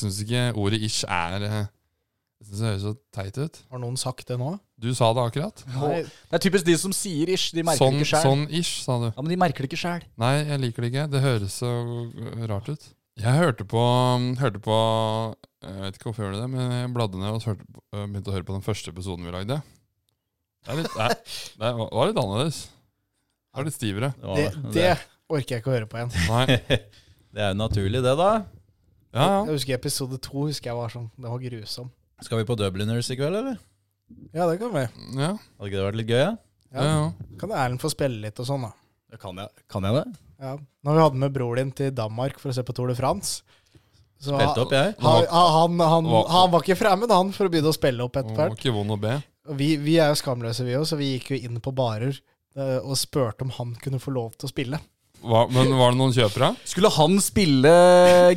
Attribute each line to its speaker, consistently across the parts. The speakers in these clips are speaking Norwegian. Speaker 1: syns ikke ordet 'ish' er eh, Jeg syns det høres så teit ut.
Speaker 2: Har noen sagt det nå?
Speaker 1: Du sa det akkurat.
Speaker 2: Nei,
Speaker 3: Det er typisk de som sier ish. De merker
Speaker 1: Sånn,
Speaker 3: det ikke sjæl.
Speaker 1: sånn ish, sa du.
Speaker 3: Ja, men de merker det ikke sjæl.
Speaker 1: Nei, jeg liker det ikke. Det høres så rart ut. Jeg hørte på, um, hørte på eh, Jeg vet ikke hvorfor jeg gjorde det, men jeg bladde ned og så hørte, på- eh, begynte å høre på den første episoden vi lagde. Det, er litt, det, er- det er- var litt annerledes. Det var litt stivere.
Speaker 2: det, det orker jeg ikke å høre på igjen.
Speaker 1: Nei.
Speaker 4: det er jo naturlig, det, da.
Speaker 1: Ja, ja.
Speaker 2: Jeg husker Episode to husker jeg var sånn. Det var grusom.
Speaker 4: Skal vi på Dubliners i kveld, eller?
Speaker 2: Ja, det kan vi.
Speaker 1: ja,
Speaker 4: Hadde ikke det vært litt gøy? Ja?
Speaker 1: ja, ja.
Speaker 2: Kan Erlend få spille litt og sånn, da.
Speaker 4: Kan, jeg, kan jeg det?
Speaker 2: Ja. Når vi hadde med bror din til Danmark for å se på Tour de France så
Speaker 4: Spilte opp, jeg.
Speaker 2: Han, han, han,
Speaker 1: Hva-
Speaker 2: han var ikke fremmed, han, for å begynne å spille opp
Speaker 1: Det
Speaker 2: etter
Speaker 1: var
Speaker 2: hvert.
Speaker 1: ikke vond å be.
Speaker 2: Og Vi, vi er jo skamløse, vi òg, så vi gikk jo inn på barer eh, og spurte om han kunne få lov til å spille.
Speaker 1: Hva, men var det noen kjøpere?
Speaker 3: Skulle han spille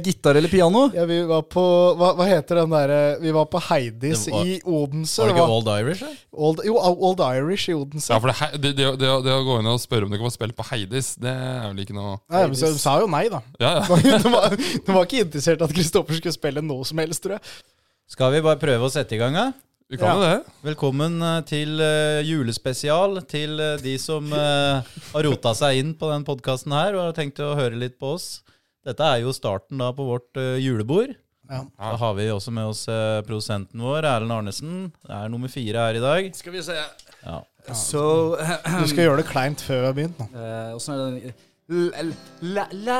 Speaker 3: gitar eller piano?
Speaker 2: Ja, vi var på Hva, hva heter den derre Vi var på Heidis
Speaker 4: Det var-
Speaker 2: i Odense.
Speaker 4: Var
Speaker 2: det
Speaker 4: det ikke
Speaker 2: var
Speaker 4: Old Irish? da?
Speaker 2: old, jo, Old Irish i Odense.
Speaker 1: Ja, for det, he- det, det, det, det å gå inn og spørre om du kan få spille på Heidis, det er vel ikke noe
Speaker 2: Nei, men så de sa jo nei, da.
Speaker 1: Ja,
Speaker 2: De
Speaker 1: ja.
Speaker 2: var, de var, de var ikke interessert i at Kristoffer skulle spille noe som helst, tror jeg.
Speaker 4: Skal vi bare prøve å sette i gang, da?
Speaker 1: Vi kan jo det.
Speaker 4: Velkommen eh, til eh, julespesial til eh, de som eh, har rota seg inn på den podkasten her og har tenkt å høre litt på oss. Dette er jo starten da på vårt eh, julebord.
Speaker 2: Ja.
Speaker 4: Da har vi også med oss eh, produsenten vår, Erlend Arnesen. Det er nummer fire her i dag.
Speaker 3: Skal vi se.
Speaker 4: Ja.
Speaker 3: Så
Speaker 2: Du skal gjøre det kleint før vi har begynt nå.
Speaker 3: Eh, Åssen er det den la, la,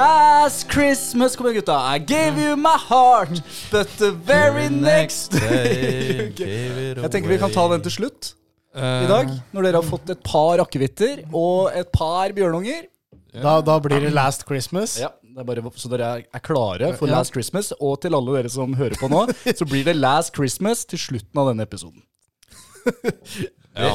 Speaker 3: Last Christmas Kom igjen, gutta. I gave you my heart, but the very next
Speaker 4: day
Speaker 3: Ok.
Speaker 4: gave it
Speaker 3: Jeg tenker vi kan ta den til slutt i dag. Når dere har fått et par akevitter og et par bjørnunger.
Speaker 2: Da, da blir det Last Christmas.
Speaker 3: Ja, det er bare Så dere er, er klare for
Speaker 2: Ja.
Speaker 3: Last Christmas. Og til alle dere som hører på nå, så blir det Last Christmas til slutten av denne episoden.
Speaker 1: Eh, Ja.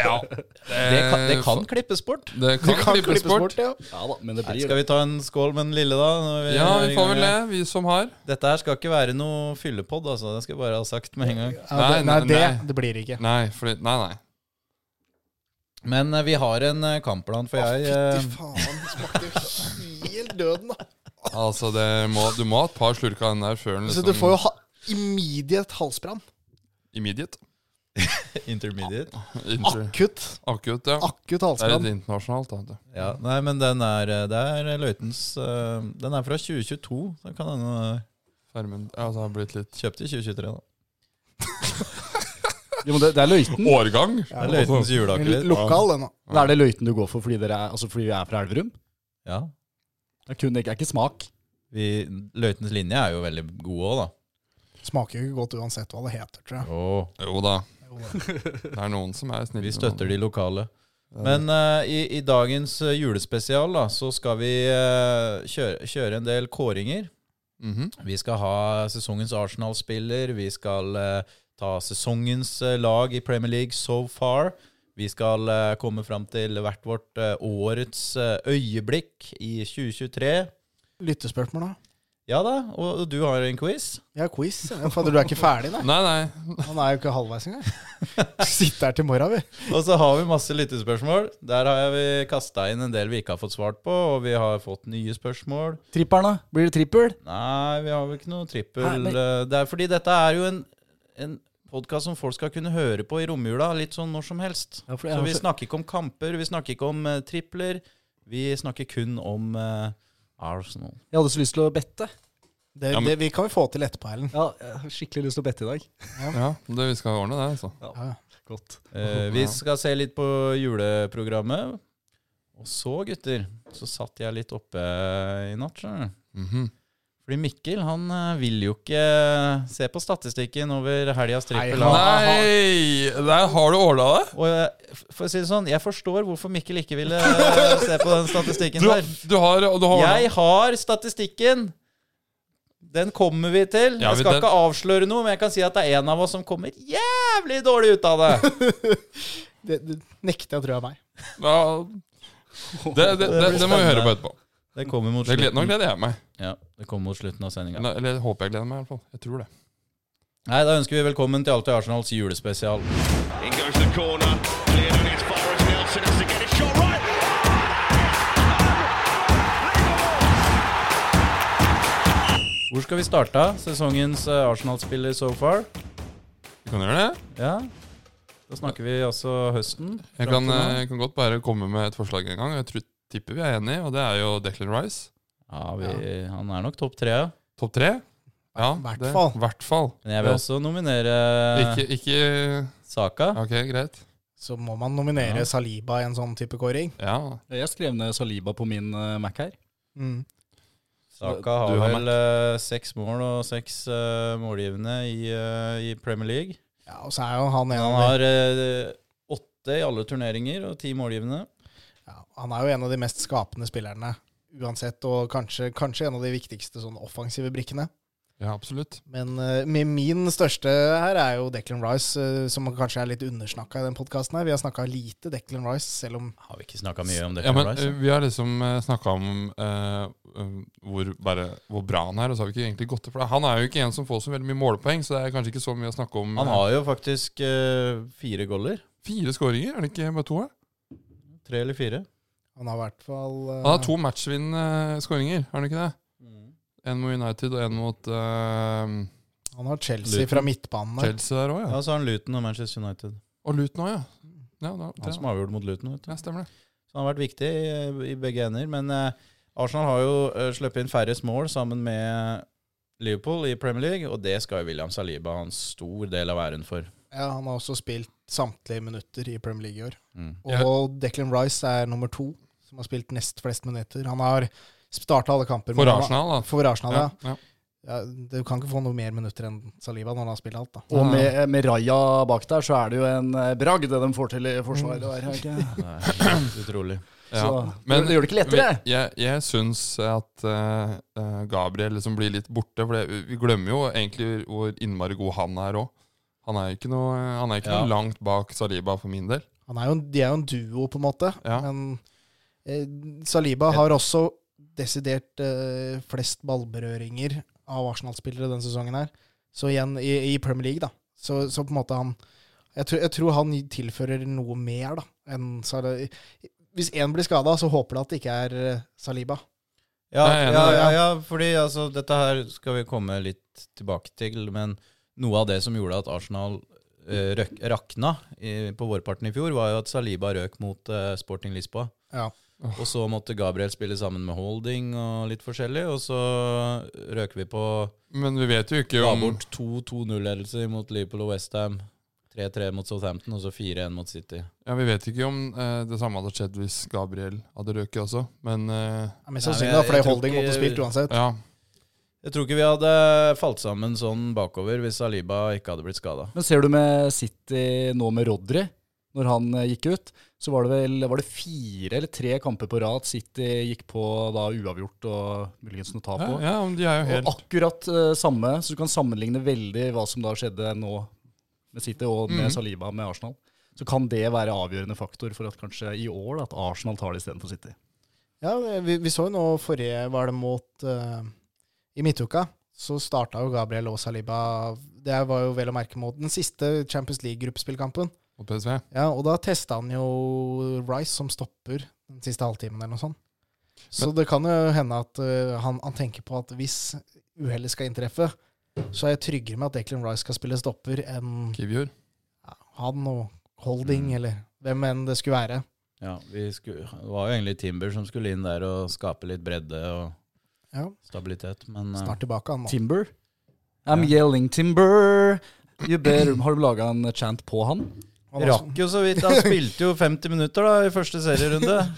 Speaker 1: ja.
Speaker 4: Det kan, det kan klippes bort.
Speaker 1: Det kan, klippes bort.
Speaker 2: ja.
Speaker 3: Ja da, men det
Speaker 4: Nei, skal vi ta en skål med den lille, da? når
Speaker 1: Ja,
Speaker 4: er i
Speaker 1: vi får
Speaker 4: gang
Speaker 1: vel
Speaker 4: her?
Speaker 1: det, vi som har.
Speaker 4: Dette her skal ikke være noe fyllepod, altså. Det skal jeg bare ha sagt med en gang.
Speaker 2: Ja,
Speaker 1: Nei,
Speaker 2: det, nei,
Speaker 1: nei,
Speaker 2: det,
Speaker 1: nei.
Speaker 2: det blir det ikke.
Speaker 1: Nei, fordi, nei, nei.
Speaker 4: Men eh, vi har en eh, kampplan, for jeg eh,
Speaker 2: Fy faen, det smakte jo helt døden, da.
Speaker 1: Altså, det må, du må ha et par slurker av den der før den
Speaker 2: Så
Speaker 1: liksom
Speaker 2: du får jo ha immediate halsbrann.
Speaker 1: Immediate.
Speaker 4: Intermediate.
Speaker 1: Inter-
Speaker 2: Akutt.
Speaker 1: Akutt, ja.
Speaker 2: Akutt
Speaker 1: Det er
Speaker 2: halsbrann.
Speaker 1: litt internasjonalt, da. vet du.
Speaker 4: Ja, nei, men den er eh, Det er løytens eh, Den er fra 2022. Så kan hende eh,
Speaker 1: Fermen ja, altså, det har blitt litt
Speaker 4: kjøpt i 2023, da.
Speaker 3: Jo, men det, det er løyten.
Speaker 1: Årgang!
Speaker 4: Det er løytens
Speaker 2: Men
Speaker 4: juleakevitt.
Speaker 2: Lokal, den, da.
Speaker 3: Da er det løyten du går for fordi, dere er, altså fordi vi er fra Elverum.
Speaker 4: Ja.
Speaker 3: Det er, kun, det er ikke smak.
Speaker 4: Vi- Løytens linje er jo veldig god òg, da.
Speaker 2: Smaker jo ikke godt uansett hva det heter, tror jeg.
Speaker 1: Jo da. Det er noen som er snille.
Speaker 4: Vi støtter de lokale.
Speaker 1: Ja.
Speaker 4: Men eh, i, i dagens eh, julespesial da, så skal vi eh, kjøre, kjøre en del kåringer.
Speaker 1: Mhm.
Speaker 4: Vi skal ha sesongens Arsenal-spiller. Vi skal eh, ta sesongens eh, lag i Premier League so far. Vi skal eh, komme fram til hvert vårt eh, årets eh, øyeblikk i 2023.
Speaker 2: Lyttespørsmål, da?
Speaker 4: Ja da, og og du har en quiz.
Speaker 2: Jeg har quiz. Ja, Fader, du er ikke ferdig, nei?
Speaker 1: Nei, nei.
Speaker 2: Han er jo ikke halvveis engang. Sitter her til morra, vi.
Speaker 4: Og så har vi masse lyttespørsmål. Der har vi kasta inn en del vi ikke har fått svart på, og vi har fått nye spørsmål.
Speaker 3: Tripperen, da? Blir det trippel?
Speaker 4: Nei, vi har vel ikke noe trippel
Speaker 3: Nei, men-
Speaker 4: eh, Det er fordi dette er jo en, en podkast som folk skal kunne høre på i romjula litt sånn når som helst.
Speaker 3: Ja, for-
Speaker 4: Så
Speaker 3: ja,
Speaker 4: vi
Speaker 5: altså-
Speaker 3: for-
Speaker 4: snakker ikke om kamper, vi snakker ikke om eh, tripler. Vi snakker kun om eh, Arsenal.
Speaker 3: Jeg hadde så lyst til å bette.
Speaker 2: Det,
Speaker 1: Ja, men-
Speaker 2: det vi kan vi få til etterpå, Erlend.
Speaker 3: Ja, jeg har skikkelig lyst til å bette i dag.
Speaker 1: Ja, det, vi skal ordne det, altså.
Speaker 2: Ja.
Speaker 3: Godt.
Speaker 4: Eh, vi skal se litt på juleprogrammet. Og så, gutter, så satt jeg litt oppe eh, i natt. skjønner du.
Speaker 1: Mhm.
Speaker 4: Fordi Mikkel han eh, vil jo ikke eh, se på statistikken over helgas
Speaker 2: Nei,
Speaker 4: trippel.
Speaker 2: han-
Speaker 1: Nei! Der har du ordna det!
Speaker 4: Og jeg, for å si det sånn, jeg forstår hvorfor Mikkel ikke ville eh, se på den statistikken
Speaker 1: Du,
Speaker 4: der.
Speaker 1: du har, du har ordnet-
Speaker 4: Jeg har statistikken. Den kommer vi til.
Speaker 1: Ja,
Speaker 4: Jeg
Speaker 1: vi-
Speaker 4: skal
Speaker 1: den-
Speaker 4: ikke avsløre noe, men jeg kan si at det er en av oss som kommer jævlig dårlig ut av det.
Speaker 2: Det, det nekter jeg å tro er meg.
Speaker 1: Ja. Det, det, det, det må vi høre på etterpå.
Speaker 4: Det kommer mot
Speaker 1: Det gleder, nå
Speaker 4: slutten,
Speaker 1: gleder jeg meg.
Speaker 4: ja, det kommer mot slutten av sendinga.
Speaker 1: Eller, eller jeg håper jeg gleder meg, i hvert fall. Jeg tror det.
Speaker 4: Nei, da ønsker vi velkommen til Alltid Arsenals julespesial.
Speaker 6: In goes the corner. Cleared on his far as Nelson has to get it shot right.
Speaker 4: Hvor Hvor skal vi starte sesongens eh, Arsenal-spiller so far?
Speaker 1: Vi kan gjøre det.
Speaker 4: Ja, da snakker vi altså høsten.
Speaker 1: Jeg kan,
Speaker 4: Fram til nå.
Speaker 1: jeg kan godt bare komme med et forslag en gang. Jeg tror, tipper vi er enige, og det er jo Declan Rice.
Speaker 4: Ja, vi, han er nok topp tre. ja.
Speaker 1: Topp tre? Ja,
Speaker 2: Hvert
Speaker 1: det-
Speaker 2: fall.
Speaker 1: hvert fall.
Speaker 4: Men jeg vil
Speaker 1: Ja.
Speaker 4: også nominere
Speaker 1: Ikke, ikke
Speaker 4: Saka.
Speaker 1: Ok, greit.
Speaker 2: Så må man nominere
Speaker 4: Ja.
Speaker 2: Saliba i en sånn type kåring.
Speaker 1: Ja.
Speaker 3: Jeg skrev ned Saliba på min eh, Mac her.
Speaker 2: Mm.
Speaker 4: Saka har,
Speaker 1: Du har
Speaker 4: vel eh, seks mål og seks eh, målgivende i, eh, i Premier League.
Speaker 2: Ja, og så er jo han en av
Speaker 4: Han
Speaker 2: de,
Speaker 4: har eh, åtte i alle turneringer og ti målgivende.
Speaker 2: ja, han er jo en av de mest skapende spillerne uansett, og kanskje, kanskje en av de viktigste sånn offensive brikkene.
Speaker 1: ja, absolutt.
Speaker 2: Men eh, min- min største her er jo Declan Rice, eh, som kanskje er litt undersnakka i den podkasten her. Vi har snakka lite Declan Rice, selv om
Speaker 4: Har vi ikke snakka mye om
Speaker 1: Ja,
Speaker 4: Declan
Speaker 1: men
Speaker 4: Rice?
Speaker 1: eh, Vi har liksom snakka om eh, eh, hvor, bare, hvor bra han er, og så har vi ikke egentlig gått til for det. Han er jo ikke en som får så veldig mye målepoeng, så det er kanskje ikke så mye å snakke om.
Speaker 4: Han
Speaker 1: eh,
Speaker 4: har jo faktisk eh, fire goller.
Speaker 1: Fire skåringer, er det ikke bare to? her?
Speaker 4: Tre eller fire.
Speaker 2: han har i hvert fall eh,
Speaker 1: Han har to matchvinnende eh, skåringer, har han ikke det?
Speaker 4: Mm.
Speaker 1: En mot United og en mot eh,
Speaker 2: han har Chelsea
Speaker 4: Luton.
Speaker 2: fra midtbanen der.
Speaker 1: Chelsea der òg, ja.
Speaker 4: Ja, så har han Luton og Manchester United.
Speaker 1: Og Luton òg, ja. Ja, da,
Speaker 4: Han som
Speaker 1: det,
Speaker 4: avgjorde mot Luton. Vet du.
Speaker 1: ja, stemmer det.
Speaker 4: Så han har vært viktig i, i begge ender. Men eh, Arsenal har jo eh, sluppet inn færrest mål sammen med Liverpool i Premier League, og det skal jo William Saliba ha en stor del av æren for.
Speaker 2: Ja, han har også spilt samtlige minutter i Premier League i år.
Speaker 4: Mm.
Speaker 2: Og Declan Rice er nummer to, som har spilt nest flest minutter. Han har starta alle kamper. men
Speaker 1: For
Speaker 2: han har-
Speaker 1: Arsenal, da.
Speaker 2: For Arsenal, ja.
Speaker 1: ja.
Speaker 2: ja. Du kan ikke få noe mer minutter enn Saliba når han har spilt alt,
Speaker 3: Ah.
Speaker 2: da.
Speaker 1: Ja.
Speaker 5: Og med,
Speaker 3: eh,
Speaker 5: med Raja bak der, så er det jo en eh, bragd det de får til i
Speaker 3: Mm.
Speaker 5: forsvaret. Der, er det ikke?
Speaker 4: Det er helt utrolig.
Speaker 1: ja.
Speaker 5: Så
Speaker 1: Men-
Speaker 5: det gjør det ikke lettere.
Speaker 1: Vi- Jeg, jeg syns at eh, eh, Gabriel liksom blir litt borte, for det, vi glemmer jo egentlig hvor innmari god han er òg. Han er ikke noe, han er ikke
Speaker 4: Ja.
Speaker 1: noe langt bak Saliba for min del.
Speaker 2: Han er jo, en- de er jo en duo, på en måte.
Speaker 1: Ja.
Speaker 2: Men eh, Saliba har også desidert eh, flest ballberøringer av Arsenal-spillere denne sesongen her. Så igjen i, i Premier League, da. Så, så på en måte han jeg tror, jeg tror han tilfører noe mer, da, enn Saliba. Hvis én blir skada, så håper jeg at det ikke er eh, Saliba.
Speaker 4: Ja,
Speaker 1: Nei, jeg er enig
Speaker 4: ja,
Speaker 1: i det,
Speaker 4: ja, ja, fordi altså, dette her skal vi komme litt tilbake til, men noe av det som gjorde at Arsenal eh, røk, rakna i, på vårparten i fjor, var jo at Saliba røk mot eh, Sporting Lisboa.
Speaker 2: Ja.
Speaker 4: Og så måtte Gabriel spille sammen med Holding og litt forskjellig, og så røk vi på
Speaker 1: Men vi vet jo ikke
Speaker 4: Ga
Speaker 1: om
Speaker 4: bort to 2-0-ledelser mot Liverpool og Westham. 3-3 mot Southampton og så 4-1 mot City.
Speaker 1: ja, Vi vet ikke om eh, det samme hadde skjedd hvis Gabriel hadde røket også, men eh,
Speaker 2: Ja, men
Speaker 4: Nei,
Speaker 2: sannsynlig, da,
Speaker 4: men jeg- jeg
Speaker 2: fordi
Speaker 4: tror
Speaker 2: Holding
Speaker 4: ikke-
Speaker 2: måtte spilt uansett.
Speaker 1: ja.
Speaker 4: Jeg tror ikke vi hadde falt sammen sånn bakover hvis Saliba ikke hadde blitt skada.
Speaker 5: Men ser du med City nå med Rodri, når han eh, gikk ut, så var det vel var det fire eller tre kamper på rad City gikk på da uavgjort og muligens noe tap
Speaker 1: Ja,
Speaker 5: på.
Speaker 1: ja, men de er jo
Speaker 5: Og
Speaker 1: helt
Speaker 5: akkurat eh, samme, så du kan sammenligne veldig hva som da skjedde nå med City og med
Speaker 1: Mhm.
Speaker 5: Saliba med Arsenal. Så kan det være avgjørende faktor for at kanskje i år da, at Arsenal tar det istedenfor City.
Speaker 2: Ja, vi, vi så jo nå forrige Var det mot eh, I midtuka så starta jo Gabriel og Saliba Det var jo vel å merke mot den siste Champions League-gruppespillkampen.
Speaker 1: mot PSV.
Speaker 2: Ja, og da testa han jo Rice som stopper den siste halvtimen eller noe sånt. Så det kan jo hende at eh, han, han tenker på at hvis uhellet skal inntreffe, så er jeg tryggere med at Declan Rice skal spille stopper enn
Speaker 1: Kivior.
Speaker 2: ja, han og Holding
Speaker 4: Mm.
Speaker 2: eller hvem enn det skulle være.
Speaker 4: Ja, vi skulle, det var jo egentlig Timber som skulle inn der og skape litt bredde og
Speaker 2: Ja,
Speaker 4: stabilitet, men eh,
Speaker 2: Snart tilbake, han nå.
Speaker 5: Timber. I'm
Speaker 4: Ja.
Speaker 5: yelling Timber. You better. Har du laga en chant på han?
Speaker 2: Han også-
Speaker 4: rakk jo så vidt. Han spilte jo 50 minutter da i første serierunde.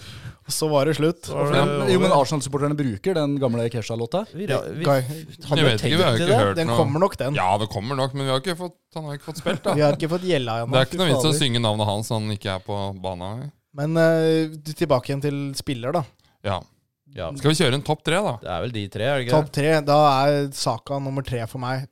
Speaker 2: Så var det slutt.
Speaker 4: Så var det
Speaker 5: Ja, men, jo, men
Speaker 4: over.
Speaker 5: Arsenal-supporterne bruker den gamle Kesha-låta.
Speaker 4: Vi, ra- vi,
Speaker 2: Guy-
Speaker 4: hadde
Speaker 1: Jeg vet
Speaker 4: tenkt
Speaker 1: ikke, vi har jo
Speaker 4: til
Speaker 1: ikke
Speaker 4: det.
Speaker 1: hørt
Speaker 2: Den
Speaker 1: noe.
Speaker 2: kommer nok, den.
Speaker 1: Ja, det kommer nok, men vi har ikke fått, han har ikke fått spilt,
Speaker 2: Vi
Speaker 1: da.
Speaker 2: har ikke fått gjella
Speaker 1: Det
Speaker 2: ennå.
Speaker 1: er ikke noe vits å synge navnet hans når han ikke er på banen.
Speaker 2: Men eh, tilbake igjen til spiller, da.
Speaker 1: Ja.
Speaker 4: Ja,
Speaker 1: Skal vi kjøre en topp tre, da?
Speaker 4: det er vel de tre, er det ikke?
Speaker 2: Topp tre. Da er Saka nummer tre for meg,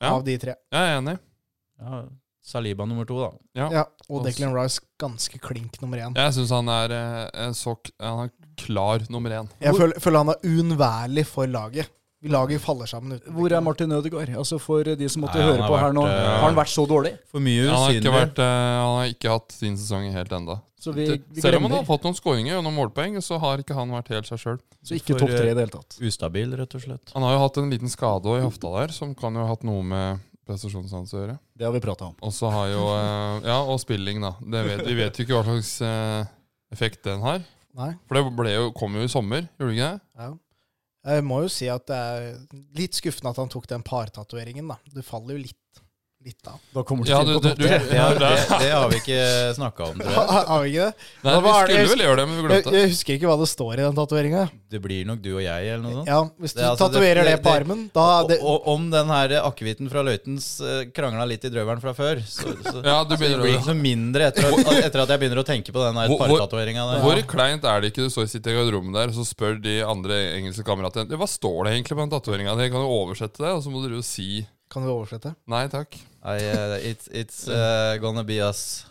Speaker 1: Ja,
Speaker 2: av de tre.
Speaker 1: jeg er enig.
Speaker 4: det? Ja, Saliba nummer to, da.
Speaker 1: Ja.
Speaker 2: Ja, og
Speaker 1: Og s-
Speaker 2: Declan Rice ganske klink nummer én.
Speaker 1: Jeg syns han er eh, en så k- Han er klar nummer én.
Speaker 2: Jeg føler, føler han er uunnværlig for laget. Vi laget faller sammen uten
Speaker 5: Hvor er Martin Ødegaard? Altså For de som måtte
Speaker 4: Nei, han
Speaker 5: høre
Speaker 4: har
Speaker 5: på her
Speaker 4: vært,
Speaker 5: nå,
Speaker 4: eh,
Speaker 5: har han vært så dårlig?
Speaker 4: For mye
Speaker 1: Han har, ikke
Speaker 4: usynlig.
Speaker 1: vært, eh, han har ikke hatt sin sesong helt enda.
Speaker 5: Så vi, vi
Speaker 1: Selv om han
Speaker 5: glemmer.
Speaker 1: har fått noen skåringer og noen målpoeng, så har ikke han vært helt seg sjøl.
Speaker 5: Så ikke
Speaker 4: For,
Speaker 5: topp tre
Speaker 4: eh,
Speaker 5: i det hele tatt.
Speaker 4: Ustabil, rett og slett.
Speaker 1: Han har jo hatt en liten skade også i hofta der, som kan jo ha hatt noe med prestasjonsans å gjøre.
Speaker 5: Det har vi prata om.
Speaker 1: Og så har jo eh, Ja, og spilling, da. Det vet, vi vet jo ikke hva slags eh, effekt den har.
Speaker 2: Nei.
Speaker 1: For det ble jo, kom jo i sommer, gjorde det ikke det?
Speaker 2: Ja. Jeg må jo si at det er litt skuffende at han tok den partatoveringen, da. Du faller jo litt, litt av.
Speaker 5: Da kommer du
Speaker 1: Ja,
Speaker 5: ikke
Speaker 1: du,
Speaker 5: inn på
Speaker 1: du,
Speaker 5: topp
Speaker 1: du,
Speaker 5: tre.
Speaker 4: Det, har-
Speaker 1: ja,
Speaker 4: det, det har vi ikke snakka om, tror jeg.
Speaker 2: Har vi ikke det?
Speaker 1: Nei, vi
Speaker 2: Hva er det-
Speaker 1: skulle vel gjøre det, men vi
Speaker 2: Jeg,
Speaker 1: glemte det.
Speaker 2: jeg husker ikke hva det står i den tatoveringa.
Speaker 4: Det blir nok du og jeg, eller noe sånt.
Speaker 2: Ja, hvis du
Speaker 4: Det er altså-
Speaker 2: tatoverer det
Speaker 4: det-
Speaker 2: på
Speaker 4: det-
Speaker 2: armen, da
Speaker 4: Og-
Speaker 2: det,
Speaker 4: og om den her akevitten fra Løitens eh, krangla litt i drøvelen fra før, så, så,
Speaker 1: Ja, du
Speaker 4: så Altså, det
Speaker 1: begynner å-
Speaker 4: blir ikke så mindre etter at, etter at jeg begynner å tenke på den der
Speaker 1: Hvor- hvor-
Speaker 4: partatoveringa der.
Speaker 1: Hvor kleint er det ikke du står sitter i garderoben der, og så spør de andre engelske kameratene «Ja, Hva står det egentlig på den tatoveringa di? Kan du oversette det? Og så må dere jo si
Speaker 2: Kan du oversette?
Speaker 1: nei takk.
Speaker 4: Nei, eh, it's it's eh, gonna be us.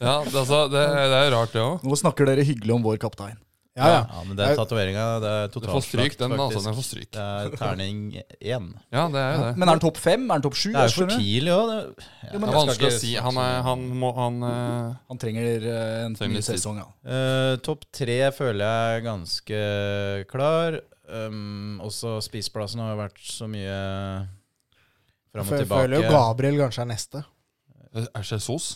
Speaker 1: Ja, det, altså, det, det er rart, det òg.
Speaker 5: Nå snakker dere hyggelig om vår kaptein.
Speaker 2: Ja, ja.
Speaker 4: Ja, men den tatoveringa, det er
Speaker 1: Du får stryk,
Speaker 4: totalslakt,
Speaker 1: den. Altså,
Speaker 4: faktisk.
Speaker 1: den får stryk.
Speaker 4: Det er terning én.
Speaker 1: Ja, det er jo det.
Speaker 5: Men er han topp fem? Er han topp sju?
Speaker 4: Det er jo
Speaker 5: Skjønner
Speaker 4: for
Speaker 5: du?
Speaker 4: tidlig òg. Det, ja,
Speaker 1: Det er vanskelig å si. Han, er, han må Han eh,
Speaker 5: Han trenger eh, en
Speaker 1: Trenger
Speaker 5: ny
Speaker 1: litt tid.
Speaker 5: sesong, ja.
Speaker 4: Eh, Topp tre føler jeg er ganske klar. Um, også spiseplassen har jo vært så mye fram og
Speaker 2: Jeg
Speaker 4: tilbake.
Speaker 2: føler jo Gabriel kanskje er neste.
Speaker 1: Er Jesus?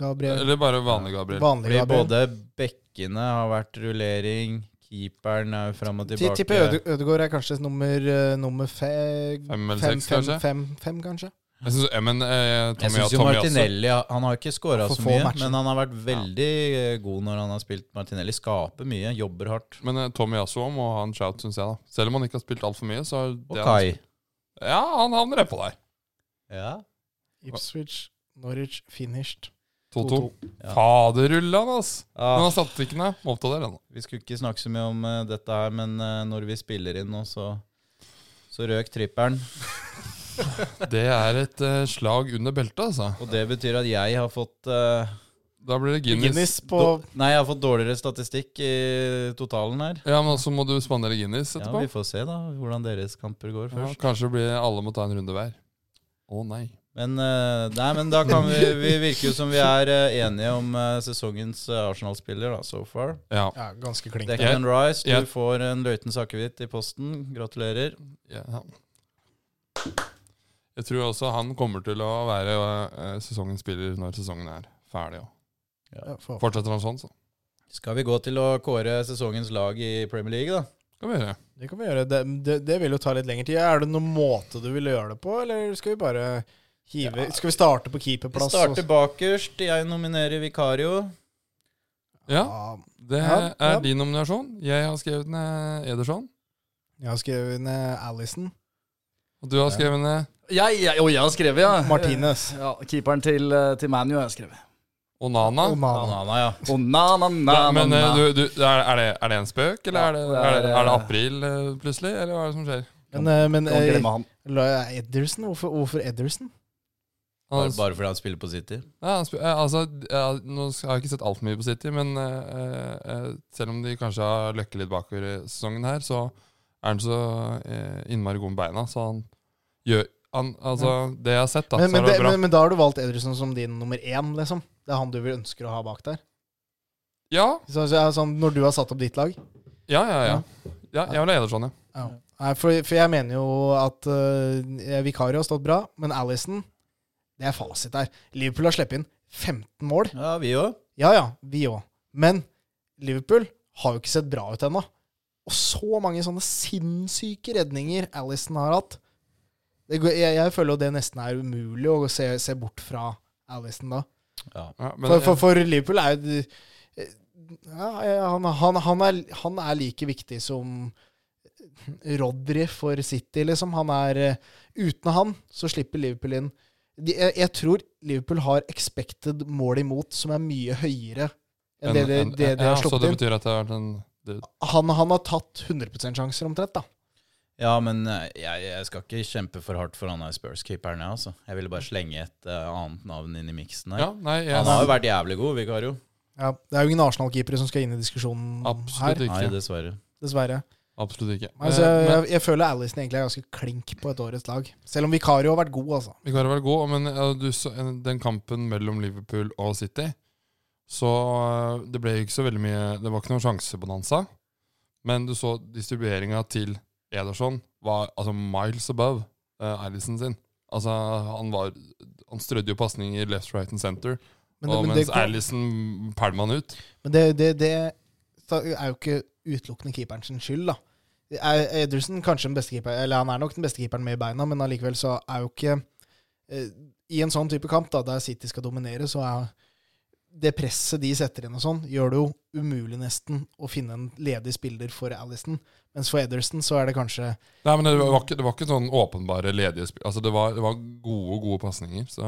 Speaker 2: Gabriel.
Speaker 1: Eller bare vanlig Gabriel?
Speaker 2: Vanlig
Speaker 4: Fordi
Speaker 2: Gabriel.
Speaker 4: både bekkene har vært rullering, keeperen er jo fram og
Speaker 2: Ti-
Speaker 4: tilbake.
Speaker 2: Tipper Øde- Ødegaard er kanskje nummer, eh, nummer fe,
Speaker 1: Fem eller
Speaker 2: fem,
Speaker 1: seks,
Speaker 2: fem,
Speaker 1: kanskje?
Speaker 2: fem, fem, kanskje.
Speaker 1: Jeg synes, ja, men eh,
Speaker 4: Jeg
Speaker 1: Tommy,
Speaker 4: syns jo
Speaker 1: Tommy også.
Speaker 4: Martinelli Han har ikke skåra
Speaker 2: For
Speaker 4: så
Speaker 2: få
Speaker 4: mye,
Speaker 2: matcher.
Speaker 4: men han har vært veldig eh, god når han har spilt Martinelli. Skaper mye, jobber hardt.
Speaker 1: Men eh, Tommy Yasso må ha en shout, syns jeg. da Selv om han ikke har spilt altfor mye, så er
Speaker 4: Og
Speaker 1: det han-
Speaker 4: Kai.
Speaker 1: Ja, han havner nedpå der.
Speaker 4: Ja.
Speaker 2: Ipswich, Norwich, finished.
Speaker 1: 2-2.
Speaker 2: 2-2.
Speaker 4: Ja.
Speaker 1: Faderullan, ass! Men
Speaker 4: Ah,
Speaker 1: han satte ikke ned. Må opp til det ennå.
Speaker 4: vi skulle ikke snakke så mye om eh, dette her, men eh, når vi spiller inn nå, så, så røk tripperen.
Speaker 1: Det er et eh, slag under beltet, altså.
Speaker 4: Og det betyr at jeg har fått eh,
Speaker 1: Da blir det Guinness.
Speaker 2: Guinness på
Speaker 4: dår- Nei, jeg har fått dårligere statistikk i totalen her.
Speaker 1: Ja, men også må du spandere Guinness
Speaker 4: Ja,
Speaker 1: etterpå.
Speaker 4: Vi får se da hvordan deres kamper går
Speaker 1: Ja,
Speaker 4: først.
Speaker 1: kanskje blir alle må ta en runde hver. Å nei.
Speaker 4: Men, eh, nei, men da kan vi, vi virker jo som vi er eh, enige om eh, sesongens eh, Arsenal-spiller, da, so far.
Speaker 1: Ja.
Speaker 2: Ja, ganske klink.
Speaker 4: Declan Rice, du
Speaker 1: jeg-
Speaker 4: får en Løitens akevitt i posten. Gratulerer.
Speaker 1: ja. Jeg tror også han kommer til å være eh, sesongens spiller når sesongen er ferdig. også.
Speaker 2: Ja, for-
Speaker 1: Fortsetter han sånn, så
Speaker 4: Skal vi gå til å kåre sesongens lag i Premier League, da?
Speaker 1: skal vi gjøre det.
Speaker 2: Det kan vi gjøre. Det, det, det vil jo ta litt lengre tid. Er det noen måte du vil gjøre det på, eller skal vi bare hive Skal vi starte på
Speaker 4: Vi
Speaker 2: keeperplass?
Speaker 4: starter bakerst. Jeg nominerer Vikario.
Speaker 1: Ja,
Speaker 2: Ja.
Speaker 1: det
Speaker 2: Ja,
Speaker 1: er
Speaker 2: ja.
Speaker 1: din nominasjon. Jeg har skrevet ned Ederson.
Speaker 2: Jeg har skrevet ned Alison.
Speaker 1: Og du har skrevet ned
Speaker 5: Jeg, jeg, og jeg har skrevet, ja.
Speaker 2: Martinez.
Speaker 5: Ja, keeperen til, eh, til ManU har jeg skrevet.
Speaker 1: Onana.
Speaker 2: Onana.
Speaker 4: Anana, ja.
Speaker 5: Å, na, na, na,
Speaker 1: Ja, men
Speaker 5: na,
Speaker 1: eh,
Speaker 5: na.
Speaker 1: du, du, er, er, det, er det en spøk, eller
Speaker 5: Ja,
Speaker 1: er, det,
Speaker 5: det
Speaker 1: er,
Speaker 5: er,
Speaker 1: det, er det
Speaker 5: eh,
Speaker 1: april eh, plutselig, eller hva er det som skjer?
Speaker 2: Men, eh, men
Speaker 5: Kan
Speaker 2: eh,
Speaker 5: glemme han.
Speaker 2: la- Ederson? Hvorfor, hvorfor Ederson?
Speaker 1: Han,
Speaker 4: Bare, bare fordi han spiller på City.
Speaker 1: ja, han spør- eh, altså, ja, nå s- har jeg ikke sett altfor mye på City, men eh, eh, selv om de kanskje har løkke litt bakover i sesongen her, så er han så eh, innmari god med beina, så han gjør han, Altså, det jeg har sett, da,
Speaker 2: Men, men,
Speaker 1: så er
Speaker 2: det,
Speaker 1: det bra.
Speaker 2: men, men da har du valgt Ederson som din nummer én, liksom. Det er han du vil ønsker å ha bak der.
Speaker 1: ja,
Speaker 2: Så, så, er det sånn, når du har satt opp ditt lag.
Speaker 1: ja, ja, ja. Ja, jeg vil ha Ederson, ja.
Speaker 2: Ja. Nei, for, for jeg mener jo at uh, Vikario har stått bra, men Alison Det er fasit der. Liverpool har sluppet inn 15 mål.
Speaker 4: Ja, vi òg.
Speaker 2: Ja ja, vi òg. Men Liverpool har jo ikke sett bra ut ennå. Og så mange sånne sinnssyke redninger Alison har hatt. Det, går- jeg, jeg føler jo det nesten er umulig å se, se bort fra Alison da.
Speaker 4: Ja.
Speaker 1: ja men,
Speaker 2: For, for, for Liverpool er jo ja, han, han, han, er, han er like viktig som Rodri for City, liksom. Han er eh, Uten han, så slipper Liverpool inn. De, jeg, jeg tror Liverpool har expected mål imot som er mye høyere enn
Speaker 1: en-
Speaker 2: det, de-
Speaker 1: en-
Speaker 2: det de har
Speaker 1: ja, Så
Speaker 2: sluppet
Speaker 1: det
Speaker 2: inn.
Speaker 1: betyr at det har vært en det,
Speaker 2: Han, han har tatt 100 sjanser, omtrent. da.
Speaker 4: Ja, men eh, jeg, jeg skal ikke kjempe for hardt for han her Spurs-keeperen. jeg, Altså. Jeg ville bare slenge et eh, annet navn inn i miksen her.
Speaker 1: Ja, nei, jeg,
Speaker 4: Han har jo vært jævlig god, Vikario.
Speaker 2: Ja, det er jo ingen Arsenal-keepere som skal inn i diskusjonen
Speaker 1: absolutt
Speaker 2: her,
Speaker 4: Nei,
Speaker 1: ikke.
Speaker 4: dessverre.
Speaker 2: dessverre.
Speaker 1: Absolutt ikke.
Speaker 2: Altså,
Speaker 1: Eh, men-
Speaker 2: jeg, jeg føler Alison egentlig er ganske klink på et årets lag. Selv om Vikario har vært god, altså.
Speaker 1: Vi kan være gode, men ja, du, så, en- den kampen mellom Liverpool og City Så eh, det ble ikke så veldig mye Det var ikke noen sjansebonanza. Men du så distribueringa til Ederson var altså miles above uh, Alison sin. Altså, han var Han strødde jo pasninger left, right and center.
Speaker 2: Men,
Speaker 1: og
Speaker 2: men, det,
Speaker 1: mens Alison pælma han ut.
Speaker 2: men det, det, det er jo ikke utelukkende keeperen sin skyld, da. Det er Ederson kanskje den beste keeperen, eller han er nok den beste keeperen med i beina, men allikevel så er jo ikke eh, I en sånn type kamp, da, der City skal dominere, så er det presset de setter inn og sånn, gjør det jo umulig nesten å finne en ledig spiller for Alison. Mens for Ederson så er det kanskje
Speaker 1: Nei, men det var ikke, det var ikke sånn åpenbare ledige spill. Altså, det var, det var gode, gode pasninger. Så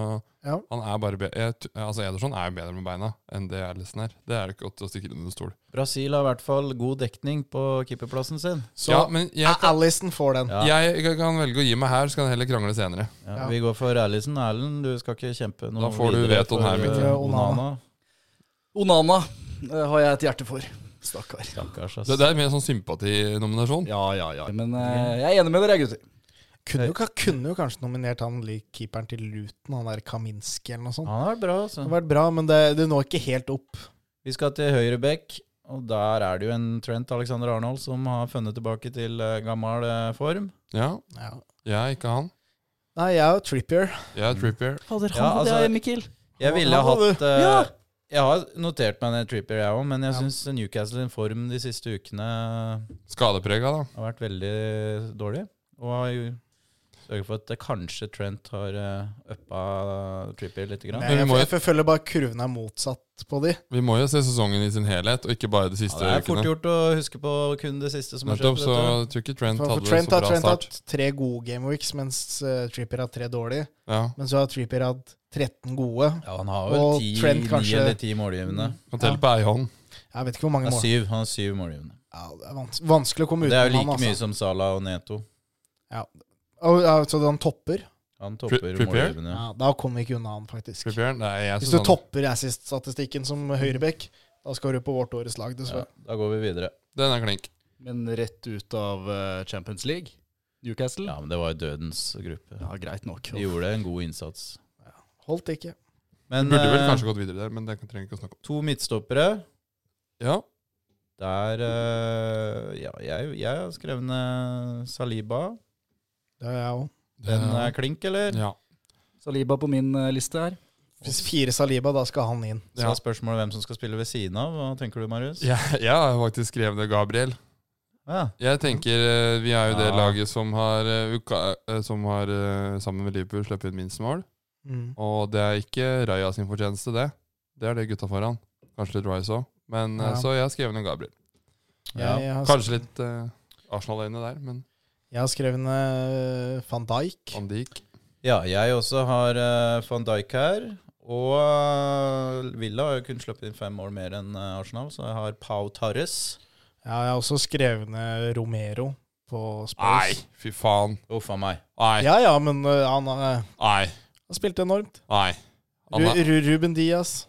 Speaker 2: Ja.
Speaker 1: han er bare be jeg, t- altså Ederson er jo bedre med beina enn det Erlesen er. Det er det ikke godt å stikke under stol.
Speaker 4: Brasil har i hvert fall god dekning på keeperplassen sin.
Speaker 2: Så
Speaker 1: ja, men jeg,
Speaker 2: Alison får den.
Speaker 4: Ah, Ja.
Speaker 1: jeg, jeg kan velge å gi meg her, så kan jeg heller krangle senere.
Speaker 4: Ja,
Speaker 2: Ja.
Speaker 4: Vi går for Erlisen. Erlend, du skal ikke kjempe noe
Speaker 1: Da får du
Speaker 4: videre
Speaker 1: vetoen
Speaker 4: for,
Speaker 1: her, Mikkel.
Speaker 4: eh,
Speaker 2: Ja, Onana.
Speaker 4: Onana.
Speaker 5: Onana eh, har jeg et hjerte for. Stakkar.
Speaker 4: Stakkars, ass.
Speaker 1: Det, det er mer sånn sympatinominasjon.
Speaker 5: Ja, ja, ja. Men eh, jeg er enig med dere, gutter.
Speaker 2: Kunne jo, kunne jo kanskje nominert han lik keeperen til Luton, han der Kaminski eller noe sånt.
Speaker 4: Han har vært bra, altså.
Speaker 2: Det har vært bra, men det, det når ikke helt opp.
Speaker 4: Vi skal til høyre bekk, og der er det jo en Trent Alexander Arnold som har funnet tilbake til eh, gammel eh, form.
Speaker 1: Ja,
Speaker 2: Ja.
Speaker 1: jeg er ikke han.
Speaker 2: Nei, jeg er jo Trippier.
Speaker 1: Jeg er Trippier.
Speaker 3: Fader,
Speaker 4: Ja,
Speaker 3: han, det
Speaker 4: altså-
Speaker 3: er Mikkel.
Speaker 4: Jeg ville
Speaker 2: Han- han
Speaker 4: hatt eh,
Speaker 3: Ja!
Speaker 4: Jeg har notert meg ned Trippier, jeg òg, men jeg
Speaker 2: Ja.
Speaker 4: synes syns Newcastle sin form de siste ukene har
Speaker 1: Skadeprega, da.
Speaker 4: vært veldig dårlig. Og har jo sørget for at eh, kanskje Trent har eh, uppa Trippier litt. Grann.
Speaker 2: Nei,
Speaker 1: Men vi
Speaker 2: jeg,
Speaker 1: må jo-
Speaker 2: jeg, føler bare kurven er motsatt på de.
Speaker 1: Vi må jo se sesongen i sin helhet, og ikke bare de
Speaker 4: Ja,
Speaker 1: siste
Speaker 4: det er fort
Speaker 1: ukene.
Speaker 4: gjort å huske på kun det siste som har skjedd.
Speaker 1: Nettopp, så
Speaker 4: vet
Speaker 1: jeg tror ikke Trent
Speaker 2: For,
Speaker 1: hadde
Speaker 2: for Trent
Speaker 1: så
Speaker 2: har
Speaker 1: bra
Speaker 2: Trent
Speaker 1: start.
Speaker 2: hatt tre gode gameweeks, mens eh, Trippier har tre dårlige.
Speaker 1: Ja.
Speaker 2: Men så har Trippier hatt 13 gode.
Speaker 4: du. Ja, han har vel
Speaker 2: Og
Speaker 4: ti,
Speaker 2: Trent
Speaker 4: ni
Speaker 2: kanskje-
Speaker 4: eller ti målgivende.
Speaker 1: Kan telle på ei hånd.
Speaker 2: Jeg vet ikke hvor mange
Speaker 4: Ja,
Speaker 2: mål.
Speaker 4: syv. Han har syv målgivende.
Speaker 2: Ja, det er vans vanskelig å komme
Speaker 4: Det er jo
Speaker 2: utenom
Speaker 4: like
Speaker 2: han,
Speaker 4: mye
Speaker 2: altså.
Speaker 4: som Salah og Neto.
Speaker 2: Og, ja, så han topper?
Speaker 4: Han topper
Speaker 1: Trippier?
Speaker 4: målgivende.
Speaker 2: Ja, da kommer vi ikke unna han, faktisk.
Speaker 1: Trippier? sånn- Nei, jeg
Speaker 2: Hvis
Speaker 1: synes
Speaker 2: du
Speaker 1: han-
Speaker 2: topper assist-statistikken som høyrebekk, da skal du på vårt årets lag,
Speaker 4: Ja,
Speaker 2: dessverre.
Speaker 4: da går vi videre.
Speaker 1: Den er klink.
Speaker 5: Men rett ut av eh, Champions League, Newcastle.
Speaker 4: Ja, men det var jo dødens gruppe.
Speaker 5: Ja, greit nok.
Speaker 4: De gjorde en god innsats.
Speaker 2: Holdt ikke.
Speaker 4: Men
Speaker 1: Burde vel
Speaker 4: eh,
Speaker 1: kanskje gått videre der, men det trenger vi ikke å snakke om.
Speaker 4: to midtstoppere
Speaker 1: Ja,
Speaker 4: der eh, Ja, jeg, jeg har skrevet ned Saliba.
Speaker 2: Det er jeg òg.
Speaker 4: Den
Speaker 1: Ja.
Speaker 4: er klink, eller?
Speaker 1: ja.
Speaker 5: Saliba på min eh, liste her.
Speaker 2: Hvis fire Saliba, da skal han inn.
Speaker 4: Så er spørsmålet hvem som skal spille ved siden av. Hva tenker du, Marius?
Speaker 1: Jeg, jeg har faktisk skrevet det, Gabriel.
Speaker 4: Ja.
Speaker 1: Jeg tenker eh, Vi er jo det
Speaker 4: Ja.
Speaker 1: laget som har, eh, uka- eh, som har eh, sammen med Liverpool, sluppet inn minst mål.
Speaker 2: Mm.
Speaker 1: Og det er ikke Raja sin fortjeneste, det. Det er det gutta foran. Kanskje litt Rice òg. Men eh,
Speaker 2: Ja.
Speaker 1: så jeg har skrevet ned Gabriel.
Speaker 4: Ja.
Speaker 2: Jeg, jeg, har,
Speaker 1: Kanskje litt eh, Arsenal-øyne der, men
Speaker 2: jeg har skrevet ned eh, van Dijk.
Speaker 1: Van Dijk
Speaker 4: ja, jeg også har eh, van Dijk her. Og eh, Villa har jo kun sluppet inn fem mål mer enn eh, Arsenal, så jeg har Pau Torres.
Speaker 2: Ja, jeg har også skrevet ned Romero på
Speaker 1: Nei,
Speaker 2: Spurs.
Speaker 1: fy faen.
Speaker 4: Uff a meg.
Speaker 1: Nei,
Speaker 2: Ja ja, men uh, han uh,
Speaker 1: nei,
Speaker 2: har spilt enormt.
Speaker 1: nei. Han
Speaker 2: Ru
Speaker 1: er-
Speaker 2: Ru Ruben Diaz.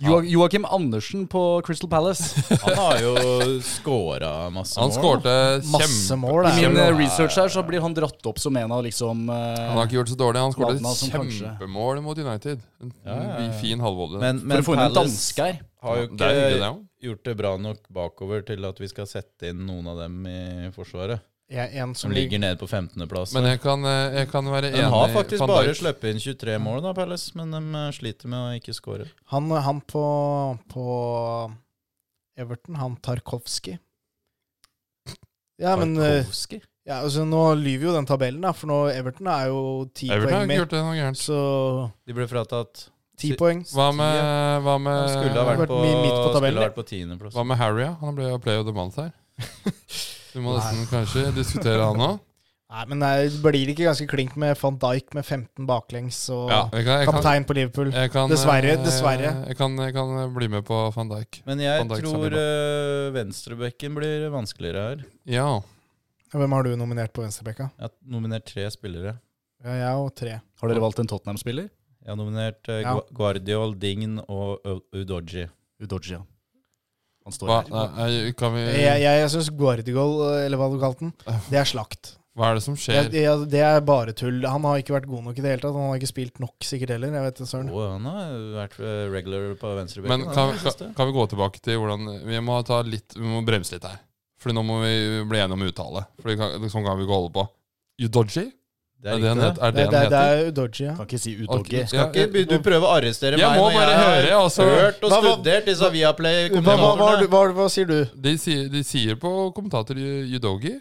Speaker 5: Jo Joakim Andersen på Crystal Palace.
Speaker 4: Han har jo scora masse
Speaker 1: Han
Speaker 4: mål.
Speaker 1: skårte
Speaker 2: Masse
Speaker 1: kjempe...
Speaker 2: mål.
Speaker 5: I
Speaker 2: er
Speaker 5: min
Speaker 2: det.
Speaker 5: eh, research her så blir han dratt opp som en av liksom eh,
Speaker 1: Han har ikke gjort det så dårlig. Han
Speaker 5: Lavna som
Speaker 1: skåret
Speaker 5: kanskje-
Speaker 1: kjempemål mot United. En
Speaker 4: Ja, ja, ja.
Speaker 1: fin halvvolley.
Speaker 4: Men,
Speaker 5: For
Speaker 4: men
Speaker 5: å få inn en
Speaker 4: Palace
Speaker 5: danske her.
Speaker 4: har jo
Speaker 1: Det er hyggelig, det
Speaker 4: ikke
Speaker 1: òg.
Speaker 4: gjort det bra nok bakover til at vi skal sette inn noen av dem i forsvaret.
Speaker 2: Jeg, en som
Speaker 4: Som
Speaker 2: ligger
Speaker 4: ligger nede på 15.-plass.
Speaker 1: Men jeg kan, eh, jeg kan være enig
Speaker 4: De har faktisk
Speaker 1: Van
Speaker 4: bare
Speaker 1: Dijk-
Speaker 4: sluppet inn 23 mål, da, Palace, men de eh, sliter med å ikke score.
Speaker 2: Han, han på, på Everton, han Tarkovskij. Ja, men uh,
Speaker 4: Tarkovskij?
Speaker 2: ja, altså, Nå lyver jo den tabellen, da, for nå Everton er jo ti
Speaker 1: Everton har
Speaker 2: poeng
Speaker 1: ikke
Speaker 2: mer.
Speaker 1: gjort det noe gærent.
Speaker 2: Så
Speaker 4: De ble fratatt
Speaker 2: ti
Speaker 4: Si-
Speaker 2: poeng.
Speaker 1: Hva med, hva
Speaker 4: De
Speaker 1: med,
Speaker 4: skulle ha
Speaker 2: vært
Speaker 4: vært på,
Speaker 2: mi- midt på
Speaker 4: skulle
Speaker 2: tabellen,
Speaker 4: ha vært på 10.-plass.
Speaker 1: hva med Harry? ja? Han ble jo play of the month her. Du må nesten kanskje diskutere han òg.
Speaker 2: Nei, men nei, blir det ikke ganske klink med van Dijk med 15 baklengs og
Speaker 1: Ja, jeg kan, jeg kan,
Speaker 2: kaptein på Liverpool?
Speaker 1: jeg kan, eh,
Speaker 2: Dessverre, dessverre.
Speaker 1: Jeg kan, jeg kan bli med på van Dijk.
Speaker 4: Men
Speaker 1: Van
Speaker 4: jeg
Speaker 1: Dijk,
Speaker 4: tror eh, venstrebekken blir vanskeligere her.
Speaker 1: Ja.
Speaker 2: Hvem har du nominert på venstrebekka?
Speaker 4: Jeg har nominert tre spillere.
Speaker 2: Ja, jeg og tre.
Speaker 5: Har dere valgt en Tottenham-spiller?
Speaker 4: Jeg har nominert eh,
Speaker 2: Ja.
Speaker 4: Gua- Guardiol, Dign og U- Udoji.
Speaker 5: Udoji, ja. Han står
Speaker 1: Hva,
Speaker 5: her.
Speaker 1: nei, kan vi,
Speaker 2: Jeg, jeg, jeg syns Guardigol, eller hva du kalte den, det er slakt.
Speaker 1: hva er Ah. det som skjer?
Speaker 2: Jeg, jeg, det er bare tull. Han har ikke vært god nok i det hele tatt. Han har ikke spilt nok sikkert heller. Jeg vet det, søren.
Speaker 4: Å, han har vært eh, regular på venstrebekken.
Speaker 1: Men kan, kan, kan vi gå tilbake til hvordan Vi må, ta litt, vi må bremse litt her. Fordi nå må vi bli enige om uttale. Fordi kan, sånn kan vi ikke holde på. Udoji?
Speaker 4: Det
Speaker 1: Er
Speaker 4: er
Speaker 1: det han
Speaker 4: riktig,
Speaker 1: het- er
Speaker 2: Det,
Speaker 1: det han
Speaker 2: det, det
Speaker 1: heter?
Speaker 2: er Udoji, ja.
Speaker 5: Kan ikke si
Speaker 1: Ok,
Speaker 5: udoggy.
Speaker 1: ja,
Speaker 4: Ikke be- Du prøver å arrestere
Speaker 1: Jeg
Speaker 4: meg
Speaker 1: må
Speaker 4: når
Speaker 1: bare
Speaker 4: har
Speaker 1: høre, altså.
Speaker 4: hørt og
Speaker 2: Hva- hva-
Speaker 4: studert disse
Speaker 2: Hva, hva, hva,
Speaker 4: Viaplay-kommentatorene.
Speaker 2: hva, hva sier du?
Speaker 1: De sier, de sier på kommentator Yudogi.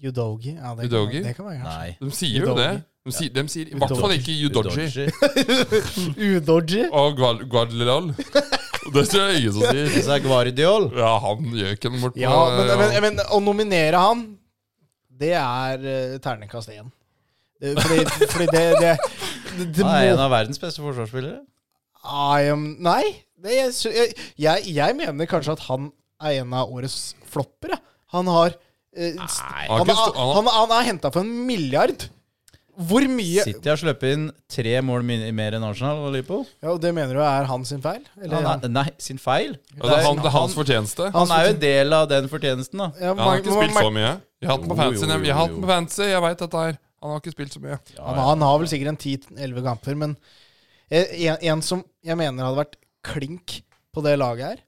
Speaker 2: Udogi? Ja, det,
Speaker 1: Udogi?
Speaker 2: Kan, det kan være kanskje.
Speaker 4: Nei.
Speaker 1: De sier jo
Speaker 2: Udogi.
Speaker 1: det. De sier, de sier i hvert fall ikke Yudoji
Speaker 4: Udoji.
Speaker 2: Udoji?
Speaker 1: og Guad- Guadalal. Det tror jeg ingen som sier.
Speaker 4: Disse er Guardiol.
Speaker 1: Ja, han gjøken bort på
Speaker 2: Ja, men, men, men å nominere han, det er eh, terningkast én. Eh, Fordi, fordi det, det, det, det
Speaker 4: Han er en
Speaker 2: må
Speaker 4: av verdens beste forsvarsspillere.
Speaker 2: I am, Nei. Det, jeg, sy- jeg, jeg, jeg mener kanskje at han er en av årets flopper. jeg. Han har eh, s-
Speaker 1: Han
Speaker 2: han,
Speaker 1: har ikke
Speaker 2: er-
Speaker 1: stå- han har-
Speaker 2: han, han er henta for en milliard. Hvor mye
Speaker 4: City har sluppet inn tre mål min- mer enn Arsenal og Liverpool.
Speaker 2: ja, og Det mener du er han sin feil? Eller,
Speaker 4: Han er, nei, sin feil.
Speaker 1: Ja, det, er Altså, han, det er hans fortjeneste.
Speaker 4: Han er jo en del av den fortjenesten, da.
Speaker 2: Ja,
Speaker 1: Ja, han har ikke
Speaker 2: man-
Speaker 1: spilt
Speaker 2: man-
Speaker 1: så mye. Jeg har hatt den på
Speaker 4: Jo, jo,
Speaker 1: fancy.
Speaker 4: jo,
Speaker 1: Jeg har hatt den
Speaker 4: jo.
Speaker 1: på fancy, jeg veit dette her. Han har ikke spilt så mye.
Speaker 2: Han, han har vel sikkert en 10-11 kamper, men eh, en, en som jeg mener hadde vært klink på det laget her,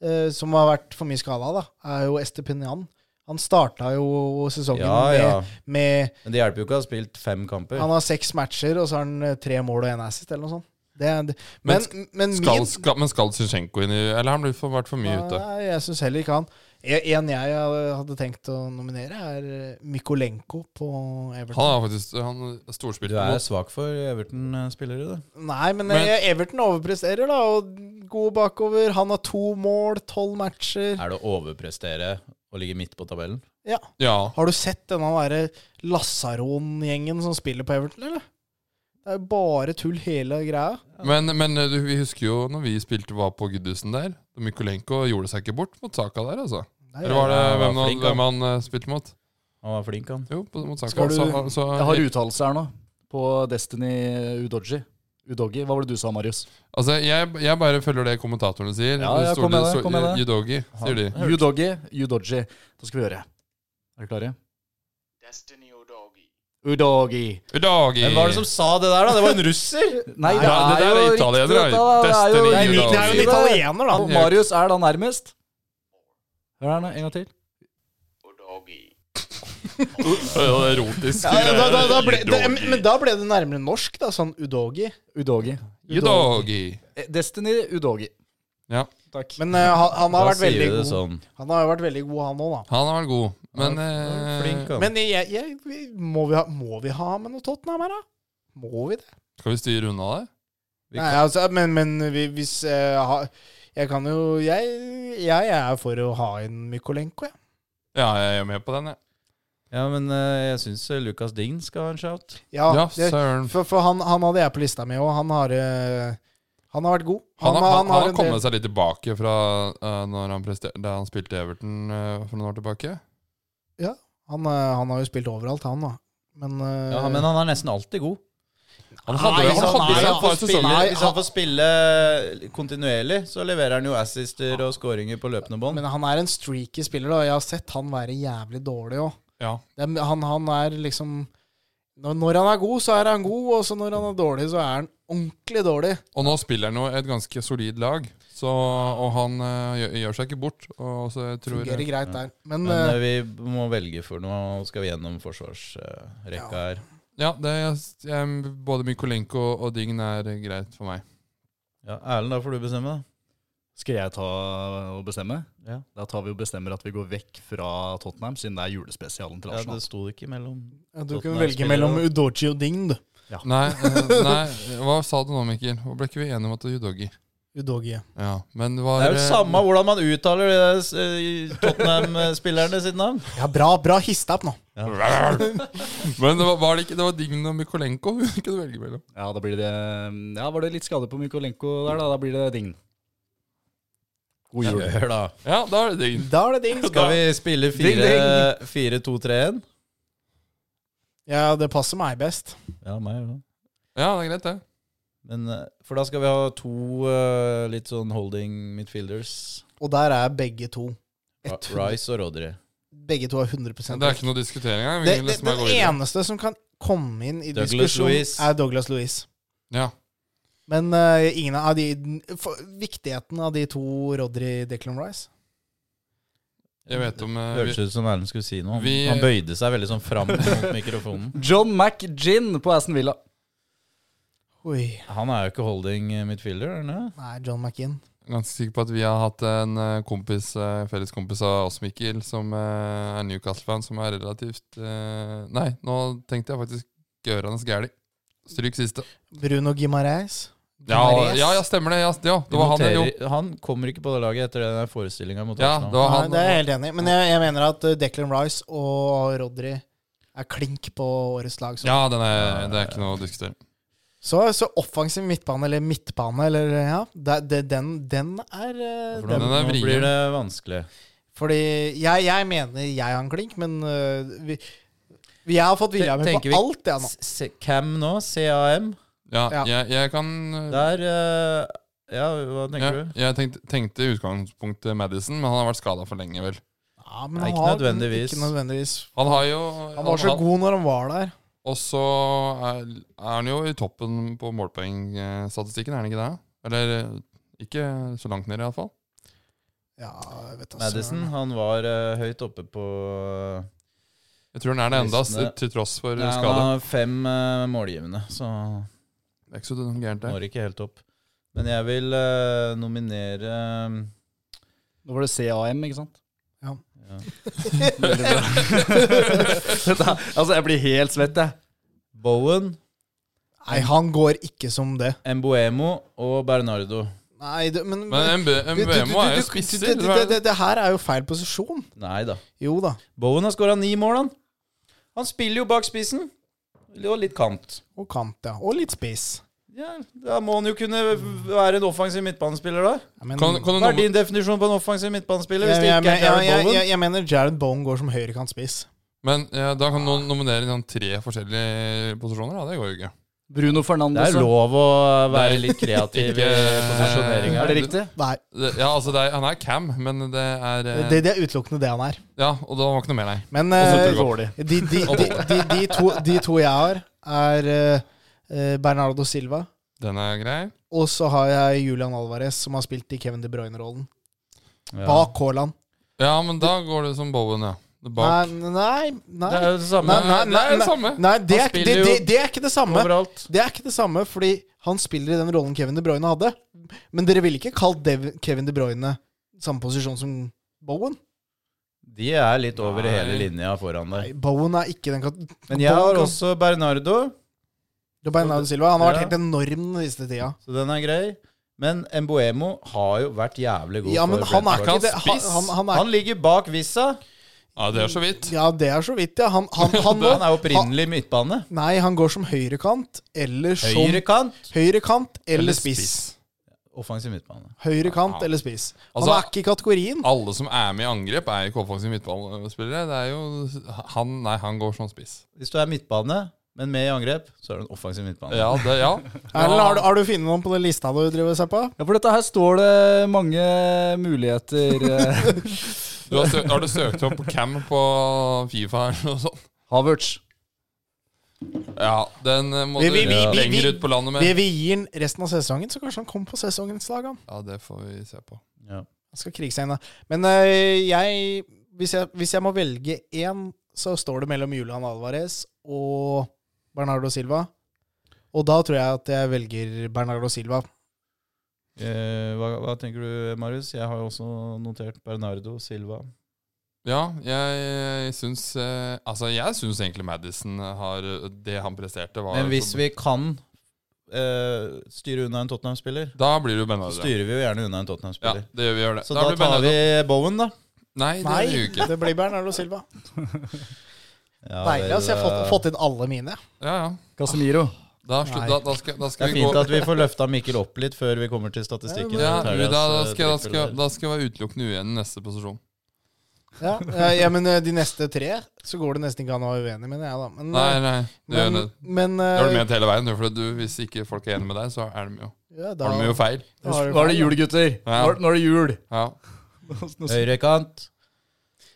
Speaker 2: eh, som har vært for mye skada, da, er jo Estepinian. Han starta jo sesongen
Speaker 4: Ja, ja.
Speaker 2: med,
Speaker 4: Men det hjelper jo ikke å ha spilt fem
Speaker 2: med
Speaker 4: kamper.
Speaker 2: Han har seks matcher, og så har han eh, tre mål og én assist, eller noe sånt. Det, er- det,
Speaker 1: Men
Speaker 2: men, men
Speaker 1: Skal,
Speaker 2: min
Speaker 1: skal, men skal Zinchenko inn i Eller har han blitt for, vært for mye ute?
Speaker 2: Nei, jeg syns heller ikke han. En en jeg hadde tenkt å nominere, er eh, Mykolenko på Everton.
Speaker 1: Han har faktisk Han
Speaker 4: Du
Speaker 1: storspilte
Speaker 4: er
Speaker 1: mot
Speaker 4: svak for Everton-spillere, du.
Speaker 2: Nei, men,
Speaker 1: Men-
Speaker 2: eh, Everton overpresterer, da. Og god bakover. Han har to mål, tolv matcher.
Speaker 4: Er det å overprestere å ligge midt på tabellen?
Speaker 2: Ja.
Speaker 1: Ja.
Speaker 2: Har du sett denne derre Lasaron-gjengen som spiller på Everton, eller? Det er jo bare tull, hele greia.
Speaker 1: Men, men eh, du, vi husker jo når vi spilte var på Guddusen der. Mykolenko gjorde seg ikke bort mot Saka der, altså.
Speaker 2: Nei,
Speaker 1: Eller var det
Speaker 4: han var
Speaker 1: hvem han,
Speaker 4: flink, han.
Speaker 1: hvem han eh, spilte mot?
Speaker 4: Han var flink, han.
Speaker 1: Jo, på- mot Saka.
Speaker 5: Skal du-
Speaker 1: Så, så,
Speaker 5: Jeg har uttalelse her nå, på Destiny Udoji. Udoggy. Hva var det du sa, Marius?
Speaker 1: altså, jeg, jeg bare følger det kommentatorene sier.
Speaker 5: Ja, ja, kom med det, kom med det.
Speaker 1: Yudogi, sier de.
Speaker 5: Udoggy, Udoji. Da skal vi høre. Er dere klare? Udogi.
Speaker 1: Udogi!
Speaker 4: Hvem var det som sa det der, da? Det var en russer!
Speaker 5: Nei,
Speaker 1: Ja, det der er italiener,
Speaker 5: riktig,
Speaker 1: da.
Speaker 5: dette er jo-
Speaker 1: Destiny
Speaker 5: Nei,
Speaker 1: Udogi.
Speaker 2: Det er jo en italiener, da.
Speaker 5: Og Marius er da nærmest. Hør her, nå, en gang til.
Speaker 1: Ja, det er erotisk.
Speaker 2: Ja, da, da, da ble, det, men da ble det nærmere norsk, da. Sånn Udogi.
Speaker 5: Udogi.
Speaker 1: Udogi.
Speaker 5: Eh, Destiny Udogi.
Speaker 1: Ja.
Speaker 5: Takk.
Speaker 2: Men eh, han, han har
Speaker 4: Da
Speaker 2: vært veldig
Speaker 4: sier vi det
Speaker 2: god.
Speaker 4: sånn.
Speaker 2: Han har jo vært veldig god, han òg, da.
Speaker 1: Han har vært god, men
Speaker 4: Han var Flink,
Speaker 1: eh,
Speaker 4: han.
Speaker 2: Men jeg, jeg, vi- må, vi ha, må vi ha med noe Tottenham her, da? Må vi det?
Speaker 1: Skal vi styre unna det?
Speaker 4: Vi
Speaker 2: Nei, altså, men, men vi- hvis eh, ha, Jeg kan jo jeg, jeg er for å ha inn Mykolenko, jeg.
Speaker 1: Ja, jeg er med på den, jeg.
Speaker 4: Ja, men eh, jeg syns Lucas Dign skal ha en shout.
Speaker 2: Ja,
Speaker 1: Ja,
Speaker 2: det,
Speaker 1: søren.
Speaker 2: for, for han, han hadde jeg på lista mi òg. Han, har, eh, han har vært god.
Speaker 1: Han, har- han, han har
Speaker 2: en del-
Speaker 1: kommet seg litt tilbake fra eh, når han prester- da han spilte i Everton eh, for noen år tilbake.
Speaker 2: han, eh, han har jo spilt overalt, han, da. Men, eh,
Speaker 4: Ja, men han er nesten alltid god.
Speaker 1: Han hadde, han
Speaker 2: Nei, sånn
Speaker 1: hadde
Speaker 2: er
Speaker 1: jo
Speaker 2: han
Speaker 1: et par
Speaker 2: på spill.
Speaker 1: sesonger.
Speaker 2: Nei,
Speaker 4: Hvis han får spille eh, kontinuerlig, så leverer han jo assister og skåringer på løpende bånd.
Speaker 2: men han er en streaky spiller, da. Jeg har sett han være jævlig dårlig òg.
Speaker 1: Ja.
Speaker 2: Han, han er liksom når, når han er god, så er han god, og så når han er dårlig, så er han ordentlig dårlig.
Speaker 1: Og nå spiller han jo et ganske solid lag, så, og han eh, gjør, gjør seg ikke bort. Og så jeg tror
Speaker 2: Fungerer greit der. Men, eh,
Speaker 4: Men eh, vi må velge for noe. Skal vi gjennom forsvarsrekka her?
Speaker 1: Ja, det er, jeg, Både Mykolenko og Dign er greit for meg.
Speaker 4: Ja, Erlend, da får du bestemme, da.
Speaker 5: Skal jeg ta og bestemme?
Speaker 4: Ja.
Speaker 5: Da tar vi og bestemmer at vi går vekk fra Tottenham, siden det er julespesialen til
Speaker 4: Ja, det
Speaker 1: altså.
Speaker 5: Arsenal.
Speaker 4: sto det ikke mellom
Speaker 2: Ja, du kan
Speaker 4: Tottenham
Speaker 2: velge
Speaker 4: spiller
Speaker 2: mellom
Speaker 4: også.
Speaker 2: Udoji og Ding, du.
Speaker 1: Nei, eh, nei, hva sa du nå, Mikkel? Hva ble ikke vi enige om at det er Udogi?
Speaker 2: Udogi.
Speaker 1: Ja, men det var
Speaker 4: Det er jo
Speaker 1: eh,
Speaker 4: samme hvordan man uttaler de der, eh, Tottenham-spillerne sitt navn.
Speaker 2: Ja, bra, bra hista opp nå.
Speaker 1: Men det var, var det ikke Det var Dign og Mykolenko vi kunne velge mellom.
Speaker 5: Ja, da blir det Ja, var det litt skade på Mykolenko der, da? Da blir det ding. God jul.
Speaker 4: Hør, da.
Speaker 1: Ja, da er det Dign.
Speaker 2: Da er det ding.
Speaker 4: Skal vi spille fire- 4-2-3-1?
Speaker 2: Ja, det passer meg best.
Speaker 4: Ja, meg òg.
Speaker 1: Ja, det er greit, det.
Speaker 4: Men, eh, for da skal vi ha to eh, litt sånn holding midfielders.
Speaker 2: Og der er begge to.
Speaker 4: Ra-
Speaker 2: Et-
Speaker 4: Rice og Rodri.
Speaker 2: Begge to er 100
Speaker 1: Men Det er ikke noe diskutering engang. Vi
Speaker 2: Det,
Speaker 1: kan
Speaker 2: det,
Speaker 1: liksom bare
Speaker 2: den
Speaker 1: gå videre.
Speaker 2: eneste som kan komme inn i
Speaker 4: Douglas
Speaker 2: diskusjon,
Speaker 4: Luiz.
Speaker 2: er Douglas Louise.
Speaker 1: Ja.
Speaker 2: Men eh, ingen av de for, Viktigheten av de to Rodri Declan Rice
Speaker 1: Jeg vet om eh,
Speaker 4: Hørtes ut som Erlend skulle si noe. Han-
Speaker 1: vi-
Speaker 4: Han bøyde seg veldig sånn fram mot mikrofonen.
Speaker 5: John McGinn på Aston Villa.
Speaker 2: Oi.
Speaker 4: Han er jo ikke holding eh, midfielder, er han det?
Speaker 2: Nei, John McInn.
Speaker 1: Jeg er ganske sikker på at vi har hatt en eh, kompis, eh, felles kompis av oss, Mikkel, som eh, er Newcastle-fan, som er relativt eh, Nei, nå tenkte jeg faktisk gørende gæli. Stryk siste.
Speaker 2: Bruno Gimareis.
Speaker 1: Ja, ja, ja, stemmer det. Ja, ja det var han,
Speaker 4: Vi
Speaker 1: det, jo.
Speaker 4: noterer- han kommer ikke på det laget etter den forestillinga mot
Speaker 1: Ja, det
Speaker 4: Arsenal.
Speaker 1: var
Speaker 2: Nei,
Speaker 1: han.
Speaker 2: det er jeg helt enig i. Men jeg, jeg mener at eh, Declan Rice og Rodri er klink på årets lag. Så,
Speaker 1: Ja, den er, det er ikke noe å diskutere.
Speaker 2: så, så offensiv midtbane, eller midtbane, eller ja det, det, den, den er eh,
Speaker 4: For
Speaker 1: den
Speaker 4: nå,
Speaker 1: er
Speaker 4: nå
Speaker 1: vrien.
Speaker 4: blir det vanskelig.
Speaker 2: Fordi jeg, jeg mener jeg har en klink, men øh, vi, vi, jeg har fått vilja med
Speaker 4: Tenker
Speaker 2: på
Speaker 4: vi-
Speaker 2: alt, jeg nå.
Speaker 4: S- se- Cam nå, CAM.
Speaker 1: Ja,
Speaker 2: Ja.
Speaker 1: Jeg, jeg kan
Speaker 4: Der eh, Ja, hva
Speaker 1: ja,
Speaker 4: tenker du?
Speaker 1: Jeg tenkte, tenkte i utgangspunktet Madison, men han har vært skada for lenge, vel.
Speaker 2: Ja, men
Speaker 4: Nei,
Speaker 2: han
Speaker 4: ikke
Speaker 2: har-
Speaker 4: nødvendigvis.
Speaker 2: Ikke nødvendigvis.
Speaker 1: Han har jo
Speaker 2: Han var så god når han var der.
Speaker 1: Og så er, er han jo i toppen på målpoengstatistikken, er han ikke det? Eller eh, ikke så langt ned, iallfall.
Speaker 2: Ja, jeg vet da
Speaker 4: Madison.
Speaker 2: søren.
Speaker 4: Han var eh, høyt oppe på
Speaker 1: Jeg tror han er det enda, s-
Speaker 4: Listene.
Speaker 1: til tross for
Speaker 4: Nei, Han
Speaker 1: skade.
Speaker 4: har fem eh, målgivende, så
Speaker 1: Det er ikke så gærent, det.
Speaker 4: når ikke helt opp. Men jeg vil eh, nominere eh,
Speaker 5: Nå var det CAM, ikke sant?
Speaker 4: ja.
Speaker 5: Veldig bra. Da- altså, jeg blir helt svett, jeg.
Speaker 4: Bowen,
Speaker 2: Nei, han går ikke som det.
Speaker 4: Mboemo og Bernardo.
Speaker 2: Nei, det, men,
Speaker 1: Men MB-
Speaker 2: Du- du- du-
Speaker 1: MBMO
Speaker 2: du-
Speaker 1: er jo
Speaker 2: du-
Speaker 1: spisser.
Speaker 2: det,
Speaker 1: hva
Speaker 2: det,
Speaker 1: er
Speaker 2: det,
Speaker 1: det?
Speaker 2: det her er jo feil posisjon.
Speaker 4: Nei da.
Speaker 2: Jo da.
Speaker 4: Bowen har skåra ni mål, han. Han spiller jo bak spissen. Og litt kant.
Speaker 2: Og kant, ja. Og litt spiss.
Speaker 4: Ja, Da må han jo kunne være en offensiv midtbanespiller, da.
Speaker 2: Ja, men-
Speaker 1: Kan, kan du
Speaker 4: Hva er
Speaker 1: nomi-
Speaker 4: din definisjon på en offensiv midtbanespiller?
Speaker 2: jeg,
Speaker 4: Hvis det
Speaker 2: jeg,
Speaker 4: ikke
Speaker 2: jeg,
Speaker 4: er Jared
Speaker 2: jeg,
Speaker 4: Bowen?
Speaker 2: jeg, jeg mener Jared Bowen går som høyrekantspiss.
Speaker 1: men ja, da kan noen nominere sånn tre forskjellige posisjoner. Da. Det går jo ikke.
Speaker 5: Bruno
Speaker 4: Det
Speaker 5: Fernandes.
Speaker 4: er lov å være
Speaker 1: Nei.
Speaker 4: litt kreativ i
Speaker 1: Ikke-
Speaker 4: posisjoneringa.
Speaker 5: Er det riktig?
Speaker 2: Nei,
Speaker 1: Det, ja, altså, det er, han er cam, men det er eh,
Speaker 2: det, det er utelukkende det han er.
Speaker 1: Ja, og det var ikke noe mer, nei.
Speaker 2: Men
Speaker 5: Og så
Speaker 2: øh,
Speaker 5: tror jeg Eh, dårlig.
Speaker 2: De, de, de, de, de, to, de to jeg har, er eh, Bernardo Silva.
Speaker 1: Den er grei.
Speaker 2: Og så har jeg Julian Alvarez, som har spilt i Kevin De Bruyne-rollen.
Speaker 4: Ja.
Speaker 2: Bak Haaland.
Speaker 1: Ja, men da går det som Bowen, ja. Bak.
Speaker 2: Nei, nei, nei.
Speaker 4: Det er jo det samme
Speaker 2: Nei, nei,
Speaker 1: Det er det samme.
Speaker 2: nei det, er,
Speaker 4: Han
Speaker 2: ikke- det,
Speaker 4: spiller jo
Speaker 2: det, det er ikke det samme.
Speaker 4: overalt.
Speaker 2: Det er ikke det samme, fordi han spiller i den rollen Kevin De Bruyne hadde. Men dere ville ikke kalt Dev, Kevin De Bruyne samme posisjon som Bowen?
Speaker 4: De er litt over
Speaker 1: Nei.
Speaker 4: hele linja foran
Speaker 2: Nei,
Speaker 4: deg.
Speaker 2: Bowen er ikke den kat-
Speaker 4: Men jeg har
Speaker 2: Bowen-
Speaker 4: også Bernardo,
Speaker 2: Bernardo Silva. Han har vært
Speaker 4: Ja.
Speaker 2: helt enorm den siste tida.
Speaker 4: så den er grei. Men Mboemo har jo vært jævlig god.
Speaker 2: Ja, men
Speaker 4: for
Speaker 2: han er ikke
Speaker 4: Brentford.
Speaker 2: det. Han, han, han er
Speaker 4: Han ligger bak Vissa.
Speaker 1: Ja, det er så vidt.
Speaker 2: Ja, det er så vidt, ja. Han, han, han,
Speaker 4: Han er
Speaker 2: må,
Speaker 4: opprinnelig midtbane.
Speaker 2: nei, han går som høyrekant eller som
Speaker 4: Høyrekant.
Speaker 2: høyrekant eller
Speaker 1: Eller
Speaker 2: spiss.
Speaker 1: spiss.
Speaker 4: Offensiv midtbane.
Speaker 2: Høyrekant eller spiss. Han
Speaker 1: Altså-
Speaker 2: er ikke i kategorien.
Speaker 1: Alle som er med i angrep, er ikke offensive midtballspillere. Det er jo han Nei, han går som spiss.
Speaker 4: Hvis du er midtbane, men med i angrep, så er du en offensiv midtbane.
Speaker 1: Ja, det, ja.
Speaker 2: Erlend, har, du- har du funnet noen på den lista du driver og ser på?
Speaker 5: Ja, for dette her står det mange muligheter. eh.
Speaker 1: Du har, sø- har du søkt opp Cam på Fifa eller noe sånt?
Speaker 5: Havertz.
Speaker 1: Ja, den eh, må
Speaker 2: Vi-
Speaker 1: du
Speaker 2: vi- vi- vi-
Speaker 1: lenger
Speaker 2: vi-
Speaker 1: ut på landet
Speaker 2: Vi,
Speaker 1: med.
Speaker 2: vi gir den resten av sesongen, så kanskje han kommer på sesongens lag. Han,
Speaker 1: Ja, det får vi se på.
Speaker 4: Ja.
Speaker 2: han skal krige seg inn, da. Men øh, jeg hvis, jeg hvis jeg må velge én, så står det mellom Julian Alvarez og Bernardo Silva. Og da tror jeg at jeg velger Bernardo Silva.
Speaker 4: Eh, hva, hva tenker du, Marius? Jeg har jo også notert Bernardo Silva.
Speaker 1: Ja, jeg syns eh, Altså, jeg syns egentlig Madison har Det han presterte, var
Speaker 4: Men hvis vi kan eh, styre unna en Tottenham-spiller,
Speaker 1: Da blir det jo
Speaker 4: så
Speaker 1: Benardo.
Speaker 4: styrer vi jo gjerne unna en
Speaker 1: Ja,
Speaker 4: Tottenham-spiller.
Speaker 1: det gjør vi gjør det.
Speaker 4: Så da,
Speaker 1: blir
Speaker 4: tar
Speaker 1: Bernardo-
Speaker 4: vi eh, Bowen, da.
Speaker 1: Nei, det
Speaker 2: Nei,
Speaker 1: gjør vi jo ikke.
Speaker 2: det blir Bernardo Silva.
Speaker 4: Ja,
Speaker 2: Deilig. altså, Jeg har fått, fått inn alle mine.
Speaker 1: Ja, ja.
Speaker 5: Casemiro.
Speaker 1: Da, slutt,
Speaker 2: Nei.
Speaker 1: da, da skal, da
Speaker 4: Det
Speaker 1: skal
Speaker 4: er
Speaker 1: vi gå
Speaker 4: fint at vi får løfta Mikkel opp litt før vi kommer til statistikken.
Speaker 1: Ja,
Speaker 4: Så tar vi
Speaker 1: da,
Speaker 4: oss,
Speaker 1: da,
Speaker 4: eh,
Speaker 1: skal, da, skal,
Speaker 4: trippel der.
Speaker 1: da skal jeg være utelukkende uenig i neste posisjon.
Speaker 2: Ja, eh, ja, men eh, de neste tre så går det nesten ikke an å være uenig, mener jeg, da. Men,
Speaker 1: Nei,
Speaker 2: eh,
Speaker 1: nei. Det gjør
Speaker 2: men,
Speaker 1: det.
Speaker 2: men
Speaker 1: Det har du
Speaker 2: eh,
Speaker 1: ment hele veien. For du, hvis ikke folk er enig med deg, så er de jo,
Speaker 2: ja, da,
Speaker 1: har de jo feil.
Speaker 2: da har du
Speaker 5: Nå er det
Speaker 2: feil,
Speaker 5: jul, gutter.
Speaker 1: Ja.
Speaker 5: Nå er- Nå er det jul.
Speaker 1: Ja,
Speaker 4: Høyrekant.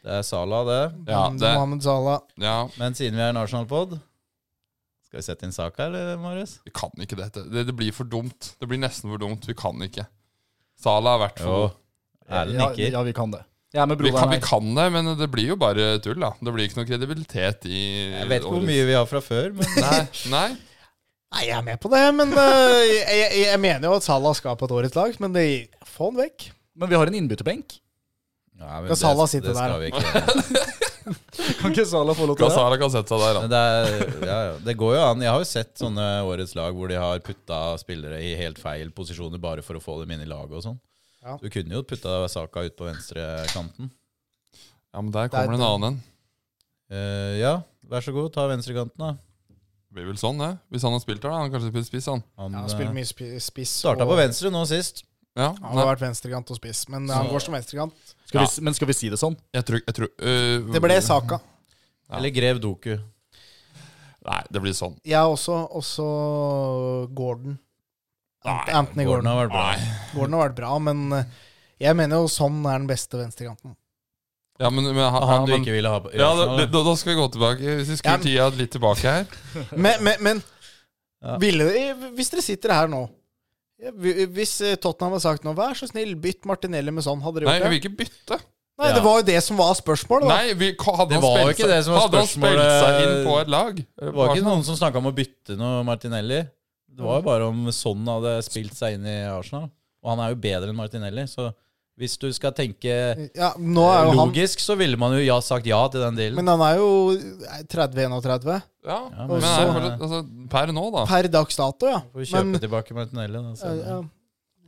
Speaker 4: Det er Sala, det.
Speaker 2: da.
Speaker 1: ja det
Speaker 2: Mohamed Salah.
Speaker 1: ja,
Speaker 4: Men siden vi er en Arsenal-pod Skal vi sette inn saka, eller, Marius?
Speaker 1: Vi kan ikke dette. Det, det blir for dumt. Det blir nesten for dumt. Vi kan ikke. Sala har vært for
Speaker 4: Jo.
Speaker 1: god.
Speaker 4: Erlend
Speaker 5: Ja,
Speaker 4: nikker.
Speaker 5: Ja, vi kan det. Jeg er med
Speaker 1: Vi kan,
Speaker 5: broderen
Speaker 1: vi
Speaker 5: her.
Speaker 1: kan det, men det blir jo bare tull, da. Det blir ikke noe kredibilitet i
Speaker 4: Jeg vet ikke hvor
Speaker 1: årets-
Speaker 4: mye vi har fra før, men
Speaker 1: Nei, nei.
Speaker 2: Nei, jeg er med på det, men eh, jeg, jeg, jeg mener jo at Salah skal på et årets lag, men det, få han vekk.
Speaker 5: Men vi har en innbytterbenk.
Speaker 4: Nei,
Speaker 2: Skal
Speaker 4: men
Speaker 2: Salah
Speaker 4: det-
Speaker 2: sitte
Speaker 4: det skal
Speaker 2: der?
Speaker 4: vi ikke.
Speaker 5: Kan ikke Sala få lov til det?
Speaker 1: Sala kan sette seg der,
Speaker 4: Men
Speaker 1: da.
Speaker 4: det, er, ja, ja. det går jo an. Jeg har jo sett sånne årets lag hvor de har putta spillere i helt feil posisjoner bare for å få dem inn i laget og sånn.
Speaker 2: Ja.
Speaker 4: Du kunne jo putta Saka ut på venstrekanten.
Speaker 1: Ja, men der kommer det en annen en.
Speaker 4: Eh, ja, vær så god, ta venstrekanten, da.
Speaker 1: Det blir vel sånn, det. Hvis han har spilt her, da. Han har kanskje spilt spiss, han.
Speaker 4: Han
Speaker 2: Ja,
Speaker 4: ja,
Speaker 2: han spiller mye spi- spiss.
Speaker 4: starta
Speaker 2: og-
Speaker 4: på venstre nå sist.
Speaker 1: Ja,
Speaker 2: Han
Speaker 1: nei.
Speaker 2: har vært venstrekant og spiss, men han går som venstrekant.
Speaker 5: Skal vi, men skal vi si det sånn?
Speaker 1: Jeg tror, jeg tror øh,
Speaker 2: Det ble Saka.
Speaker 1: Ja.
Speaker 4: Eller Grev Doku.
Speaker 1: Nei, det blir sånn.
Speaker 2: Jeg har også, også Gordon. Ant- Anthony Gordon.
Speaker 4: Gordon har vært bra.
Speaker 1: Nei.
Speaker 2: Gordon har vært bra, men eh, jeg mener jo sånn er den beste venstrekanten.
Speaker 1: Ja, men, men han,
Speaker 4: Han du
Speaker 1: men-
Speaker 4: ikke ville ha på
Speaker 1: ja, da,
Speaker 4: Arsenal, da.
Speaker 1: da, da skal vi gå tilbake. Hvis vi
Speaker 2: Ja,
Speaker 1: skrur
Speaker 2: men-
Speaker 1: tida litt tilbake her
Speaker 2: Men, men, men
Speaker 4: Ja.
Speaker 2: ville, hvis dere sitter her nå ja, vi- Hvis eh, Tottenham hadde sagt nå Vær så snill, bytt Martinelli med sånn, hadde dere
Speaker 1: Nei,
Speaker 2: gjort
Speaker 1: jeg vil
Speaker 2: det?
Speaker 1: ikke bytte.
Speaker 2: Nei, det
Speaker 4: Ja.
Speaker 2: var jo det som var spørsmålet. Da.
Speaker 1: Nei, vi, ka- hadde
Speaker 4: Det
Speaker 1: han
Speaker 4: var jo
Speaker 1: spilt
Speaker 4: ikke
Speaker 1: seg-
Speaker 4: det som var
Speaker 1: Hadde han spilt
Speaker 4: spørsmålet.
Speaker 1: seg inn på et lag?
Speaker 4: Det var ikke noen som snakka om å bytte noe Martinelli. Det var jo bare om sånn hadde spilt seg inn i Arsenal. Og han er jo bedre enn Martinelli, så hvis du skal tenke
Speaker 2: Ja, nå er jo han
Speaker 4: logisk, så ville man jo ja, sagt ja til den dealen.
Speaker 2: Men han er jo 30-31.
Speaker 1: Ja,
Speaker 4: Ja,
Speaker 1: men
Speaker 2: men-
Speaker 1: er, det fortsatt- altså, per nå, da.
Speaker 2: Per dags dato, ja.
Speaker 4: Får vi kjøpe
Speaker 2: Men
Speaker 4: tilbake Martinelli, da.
Speaker 2: ja,
Speaker 4: Så.
Speaker 2: ja.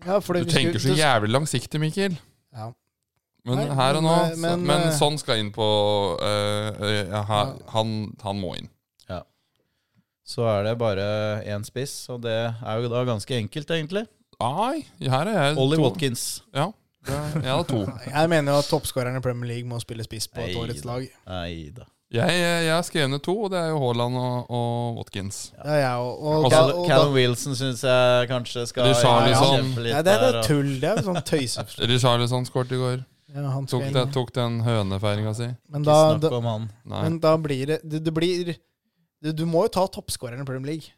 Speaker 2: ja, fordi
Speaker 1: Du
Speaker 2: vi
Speaker 1: tenker så
Speaker 2: skulle-
Speaker 1: jævlig langsiktig, Mikkel.
Speaker 2: Ja.
Speaker 1: Men
Speaker 2: Nei,
Speaker 1: her og nå
Speaker 2: men,
Speaker 1: så-
Speaker 2: men,
Speaker 1: Men
Speaker 2: eh,
Speaker 1: sånn skal inn på eh, eh, ja, ha- han, han må inn.
Speaker 4: så er det bare én spiss, og det er jo da ganske enkelt, egentlig.
Speaker 1: Nei, her er jeg
Speaker 4: Ollie
Speaker 1: to.
Speaker 4: Watkins.
Speaker 1: Ja, det er- jeg har to.
Speaker 2: Jeg mener jo at toppskåreren i Premier League må spille spiss på et
Speaker 4: Nei,
Speaker 2: årets lag.
Speaker 4: Nei da.
Speaker 1: Jeg, jeg har skrevet ned to, og det er jo Haaland og, og Watkins.
Speaker 2: Ja, jeg òg. Og, og,
Speaker 4: Callum
Speaker 2: og,
Speaker 4: Callum Wilson syns jeg kanskje skal
Speaker 1: Richarlison.
Speaker 4: kjempe litt
Speaker 2: Nei, det, det
Speaker 4: der,
Speaker 2: er
Speaker 4: og-
Speaker 2: tull. Det er jo sånn tøysefri.
Speaker 1: Richarlison sånn skåret i går.
Speaker 2: Ja, han skal
Speaker 1: Tok,
Speaker 2: inn.
Speaker 1: det, tok den hønefeiringa si.
Speaker 2: men, da,
Speaker 4: Ikke snakk
Speaker 2: da,
Speaker 4: om han.
Speaker 1: Nei.
Speaker 2: men da blir det Det, det blir du, du må jo ta toppskåreren i Premier League.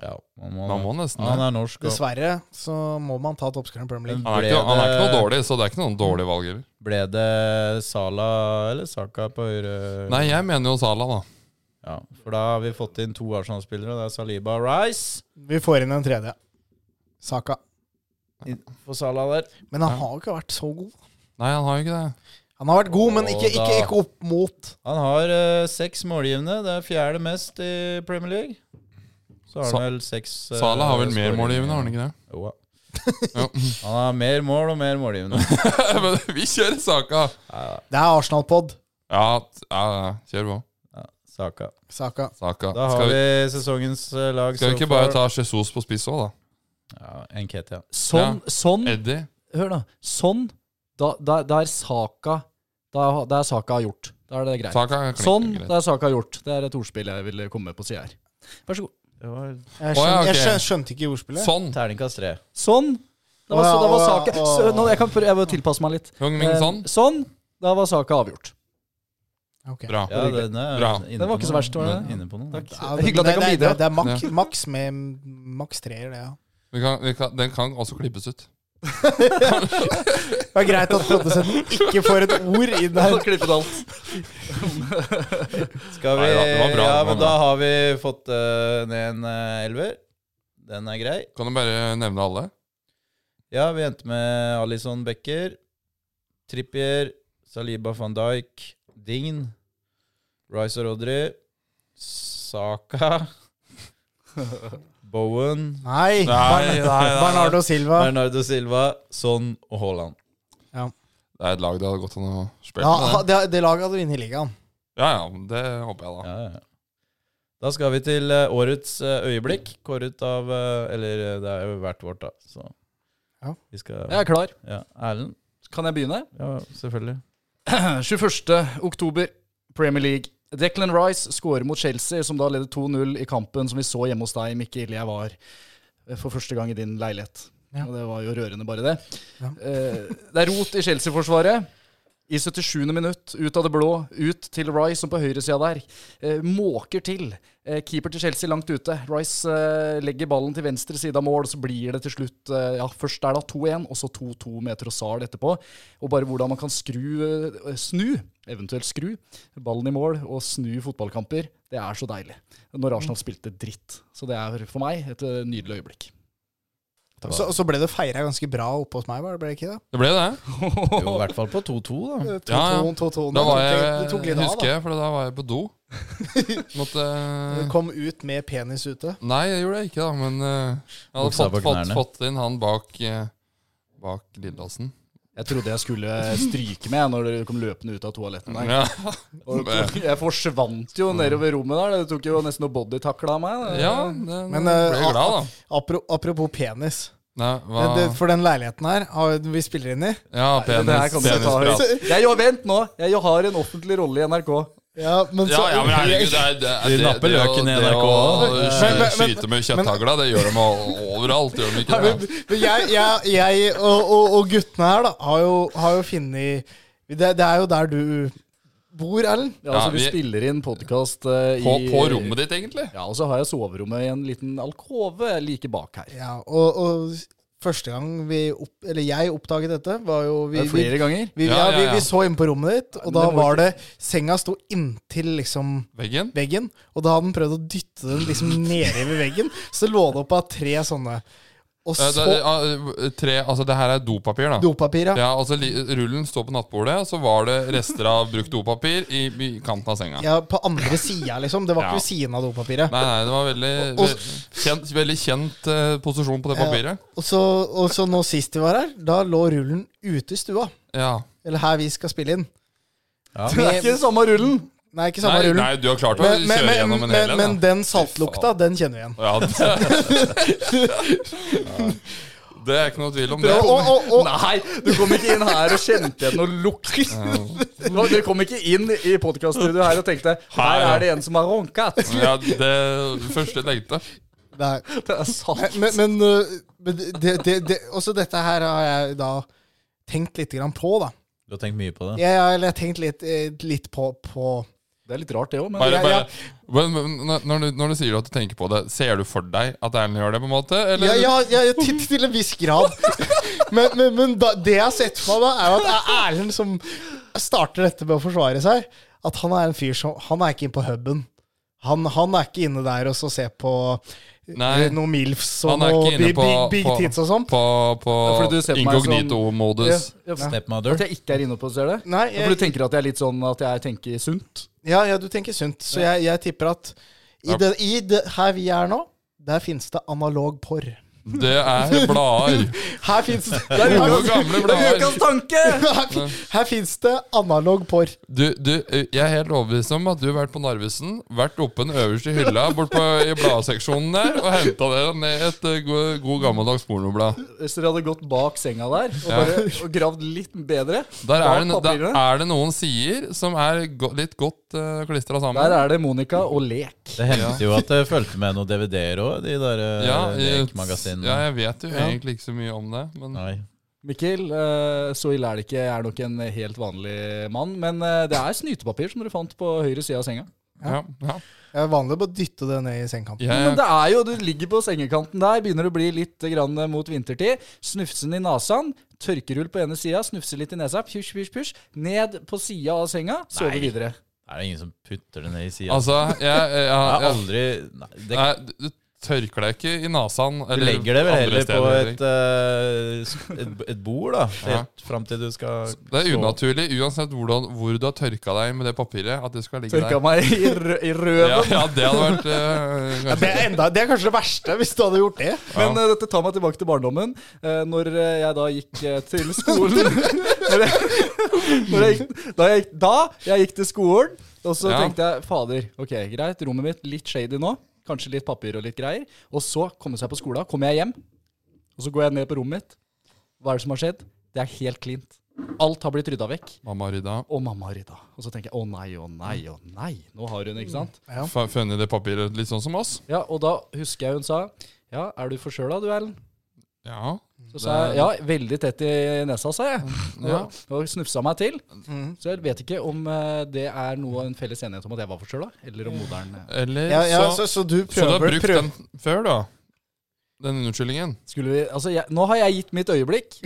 Speaker 4: Ja, man må,
Speaker 1: Man må nesten
Speaker 4: han
Speaker 1: det.
Speaker 4: er norsk. og-
Speaker 2: Dessverre så må man ta toppskåreren i Premier League.
Speaker 1: Han er, ikke, han er ikke noe dårlig, så det er ikke noen dårlig valg heller.
Speaker 4: Ble det Sala eller Saka på høyre?
Speaker 1: Nei, jeg mener jo Salah, da.
Speaker 4: Ja, for da har vi fått inn to Arsenal-spillere. og Det er Saliba og Rice.
Speaker 2: Vi får inn en tredje. Saka.
Speaker 4: For Sala der.
Speaker 2: Men han
Speaker 1: Ja.
Speaker 2: har jo ikke vært så god.
Speaker 1: Nei, han har jo ikke det.
Speaker 2: Han har vært god, men ikke,
Speaker 4: Og
Speaker 2: ikke,
Speaker 4: da-
Speaker 2: ikke opp mot.
Speaker 4: Han har eh, seks målgivende. Det er fjerde mest i Premier League. Så har
Speaker 1: Sa-
Speaker 4: han vel seks eh,
Speaker 1: Salah har vel mer
Speaker 4: skåringer.
Speaker 1: målgivende, har han ikke det?
Speaker 4: Jo, ja.
Speaker 1: Ja.
Speaker 4: Han har mer mål og mer målgivende.
Speaker 1: Men vi kjører saka!
Speaker 4: Ja,
Speaker 2: Det er Arsenal-pod.
Speaker 1: Ja, ja, ja, kjør på.
Speaker 4: ja, Saka.
Speaker 2: Saka.
Speaker 1: Saka.
Speaker 4: Da har
Speaker 1: Skal vi,
Speaker 4: vi sesongens eh, lag
Speaker 1: skal vi
Speaker 4: so
Speaker 1: ikke bare ta
Speaker 4: far.
Speaker 1: Jesus på spiss òg, da?
Speaker 4: ja, Enketia.
Speaker 5: Sånn, sånn
Speaker 1: Eddie.
Speaker 5: Hør da, sånn da, da, da er saka da, da er saka gjort. Da er det greit.
Speaker 1: Saka klinger
Speaker 5: sånn,
Speaker 1: greit.
Speaker 5: da er saka gjort. Det er et ordspill jeg ville komme på sida her. Vær så god.
Speaker 4: Det var
Speaker 2: Jeg, skjøn,
Speaker 1: Å, ja, ok.
Speaker 2: jeg skjøn, skjønte ikke ordspillet.
Speaker 1: Sånn!
Speaker 4: terningkast tre.
Speaker 5: Sånn. Da var,
Speaker 2: Å ja,
Speaker 5: da var
Speaker 2: å ja,
Speaker 5: saka
Speaker 2: å.
Speaker 5: så, nå, Jeg kan prøve jeg må tilpasse meg litt.
Speaker 1: Heung-Min
Speaker 5: Eh,
Speaker 1: Son.
Speaker 5: sånn. Da var saka avgjort.
Speaker 2: Ok.
Speaker 1: Bra.
Speaker 4: Ja, den er
Speaker 1: Bra.
Speaker 4: inne
Speaker 5: Den var
Speaker 4: på
Speaker 5: ikke så
Speaker 4: noe.
Speaker 5: verst, var det?
Speaker 4: Inne på noe.
Speaker 5: Takk.
Speaker 2: Ja,
Speaker 5: Hyggelig at jeg kan
Speaker 2: det-
Speaker 5: bidra.
Speaker 2: Det, det er maks maks med maks treer, det, ja.
Speaker 1: Vi kan, vi kan, den kan også klippes ut.
Speaker 2: Det er greit at produsenten ikke får et ord inn der.
Speaker 5: Klippet alt.
Speaker 4: Skal vi,
Speaker 1: Nei, det var bra, det
Speaker 4: ja,
Speaker 1: var
Speaker 4: men
Speaker 1: bra.
Speaker 4: da har vi fått eh, ned en eh, elver. Den er grei.
Speaker 1: Kan du bare nevne alle?
Speaker 4: Ja, vi endte med Alison Becker, Trippier, Saliba van Dijk, Dign, Rice og Rodri, Saka, Bowen,
Speaker 1: Nei,
Speaker 2: Nei.
Speaker 1: nei, nei.
Speaker 2: Bernardo Silva.
Speaker 4: Bernardo Silva, Son og Haaland.
Speaker 1: Det er et lag det hadde gått an å spille
Speaker 2: Ja, ha-
Speaker 1: med. det.
Speaker 2: det, det laget hadde vunnet ligaen.
Speaker 1: Ja, ja, men det håper jeg, da.
Speaker 4: Ja, ja, ja. Da skal vi til eh, årets eh, øyeblikk, kåret av eh, Eller eh, det er jo hvert vårt, da. Så
Speaker 2: Ja.
Speaker 4: vi skal
Speaker 5: Jeg er klar.
Speaker 4: Ja, Erlend?
Speaker 5: Kan jeg begynne?
Speaker 4: Ja, selvfølgelig.
Speaker 5: 21. oktober, Premier League. Declan Rice skårer mot Chelsea, som da leder 2-0 i kampen som vi så hjemme hos deg, Mikkel. Jeg var eh, for første gang i din leilighet.
Speaker 2: Ja.
Speaker 5: Og det var jo rørende, bare det.
Speaker 2: Ja.
Speaker 5: Eh, Det er rot i Chelsea-forsvaret. I 77. minutt, ut av det blå, ut til Rice, som på høyresida der eh, måker til. Eh, keeper til Chelsea langt ute. Rice eh, legger ballen til venstre side av mål, så blir det til slutt eh, ja, Først er det 2-1, og så 2-2 med Trossard etterpå. Og bare hvordan man kan skru, eh, snu, eventuelt skru, ballen i mål og snu fotballkamper, det er så deilig. Når Arsenal spilte dritt. Så det er for meg et eh, nydelig øyeblikk.
Speaker 2: Så, så ble det feira ganske bra oppe hos meg, var det ble det ikke det?
Speaker 1: Det ble det.
Speaker 4: Jo, i hvert fall på 2-2, da.
Speaker 2: Mm.
Speaker 1: Ja, ja.
Speaker 2: 2-2, 2-2.
Speaker 1: Da var
Speaker 2: Det tok
Speaker 1: jeg,
Speaker 2: litt av,
Speaker 1: husker
Speaker 2: da.
Speaker 1: jeg, for da var jeg på do. Måtte
Speaker 2: Du kom ut med penis ute.
Speaker 1: Nei, jeg gjorde det ikke, da, men eh, jeg hadde
Speaker 4: Buksa
Speaker 1: fått,
Speaker 4: på
Speaker 1: fått,
Speaker 4: knærne.
Speaker 1: fått inn han bak, eh, bak Lilleåsen.
Speaker 5: Jeg trodde jeg skulle eh, stryke med når dere kom løpende ut av toaletten. Der.
Speaker 1: Ja.
Speaker 5: Og jeg forsvant jo nedover rommet der. Det tok jo nesten noe bodytackle av meg.
Speaker 1: Mm. ja, det,
Speaker 2: Men,
Speaker 1: ble
Speaker 2: eh,
Speaker 1: jeg glad, da.
Speaker 2: Apro, apropos penis.
Speaker 1: Nei, hva?
Speaker 2: Det, det, for den leiligheten her har vi spiller inn i.
Speaker 1: Ja,
Speaker 5: Det her
Speaker 1: penis.
Speaker 5: kan du ta
Speaker 1: Penisprat.
Speaker 5: høyt. Jeg jo, vent nå! Jeg jo har en offentlig rolle i NRK.
Speaker 2: Ja, men så,
Speaker 1: Ja, ja, men herregud, det er det, er-
Speaker 4: De
Speaker 1: det,
Speaker 4: napper
Speaker 1: det å-
Speaker 4: løken i
Speaker 1: det
Speaker 4: NRK
Speaker 1: å
Speaker 4: også.
Speaker 1: sky-
Speaker 2: Men- men- men-
Speaker 1: Skyte med kjøtthagla, det gjør de o- overalt, gjør de ikke det?
Speaker 2: Men jeg, jeg, jeg og, og, og guttene her da, har jo, har jo funnet det, det er jo der du bor, Erlend.
Speaker 5: Ja, altså,
Speaker 1: Ja,
Speaker 5: vi
Speaker 1: vi-
Speaker 5: spiller inn podkast
Speaker 1: På, på rommet ditt, egentlig.
Speaker 5: Ja, og så har jeg soverommet i en liten alkove like bak her.
Speaker 2: Ja, og, og første gang vi opp, eller jeg oppdaget dette, var jo
Speaker 5: Det
Speaker 2: vi,
Speaker 5: er
Speaker 2: vi,
Speaker 5: flere ganger.
Speaker 2: vi, ja,
Speaker 1: Ja, ja,
Speaker 2: vi,
Speaker 1: ja.
Speaker 2: vi så inn på rommet ditt, og
Speaker 5: men
Speaker 2: da
Speaker 5: det må
Speaker 2: var det Senga sto inntil liksom
Speaker 1: Veggen.
Speaker 2: veggen, og da hadde den prøvd å dytte den liksom nede ved veggen. Så lå det opp av tre sånne. Og
Speaker 1: Eh,
Speaker 2: så
Speaker 1: det, eh, tre, altså, det her er dopapir, da.
Speaker 2: dopapir, ja.
Speaker 1: Ja, altså li- Rullen står på nattbordet, og så var det rester av brukt dopapir i, i kanten av senga.
Speaker 2: ja. På andre sida, liksom. Det var
Speaker 1: Ja.
Speaker 2: ikke ved siden av dopapiret.
Speaker 1: Nei, nei, det var veldig,
Speaker 2: Og-
Speaker 1: ve- kjent, veldig kjent eh, posisjon på det papiret.
Speaker 2: Og så, og så nå sist vi var her, da lå rullen ute i stua.
Speaker 1: Ja.
Speaker 2: Eller her vi skal spille inn.
Speaker 4: Ja.
Speaker 5: Det er ikke samme rullen!
Speaker 2: Nei, ikke samme
Speaker 1: Nei,
Speaker 2: rullen.
Speaker 1: nei, du har klart å
Speaker 2: men, men,
Speaker 1: kjøre
Speaker 2: men,
Speaker 1: gjennom en hel
Speaker 2: men,
Speaker 1: en.
Speaker 2: men
Speaker 1: da.
Speaker 2: den saltlukta, den kjenner vi igjen.
Speaker 1: Ja, det, det er ikke noe tvil om det.
Speaker 5: Og, og, og, nei, du kom ikke inn her og kjente igjen noe lukt. Du kom ikke inn i podkaststudioet her og tenkte her er det en som har ronket.
Speaker 1: Ja, det første jeg tenkte.
Speaker 2: Nei.
Speaker 5: Det er sant.
Speaker 2: Men, men, øh, men det, det, det, også dette her har jeg da tenkt litt grann på, da.
Speaker 4: Du har tenkt mye på det.
Speaker 2: Jeg, jeg, eller jeg har tenkt litt, eh, litt på, på
Speaker 5: Det er litt rart, det òg, men
Speaker 1: Bare,
Speaker 2: Ja,
Speaker 1: bare,
Speaker 2: ja.
Speaker 1: men, men, når- når, du, når du sier at du tenker på det, ser du for deg at Erlend gjør det, på en måte? Eller?
Speaker 2: Ja, ja, ja, ja til, til en viss grad. Men, men, men da, det jeg har sett for meg, da, er jo at det er Erlend som starter dette med å forsvare seg. At han er en fyr som Han er ikke inne på huben. Han, han er ikke inne der og så ser på
Speaker 1: Nei.
Speaker 2: eh, noe MILFs og
Speaker 1: Han er
Speaker 2: noe
Speaker 1: ikke inne
Speaker 2: big,
Speaker 1: på,
Speaker 2: big, big
Speaker 1: på,
Speaker 2: tits og sånn.
Speaker 1: på, på
Speaker 5: fordi du ser på meg som-
Speaker 1: inkognito-modus.
Speaker 5: sånn-
Speaker 4: Stepmother.
Speaker 5: At jeg ikke er inne på ser det?
Speaker 2: Nei,
Speaker 5: For du
Speaker 2: jeg,
Speaker 5: tenker at jeg er litt sånn at jeg tenker sunt?
Speaker 2: ja, ja, du tenker sunt. Så jeg, jeg tipper at i,
Speaker 1: Ja.
Speaker 2: det, i det, her vi er nå, der finnes det analog porr.
Speaker 1: Det er blader.
Speaker 2: Her fins det,
Speaker 1: Gode,
Speaker 2: her,
Speaker 1: gamle blader.
Speaker 2: her, her finnes det analog porr.
Speaker 1: Du, du, jeg er helt overbevist om at du har vært på Narvesen, vært oppe den øverste hylla bort på, i bladseksjonen der og henta ned et eh, god, god gammeldags pornoblad.
Speaker 5: Hvis dere hadde gått bak senga der og,
Speaker 1: Ja.
Speaker 5: bare, og gravd litt bedre
Speaker 1: Der
Speaker 5: bak
Speaker 1: er det, der
Speaker 5: papirene,
Speaker 1: er det noen sider som er go litt godt uh, klistra sammen.
Speaker 5: der er det Monica og lek.
Speaker 4: Det hendte jo at det fulgte med noen DVD-er òg, de der eh, ja,
Speaker 1: ja,
Speaker 5: Eh,
Speaker 1: jeg,
Speaker 4: lekmagasinene.
Speaker 1: ja, jeg vet jo egentlig ikke så mye om det, men
Speaker 4: Nei.
Speaker 5: Mikkel, eh, så ille er det ikke. Jeg er nok en helt vanlig mann. Men eh, det er snytepapir som dere fant på høyre side av senga.
Speaker 1: ja, ja.
Speaker 2: Det er vanlig å bare dytte det ned i sengekanten.
Speaker 1: Jeg,
Speaker 5: Men det er jo, du ligger på sengekanten der, begynner å bli litt grann mot vintertid. Snufsen i nasen, tørkerull på ene sida, snufse litt i nesa, pysj, pysj, pysj. Ned på sida av senga, sove
Speaker 4: Nei.
Speaker 5: videre.
Speaker 4: Er det ingen som putter det ned i sida?
Speaker 1: altså, jeg, jeg,
Speaker 4: jeg
Speaker 1: jeg,
Speaker 4: har aldri Nei, det,
Speaker 1: Nei, du- du tørker deg ikke i nasaen.
Speaker 4: du
Speaker 1: eller
Speaker 4: legger det vel
Speaker 1: andre
Speaker 4: heller på
Speaker 1: steder.
Speaker 4: et, eh, s- et, et bord, da.
Speaker 1: Ja.
Speaker 4: Helt fram til du skal
Speaker 1: Det er
Speaker 4: stå.
Speaker 1: unaturlig, uansett hvordan, hvor du har tørka deg med det papiret, at det skal ligge
Speaker 5: Tørka
Speaker 1: der.
Speaker 5: meg i, rø i røven.
Speaker 1: Ja, ja, det hadde vært eh,
Speaker 2: Ja, det, er enda, det er kanskje det verste, hvis du hadde gjort det.
Speaker 5: Men eh, dette tar meg tilbake til barndommen. Uh, når eh, jeg da gikk eh, til skolen når jeg, når jeg gikk, da, jeg gikk, da jeg gikk til skolen, og så
Speaker 1: Ja.
Speaker 5: tenkte jeg Fader, ok, greit, rommet mitt litt shady nå. Kanskje litt papir og litt greier. Og så komme seg på skolen. Kommer jeg hjem, og så går jeg ned på rommet mitt. Hva er det som har skjedd? Det er helt cleant. Alt har blitt rydda vekk.
Speaker 1: Mamma rydda.
Speaker 5: Og mamma har rydda. Og så tenker jeg å nei, å nei, å nei. Nå har hun, ikke sant?
Speaker 2: Ja.
Speaker 1: F- Funnet det papiret litt sånn som oss?
Speaker 5: Ja, Og da husker jeg hun sa ja, er du forkjøla du, Erlend?
Speaker 1: Ja.
Speaker 5: Så sa jeg ja, veldig tett i nesa, sa jeg. Og,
Speaker 1: Ja.
Speaker 5: og snufsa meg til.
Speaker 2: Mhm.
Speaker 5: Så jeg vet ikke om eh, det er noe en felles enighet om at jeg var forkjøla, eller om moderen eh.
Speaker 1: Eller
Speaker 2: Ja, ja,
Speaker 1: så,
Speaker 2: så, så du
Speaker 1: så du har
Speaker 2: prøver,
Speaker 1: brukt
Speaker 2: prøver
Speaker 1: den før, da? Den unnskyldningen?
Speaker 5: Skulle vi Altså, jeg, nå har jeg gitt mitt øyeblikk.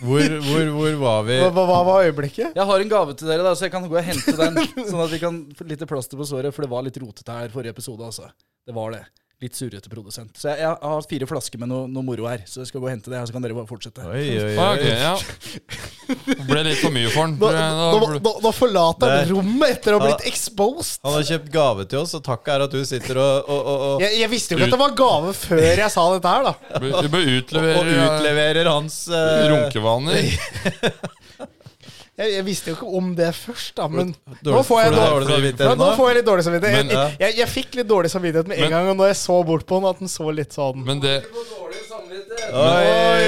Speaker 4: Hvor, hvor, hvor var vi?
Speaker 2: hva, hva hva var øyeblikket?
Speaker 5: Jeg har en gave til dere, da, så jeg kan gå og hente den. sånn at vi kan få litt plaster på såret, for det var litt rotete her forrige episode, altså. Det var det. Litt surrete produsent. Så jeg, jeg har fire flasker med noe, noe moro her, så jeg skal gå og hente det, og så kan dere bare fortsette.
Speaker 4: Oi, oi,
Speaker 1: Ah,
Speaker 4: oi.
Speaker 1: ok, ja. Det ble litt for mye for den.
Speaker 2: Nå,
Speaker 1: tror jeg. Da
Speaker 2: nå,
Speaker 1: ble-
Speaker 2: nå, nå forlater han
Speaker 4: Det-
Speaker 2: rommet etter å ha
Speaker 4: Ja.
Speaker 2: blitt exposed.
Speaker 4: Han har kjøpt gave til oss, og takk er at du sitter og, og, og, og
Speaker 2: Jeg, jeg visste jo ikke at det var gave før jeg sa dette her, da.
Speaker 1: ble- Du bør
Speaker 4: og
Speaker 1: utlevere
Speaker 4: utleverer hans
Speaker 1: ja,
Speaker 4: eh,
Speaker 1: runkevaner.
Speaker 2: Jeg, jeg visste jo ikke om det først, da, men
Speaker 4: dårlig-
Speaker 2: nå får jeg
Speaker 4: for
Speaker 2: dårlig,
Speaker 4: dårlig samvittighet
Speaker 2: nå, nå
Speaker 4: nå.
Speaker 2: får jeg litt dårlig samvittighet.
Speaker 1: Men,
Speaker 2: Jeg,
Speaker 4: ja.
Speaker 2: jeg, jeg, fikk litt dårlig samvittighet med
Speaker 1: Men-
Speaker 2: en gang, og når jeg så bort på den, at den så litt sånn
Speaker 1: Men det jeg, jeg,
Speaker 4: Oi!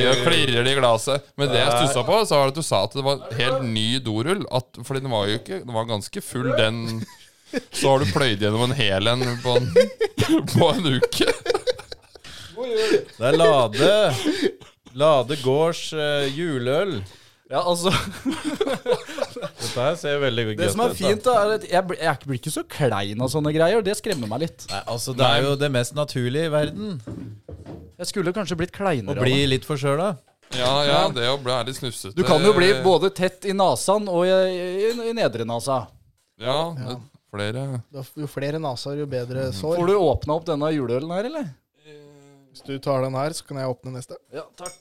Speaker 1: jeg klirrer det i glasset. Men det jeg stussa på, så var at du sa at det var helt ny dorull. At, fordi den var jo ikke Den var ganske full, den. Så har du pløyd gjennom en hel en på en, på en uke.
Speaker 4: Det er Lade. Lade gårds eh, juleøl.
Speaker 5: Ja, altså,
Speaker 4: Dette her ser veldig godt ut.
Speaker 5: Det som er
Speaker 4: da.
Speaker 5: fint, da, er at jeg, blir- jeg blir ikke så klein av sånne greier. Det skremmer meg litt.
Speaker 4: Nei, altså, det er jo det mest naturlige i verden.
Speaker 5: Jeg skulle kanskje blitt
Speaker 4: Å
Speaker 5: kleinere. av
Speaker 4: bli
Speaker 5: det.
Speaker 4: litt forkjøla.
Speaker 1: Ja, ja, det å bli Eh, litt snufsete
Speaker 5: Du kan jo bli både tett i nasaen og i, i, i nedre nasa.
Speaker 1: Ja, det, flere
Speaker 2: Jo flere naser, jo bedre sår.
Speaker 5: Får du åpna opp denne juleølen her, eller?
Speaker 2: Hvis du tar den her, så kan jeg åpne neste.
Speaker 5: Ja, takk.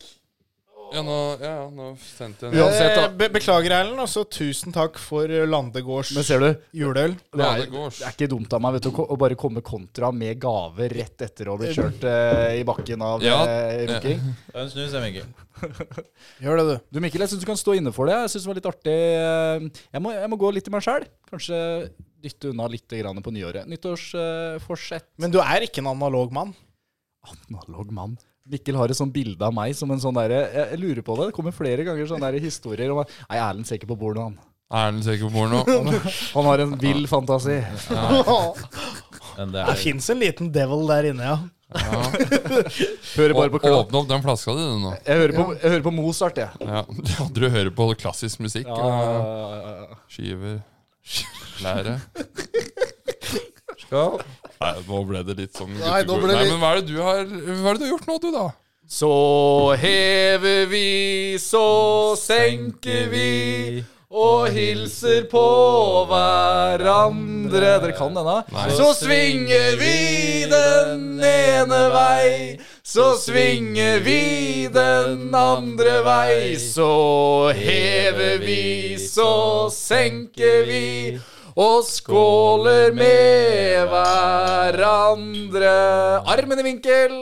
Speaker 1: Ja, nå, ja, ja, nå sendte jeg en
Speaker 5: Uansett, da.
Speaker 2: Eh, Be beklager, Erlend, og så tusen takk for Landegårds
Speaker 5: Men ser du,
Speaker 2: juleøl.
Speaker 5: det er,
Speaker 1: Ladegårds.
Speaker 5: det er ikke dumt av meg vet du, å bare komme kontra med gave rett etter å ha blitt kjørt eh, i bakken av
Speaker 1: Ja.
Speaker 5: eh, runking.
Speaker 4: Ta en snus, jeg, Mikkel.
Speaker 2: Gjør det, du.
Speaker 5: Du Mikkel, jeg syns du kan stå inne for det. Jeg synes det var litt artig. eh, Jeg må, jeg må gå litt i meg sjæl. Kanskje dytte unna litt grann på nyåret. Nyttårsforsett.
Speaker 2: Men du er ikke en analog mann.
Speaker 5: Analog mann. Mikkel har et sånt bilde av meg som en sånn derre jeg, jeg lurer på det. Det kommer flere ganger sånne der historier om at Nei, Erlend ser ikke på bordet, han.
Speaker 1: Erlend ser ikke på bordet nå.
Speaker 5: Han har en vill fantasi.
Speaker 4: Men det
Speaker 2: Det
Speaker 4: er
Speaker 2: fins en liten devil der inne, ja.
Speaker 1: Ja.
Speaker 5: Hører bare
Speaker 1: Å-
Speaker 5: på klapp.
Speaker 1: Åpne opp den flaska di, du, nå.
Speaker 5: Jeg hører på, jeg hører på Mozart, jeg.
Speaker 1: Ja. ja, du hører på klassisk musikk.
Speaker 5: Ja,
Speaker 1: Ja.
Speaker 5: ja, ja, ja.
Speaker 1: Skiver. Lære.
Speaker 4: Skål.
Speaker 1: Nei, nå ble det litt sånn
Speaker 2: Nei, nå
Speaker 1: guttegård.
Speaker 2: ble det
Speaker 1: Nei,
Speaker 2: litt-
Speaker 1: men hva er det du har Hva er det du har gjort nå, du, da?
Speaker 5: Så hever vi, så senker vi og hilser på hverandre. Dere kan denne.
Speaker 1: Nei.
Speaker 5: Så svinger vi den ene vei, så svinger vi den andre vei. Så hever vi, så senker vi og skåler med hverandre. Armen i vinkel.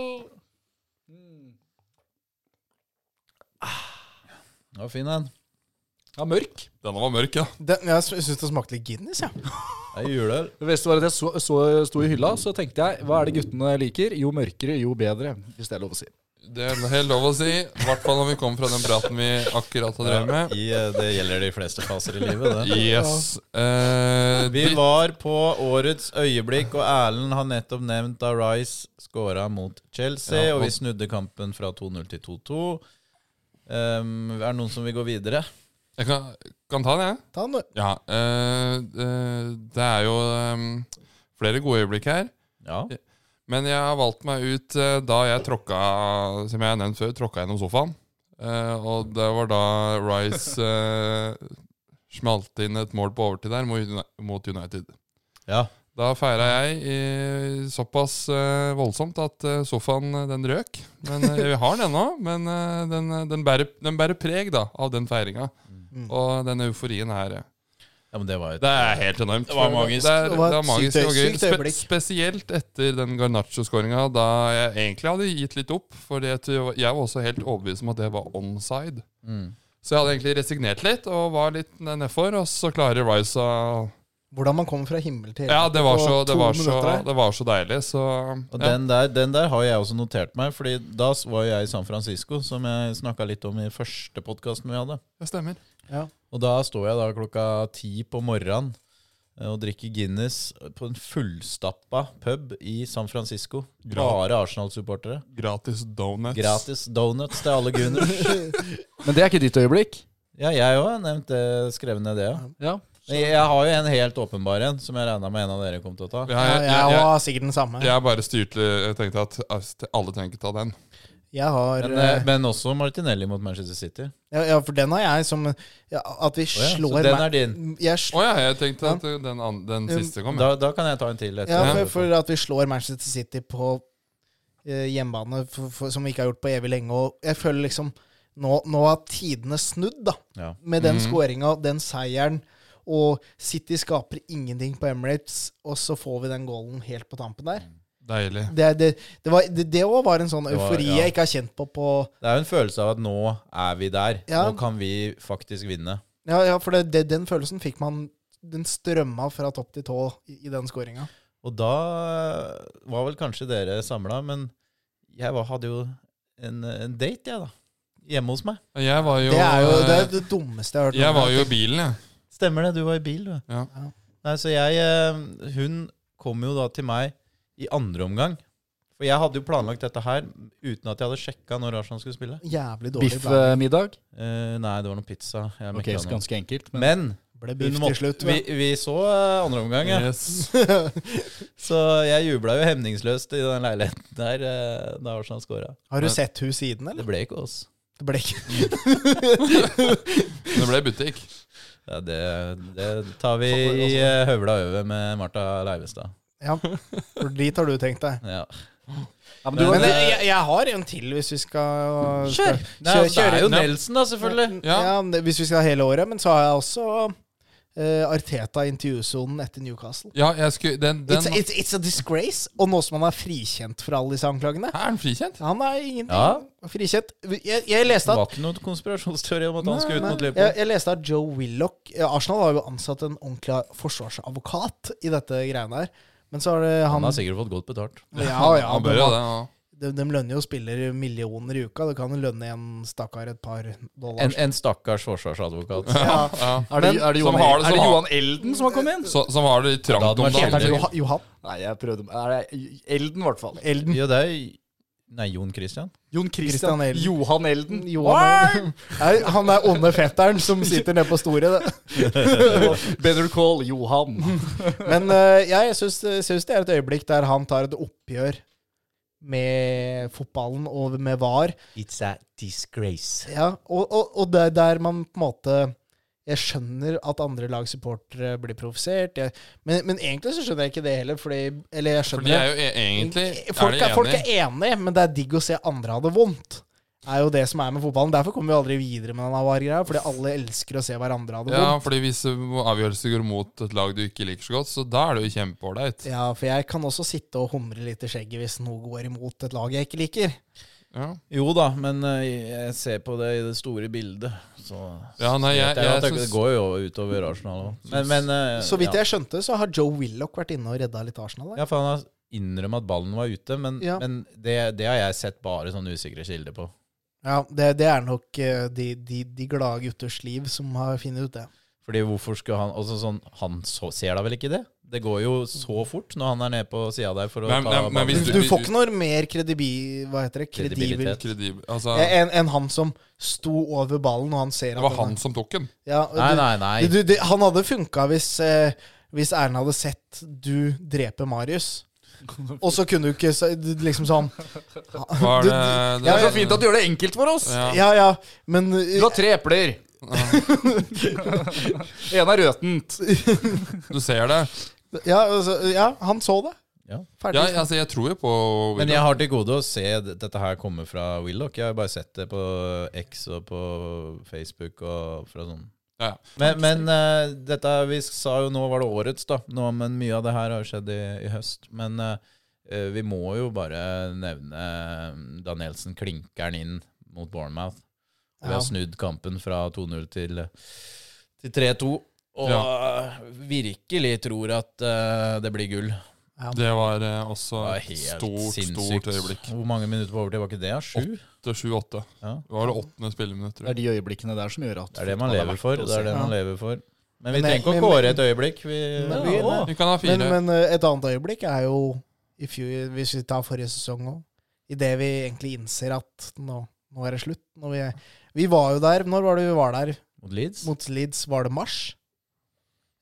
Speaker 4: Det var fin, den.
Speaker 5: Ja, mørk.
Speaker 1: Denne var mørk, ja.
Speaker 2: Den, jeg syns det smakte litt Guinness, jeg. Ja.
Speaker 4: Det er juleøl.
Speaker 5: Det beste var at jeg så, så, sto i hylla, så tenkte jeg hva er det guttene liker? Jo mørkere, jo bedre. Hvis det er lov å si.
Speaker 1: Det er helt lov å si. I hvert fall når vi kommer fra den praten vi akkurat har drevet med.
Speaker 4: I, eh, det gjelder de fleste faser i livet, det.
Speaker 1: Yes. Eh,
Speaker 4: Vi
Speaker 1: dritt-
Speaker 4: var på årets øyeblikk, og Erlend har nettopp nevnt da Rice skåra mot Chelsea,
Speaker 1: Ja,
Speaker 4: og vi
Speaker 1: og-
Speaker 4: snudde kampen fra 2-0 til 2-2. Um, er det noen som vil gå videre?
Speaker 1: jeg kan, kan ta den, jeg.
Speaker 2: Ta den, du.
Speaker 1: Ja. eh, eh, det er jo eh, flere gode øyeblikk her.
Speaker 4: Ja.
Speaker 1: Men jeg har valgt meg ut eh, da jeg tråkka Som jeg har nevnt før, tråkka gjennom sofaen. Eh, og det var da Rice eh, smalt inn et mål på overtid der mot Uni- mot United.
Speaker 4: ja.
Speaker 1: Da feira jeg eh, såpass eh, voldsomt at eh, sofaen eh, den røk. Men eh, vi har den ennå, men eh, den, eh, den, bærer, den bærer preg da av den feiringa. Og den euforien her. eh.
Speaker 4: Ja, men det var jo
Speaker 1: Det er helt enormt.
Speaker 4: Det var magisk.
Speaker 1: Det er,
Speaker 2: Det
Speaker 1: det
Speaker 2: var
Speaker 1: er magisk
Speaker 2: sykt-
Speaker 1: og gøy.
Speaker 2: sykt
Speaker 1: Spe
Speaker 2: øyeblikk.
Speaker 1: spesielt etter den Garnaccio-skåringa, da jeg egentlig hadde gitt litt opp. For jeg var også helt overbevist om at det var onside.
Speaker 4: Mm.
Speaker 1: Så jeg hadde egentlig resignert litt og var litt nedfor, og så klarer Rice å
Speaker 2: Hvordan man kommer fra himmel til
Speaker 1: Ja, det var
Speaker 2: på
Speaker 1: så, det
Speaker 2: to
Speaker 1: var så,
Speaker 2: minutter.
Speaker 1: det var så deilig, så
Speaker 4: Og
Speaker 1: ja.
Speaker 4: den, der, den der har jeg også notert meg, Fordi da s- var jeg i San Francisco, som jeg snakka litt om i første podkasten vi hadde.
Speaker 1: Det stemmer.
Speaker 4: Og da står jeg da klokka ti på morgenen eh, og drikker Guinness på en fullstappa pub i San Francisco. Bare Arsenal-supportere.
Speaker 1: Gratis donuts.
Speaker 4: Gratis donuts til alle gunners.
Speaker 5: Men det er ikke ditt øyeblikk.
Speaker 4: Ja, jeg òg har nevnt det, skrevet ned det. Ja.
Speaker 5: Ja.
Speaker 4: Men jeg har jo en helt åpenbar en, som jeg regna med en av dere kom til å ta.
Speaker 1: Ja,
Speaker 2: Ja,
Speaker 1: jeg, jeg,
Speaker 2: jeg
Speaker 1: jeg,
Speaker 2: var sikkert den samme.
Speaker 1: jeg bare styrte Jeg tenkte at at alle trenger ikke ta den.
Speaker 2: Jeg har
Speaker 4: Men,
Speaker 2: eh,
Speaker 4: eh, men også Martinelli mot Manchester City.
Speaker 2: ja, ja, for den har jeg som ja, At vi
Speaker 4: Å ja,
Speaker 2: slår
Speaker 4: så den
Speaker 2: Ma-
Speaker 4: er din.
Speaker 1: Å
Speaker 2: Jeg slår,
Speaker 1: ja, jeg tenkte at den, an- den siste kom. Ja.
Speaker 4: Da, da kan jeg ta en til etter.
Speaker 2: ja, for,
Speaker 4: dere.
Speaker 2: for at vi slår Manchester City på eh, hjemmebane, for, for, som vi ikke har gjort på evig lenge. Og jeg føler liksom Nå, nå har tidene snudd, da.
Speaker 4: Ja.
Speaker 2: Med den skåringa, den seieren. Og City skaper ingenting på Emirates, og så får vi den goalen helt på tampen der.
Speaker 1: Deilig.
Speaker 2: Det er- det- det var- det- det òg var en sånn
Speaker 4: Det var-
Speaker 2: eufori
Speaker 4: ja.
Speaker 2: jeg ikke har kjent på på
Speaker 4: Det er jo en følelse av at nå er vi der.
Speaker 2: Ja.
Speaker 4: Nå kan vi faktisk vinne.
Speaker 2: Ja, ja for det, det, den følelsen fikk man Den strømma fra topp til tå i, i den skåringa.
Speaker 4: Og da var vel kanskje dere samla, men jeg var, hadde jo en, en date, jeg, da. Hjemme hos meg.
Speaker 1: Jeg var jo, eh,
Speaker 2: Det er jo det, er det dummeste jeg har hørt.
Speaker 1: Jeg
Speaker 2: noen
Speaker 1: var
Speaker 2: gang.
Speaker 1: jo i bilen, jeg.
Speaker 4: Stemmer det, du var i bil, du.
Speaker 1: Ja.
Speaker 2: Ja.
Speaker 4: Nei, så jeg eh, Hun kom jo da til meg i andre omgang. For jeg hadde jo planlagt dette her uten at jeg hadde sjekka når Arsenal skulle spille.
Speaker 2: Jævlig dårlig. ble-
Speaker 5: Biffmiddag.
Speaker 4: Eh, nei, det var noe pizza. Jeg
Speaker 5: Ok,
Speaker 4: mekket
Speaker 5: så
Speaker 4: noe.
Speaker 5: ganske enkelt. Men
Speaker 4: Men
Speaker 2: ble
Speaker 4: hun
Speaker 2: biff til
Speaker 4: måtte,
Speaker 2: slutt.
Speaker 4: vi,
Speaker 2: vel?
Speaker 4: vi så eh, andre omgang, ja.
Speaker 1: Yes.
Speaker 4: Så jeg jubla jo hemningsløst i den leiligheten der eh, da Arsenal scora.
Speaker 2: Har du sett hun siden, eller?
Speaker 4: Det ble ikke oss.
Speaker 2: Det ble ikke
Speaker 1: Det ble butikk.
Speaker 4: Ja, det, det tar vi i eh, høvla over med Martha Leivestad.
Speaker 2: Ja, for dit har du tenkt deg.
Speaker 4: Ja.
Speaker 5: Ja, men
Speaker 4: Men,
Speaker 5: du-
Speaker 2: Men
Speaker 4: eh,
Speaker 2: det, jeg, jeg har en til, hvis vi skal
Speaker 4: Kjør!
Speaker 2: skal-
Speaker 4: Nei,
Speaker 2: Kjør-
Speaker 4: altså, det er jo
Speaker 1: kjør-
Speaker 4: Nelson, da, selvfølgelig.
Speaker 2: Ja.
Speaker 1: Ja.
Speaker 2: men det- hvis vi skal ha hele året. Men så har jeg også eh, Arteta i intervjusonen etter Newcastle.
Speaker 1: Ja, jeg skulle Den, den
Speaker 2: It's, it's, it's a disgrace, og nå som han er frikjent for alle disse anklagene.
Speaker 1: Er den frikjent?
Speaker 2: Han er ingenting
Speaker 4: Ja.
Speaker 2: frikjent. Jeg, jeg leste
Speaker 4: Det
Speaker 2: at
Speaker 4: var ikke noen konspirasjonsteori om at han skulle ut
Speaker 2: Nei,
Speaker 4: mot
Speaker 2: jeg,
Speaker 4: Liverpool.
Speaker 2: jeg leste at Joe Willoch eh, Arsenal har jo ansatt en ordentlig forsvarsadvokat i dette greiene her. Men så har det han,
Speaker 4: Han har sikkert fått godt betalt.
Speaker 2: ja, ja,
Speaker 1: Han bør
Speaker 2: de,
Speaker 1: jo det. Ja.
Speaker 2: de, de lønner jo spillere millioner i uka. Det kan jo lønne en stakkar et par dollar.
Speaker 4: En, en stakkars forsvarsadvokat.
Speaker 2: ja.
Speaker 1: Ja.
Speaker 5: er det, er det, Johan,
Speaker 1: som har det-
Speaker 5: er det
Speaker 1: som har-
Speaker 5: Johan Elden som har kommet inn?
Speaker 1: Så, som har det litt
Speaker 4: Ja,
Speaker 1: trangt
Speaker 4: det
Speaker 1: om
Speaker 4: var
Speaker 1: dagen.
Speaker 4: kjempe-
Speaker 2: Johan, Johan
Speaker 5: Nei, jeg prøvde er det Elden, i hvert fall.
Speaker 2: Elden.
Speaker 4: Ja, det er Nei, Jon Christian.
Speaker 5: Jon
Speaker 2: Christian
Speaker 5: Christian
Speaker 2: Elden.
Speaker 5: Johan Elden.
Speaker 2: Johan, nei, han er onde fetteren som sitter nede på Store.
Speaker 5: Better call Johan.
Speaker 2: Men eh, jeg syns, syns det er et øyeblikk der han tar et oppgjør med fotballen og med VAR.
Speaker 4: It's a disgrace.
Speaker 2: Ja, og, og, og det er der man på en måte Jeg skjønner at andre lags supportere blir provosert, jeg- men, men egentlig så skjønner jeg ikke det heller, fordi Eller jeg
Speaker 1: For de er
Speaker 2: skjønner
Speaker 1: jo e egentlig
Speaker 2: det.
Speaker 1: er
Speaker 2: Folk
Speaker 1: de
Speaker 2: er, folk
Speaker 1: enige.
Speaker 2: er enige, men det er digg å se andre ha det vondt. Er jo det som er med fotballen. Derfor kommer vi aldri videre med denne VAR-greia, fordi alle elsker å se hverandre ha det
Speaker 1: Ja,
Speaker 2: vondt.
Speaker 1: fordi hvis uh, avgjørelser går mot et lag du ikke liker så godt, så da er det jo kjempeålreit.
Speaker 2: Ja, for jeg kan også sitte og humre litt i skjegget hvis noe går imot et lag jeg ikke liker.
Speaker 1: Ja.
Speaker 4: Jo da, men eh, jeg ser på det i det store bildet, så
Speaker 1: ja, nei, jeg,
Speaker 4: Det er jo
Speaker 1: jeg,
Speaker 4: at det
Speaker 1: syns-
Speaker 4: går jo utover Arsenal òg. Men, men eh,
Speaker 2: Så vidt
Speaker 4: ja.
Speaker 2: jeg skjønte, så har Joe Willoch vært inne og redda litt Arsenal. der.
Speaker 4: Ja, for han har innrømmet at ballen var ute, men,
Speaker 2: Ja.
Speaker 4: men det, det har jeg sett bare sånne usikre kilder på.
Speaker 2: Ja, det, det er nok eh, de, de, de glade gutters liv som har funnet ut det.
Speaker 4: Fordi hvorfor skulle han altså sånn, Han så, ser da vel ikke det? Det går jo så fort når han er nede på sida der for å
Speaker 1: Men-
Speaker 4: ta
Speaker 1: men- men
Speaker 2: Du,
Speaker 1: hvis
Speaker 4: ballen.
Speaker 1: du-
Speaker 2: du får ikke noe mer kredibi... Hva heter det? Kredibel
Speaker 4: Kredibilitet.
Speaker 1: Kredibel. Altså,
Speaker 2: enn enn han som sto over ballen, og han ser at
Speaker 1: det var
Speaker 2: den-
Speaker 1: han som tok den.
Speaker 2: ja, og
Speaker 4: Nei,
Speaker 2: du-
Speaker 4: nei, nei.
Speaker 2: Du, det, han hadde funka hvis, eh, hvis Erna hadde sett du drepe Marius. Og så kunne du ikke så- du- liksom sånn
Speaker 1: Var
Speaker 2: Du-
Speaker 1: det,
Speaker 5: Det er så fint at du gjør det enkelt for oss.
Speaker 1: ja.
Speaker 2: Ja, ja, men eh,
Speaker 5: Du har tre epler. en er røtent.
Speaker 1: Du ser det.
Speaker 2: ja, altså, ja, han så det.
Speaker 4: Ja.
Speaker 1: Ja,
Speaker 2: Ferdig.
Speaker 1: altså, jeg tror jo på
Speaker 4: Men jeg har til gode å se d- dette her komme fra Willoch. Jeg har bare sett det på X og på Facebook og fra sånn.
Speaker 1: Ja.
Speaker 4: Men, men eh, dette vi sa jo nå var det årets, da. Nå, men mye av det her har jo skjedd i, i høst. Men eh, eh, vi må jo bare nevne eh, Danielsen klinker'n inn mot Bournemouth. Vi
Speaker 2: Ja.
Speaker 4: har snudd kampen fra 2-0 til, til 3-2. Og virkelig tror at eh, det blir gull.
Speaker 1: Det var eh, også
Speaker 4: Det var
Speaker 1: et
Speaker 4: helt
Speaker 1: stort,
Speaker 4: sinnssykt.
Speaker 1: stort øyeblikk.
Speaker 4: Hvor mange minutter på overtid var ikke det? da? Sju?
Speaker 1: Det var 7-8.
Speaker 4: Ja.
Speaker 1: Det var det åttende spilleminutt,
Speaker 5: Det
Speaker 1: tror jeg.
Speaker 5: er de øyeblikkene der som gjør at
Speaker 4: Det er det man
Speaker 5: fotball er
Speaker 4: lever
Speaker 5: verdt
Speaker 4: for.
Speaker 5: å
Speaker 4: Det er
Speaker 5: se.
Speaker 4: det man lever for. Men vi
Speaker 2: Men jeg-
Speaker 4: trenger ikke å
Speaker 2: men-
Speaker 4: kåre et øyeblikk. Vi,
Speaker 2: Men
Speaker 4: ja,
Speaker 2: vi-
Speaker 4: å.
Speaker 1: Vi kan ha fire.
Speaker 2: Men, men eh, et annet øyeblikk er jo i fjor, hvis vi tar forrige sesong òg, idet vi egentlig innser at nå, nå er det slutt. Når vi, vi var jo der Når var det vi var der?
Speaker 4: Mot Leeds.
Speaker 2: Mot Leeds var det mars.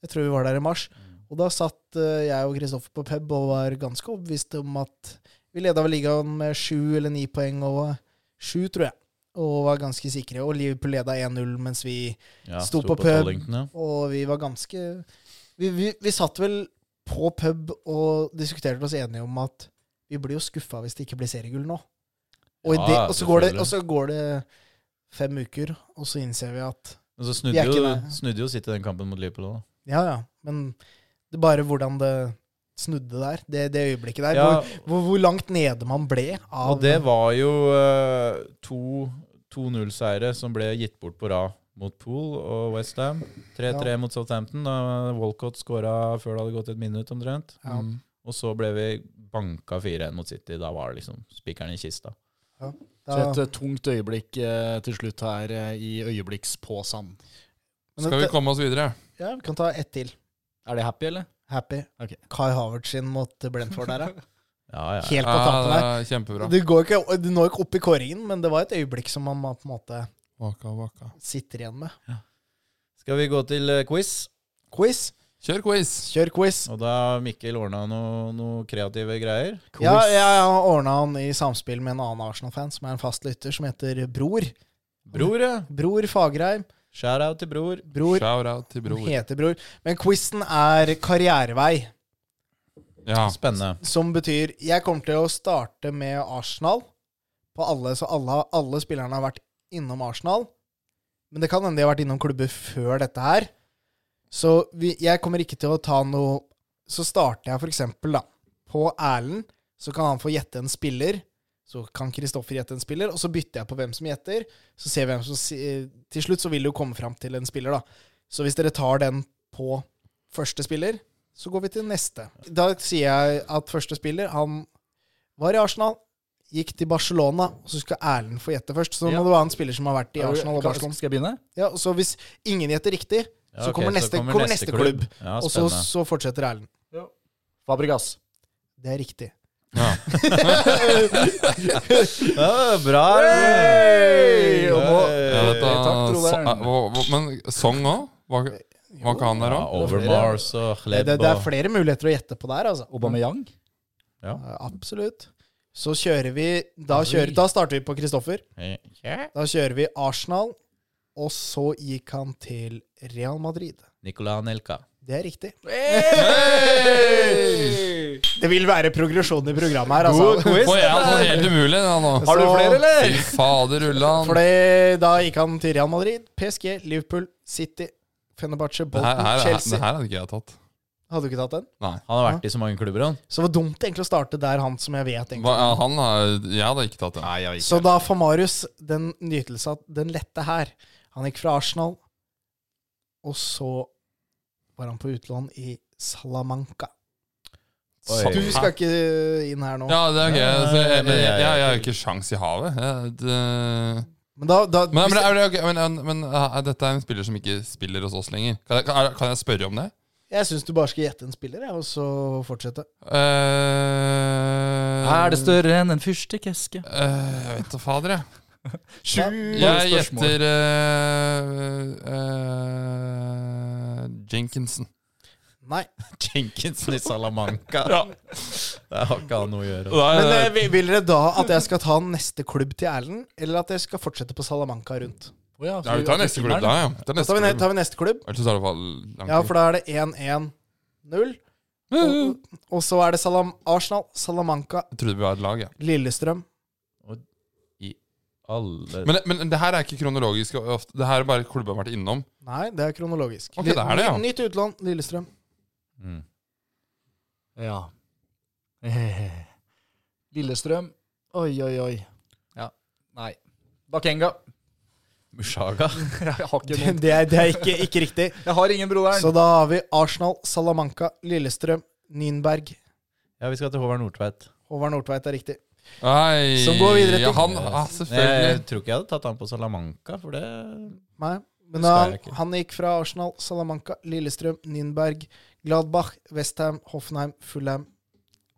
Speaker 2: Jeg tror vi var der i mars.
Speaker 4: Mm.
Speaker 2: Og da satt eh, jeg og Kristoffer på pub og var ganske overbevist om at vi leda vel ligaen med sju eller ni poeng, og sju, tror jeg. Og var ganske sikre. Og Liverpool leda 1-0 mens vi
Speaker 4: Ja,
Speaker 2: sto på pub.
Speaker 4: Tollington, ja.
Speaker 2: Og vi var ganske vi, vi, vi satt vel på pub og diskuterte oss enige om at vi blir jo skuffa hvis det ikke blir seriegull nå. Og, i
Speaker 4: Ja,
Speaker 2: det, og, så går det,
Speaker 4: selvfølgelig.
Speaker 2: og så går det fem uker, og så innser vi at
Speaker 4: Men så
Speaker 2: Vi
Speaker 4: snudde
Speaker 2: er ikke
Speaker 4: jo,
Speaker 2: der.
Speaker 4: snudde jo City den kampen mot Liverpool òg.
Speaker 2: ja, ja, men det er bare hvordan det snudde der, det, det øyeblikket der.
Speaker 4: Ja,
Speaker 2: Hvor, hvor, hvor langt nede man ble av
Speaker 4: og det var jo eh, to 2-0-seire som ble gitt bort på rad mot Pool og Westham. 3-3 mot Southampton. Da Walcott skåra før det hadde gått et minutt omtrent.
Speaker 2: ja.
Speaker 1: Mm.
Speaker 4: Og så ble vi banka 4-1 mot City. Da var det liksom spikeren i kista.
Speaker 5: Så et
Speaker 2: da,
Speaker 5: eh, tungt øyeblikk eh, til slutt her eh, i øyeblikkspåsan.
Speaker 2: men
Speaker 1: Skal vi
Speaker 2: det,
Speaker 1: komme oss videre?
Speaker 2: ja, vi kan ta ett til.
Speaker 5: Er det happy, eller?
Speaker 2: Happy.
Speaker 5: Ok.
Speaker 2: Kai Havertz sin mot Brentford der, ja.
Speaker 4: Ja, ja.
Speaker 2: Helt på
Speaker 1: Ja,
Speaker 2: tampen der.
Speaker 1: det er kjempebra.
Speaker 2: Du, går ikke, du når ikke opp i kåringen, men det var et øyeblikk som man på en måte
Speaker 1: Waka, waka.
Speaker 2: sitter igjen med.
Speaker 4: Skal vi gå til eh, quiz?
Speaker 2: Quiz.
Speaker 1: Kjør quiz!
Speaker 2: Kjør quiz.
Speaker 4: Og da har Mikkel ordna noe, noe kreative greier.
Speaker 2: Ja, jeg har ordna han i samspill med en annen Arsenal-fan som er en fast lytter, som heter Bror.
Speaker 4: Bror, ja.
Speaker 2: Bror Fagerheim.
Speaker 4: Shout-out til bror.
Speaker 2: Bror
Speaker 1: Shout-out til
Speaker 2: han
Speaker 1: bror.
Speaker 2: heter Bror. Men quizen er karrierevei,
Speaker 1: Ja.
Speaker 4: Spennende.
Speaker 2: som betyr Jeg kommer til å starte med Arsenal på alle, så alle, alle spillerne har vært innom Arsenal. Men det kan hende de har vært innom klubber før dette her. Så vi, jeg kommer ikke til å ta noe Så starter jeg for eksempel da, på Erlend, så kan han få gjette en spiller. Så kan Kristoffer gjette en spiller, og så bytter jeg på hvem som gjetter. Så ser vi hvem som si, eh, Til slutt så vil det jo komme fram til en spiller, da. Så hvis dere tar den på første spiller, så går vi til neste. Da sier jeg at første spiller, han var i Arsenal, gikk til Barcelona, og så skal Erlend få gjette først. Så
Speaker 5: Ja.
Speaker 2: må det være en spiller som har vært i
Speaker 5: Er du-
Speaker 2: Arsenal og
Speaker 5: kan-
Speaker 2: Barcelona.
Speaker 5: Skal jeg begynne?
Speaker 2: Ja, og så hvis ingen gjetter riktig,
Speaker 4: Ja,
Speaker 2: så
Speaker 4: ok,
Speaker 2: kommer neste, kommer neste klubb.
Speaker 4: Ja,
Speaker 2: og så,
Speaker 4: spennende.
Speaker 2: så fortsetter Erlend.
Speaker 5: Fabregas.
Speaker 2: Det er riktig.
Speaker 1: ja.
Speaker 4: Ja, bra!
Speaker 5: Hey! Og nå-
Speaker 1: Ja,
Speaker 4: Hey!
Speaker 1: dette, så,
Speaker 5: Takk, broderen.
Speaker 1: eh, hva- hva- men Song òg? Var, var ikke han der
Speaker 4: Ja,
Speaker 1: òg?
Speaker 4: Overmars og
Speaker 2: Det,
Speaker 4: Chleb
Speaker 2: det, det er
Speaker 4: og
Speaker 2: flere muligheter å gjette på der, altså.
Speaker 5: Mm. Aubameyang.
Speaker 2: Ja, absolutt. Så kjører vi Da, kjører,
Speaker 4: Oi.
Speaker 2: da starter vi på Kristoffer.
Speaker 4: Ja.
Speaker 2: Da kjører vi Arsenal, og så gikk han til Real Madrid.
Speaker 4: Nicolai Nelka.
Speaker 2: Det er riktig. Det vil være progresjon i programmet her, altså.
Speaker 1: Får jeg sånn helt umulig da nå?
Speaker 2: Har du flere,
Speaker 1: eller? Fy fader, Ulland.
Speaker 2: Fordi da gikk han til Real Madrid, PSG, Liverpool, City, Fenerbahce,
Speaker 1: Det her,
Speaker 2: Bolton,
Speaker 1: her, er-
Speaker 2: Chelsea.
Speaker 1: det her hadde ikke jeg tatt.
Speaker 2: Hadde du ikke tatt den?
Speaker 1: Nei.
Speaker 4: Han har vært i så mange klubber, han.
Speaker 2: Så det var dumt egentlig å starte der, han som jeg vet
Speaker 1: Hva,
Speaker 2: egentlig.
Speaker 1: ja, han har, jeg hadde ikke tatt det.
Speaker 2: Så da får Marius den nytelse at den lette her Han gikk fra Arsenal, og så var han på utlån i Salamanca.
Speaker 4: Oi.
Speaker 2: Du skal ikke inn her nå.
Speaker 1: Ja, det er gøy. Så jeg,
Speaker 4: Nei,
Speaker 1: jeg, jeg,
Speaker 4: jeg-
Speaker 1: jeg har jo ikke sjans i havet. Jeg, det,
Speaker 2: Men da, da
Speaker 1: men, men,
Speaker 2: hvis-
Speaker 1: er det, ok, men, men er dette er en spiller som ikke spiller hos oss lenger. Kan jeg, er- kan jeg spørre om det?
Speaker 2: Jeg syns du bare skal gjette en spiller, jeg, og så fortsette.
Speaker 1: Eh,
Speaker 5: Er det større enn en fyrstikkeske?
Speaker 1: eh, jeg vet da fader, jeg.
Speaker 5: Sju
Speaker 1: Jeg
Speaker 5: spørsmål.
Speaker 1: gjetter eh, eh, Jenkinson.
Speaker 2: Nei.
Speaker 4: Jenkinson i Salamanca. Det har ikke han noe å gjøre.
Speaker 1: Nei,
Speaker 2: Men
Speaker 1: nei,
Speaker 2: eh, vil- vil dere da at jeg skal ta neste klubb til Erlend, eller at jeg skal fortsette på Salamanca rundt?
Speaker 5: Å ja, så
Speaker 1: Ja, vi tar neste klubb, da. Ja. Det er
Speaker 2: Da tar
Speaker 1: neste
Speaker 2: vi, ne-
Speaker 1: klubb.
Speaker 2: tar vi neste klubb.
Speaker 1: Ellers så tar det for lang
Speaker 2: Ja,
Speaker 1: tid.
Speaker 2: for da er det 1-1-0. Og, og så er det Salam Arsenal, Salamanca,
Speaker 1: Jeg trodde vi var et lag, ja.
Speaker 2: Lillestrøm.
Speaker 4: Alle
Speaker 1: Men, men det her er ikke kronologisk. og Ofte. Det her er bare klubber har vært innom.
Speaker 2: Nei, det er kronologisk.
Speaker 1: Ok, det er det, ja.
Speaker 2: Ny- Nytt utlån, Lillestrøm.
Speaker 4: Mm.
Speaker 5: Ja. Eh. Lillestrøm. Oi, oi, oi. Ja. Nei. Bakenga.
Speaker 4: Mushaga.
Speaker 5: Jeg har ikke noen.
Speaker 2: Det er, det er ikke, ikke riktig.
Speaker 5: Jeg har ingen, broderen.
Speaker 2: Så da har vi Arsenal, Salamanca, Lillestrøm, Nynberg.
Speaker 4: Ja, vi skal til Håvard Nordtveit.
Speaker 2: Håvard Nordtveit er riktig.
Speaker 1: Nei
Speaker 2: Som går videre til-
Speaker 1: ja, Han, ja,
Speaker 4: Jeg
Speaker 1: selvfølgelig.
Speaker 4: tror ikke jeg hadde tatt han på Salamanca, for det
Speaker 2: Nei. Men
Speaker 4: Det
Speaker 2: da,
Speaker 4: skal jeg ikke.
Speaker 2: han gikk fra Arsenal, Salamanca, Lillestrøm, Nynberg, Gladbach, Westham, Hoffenheim, Fulham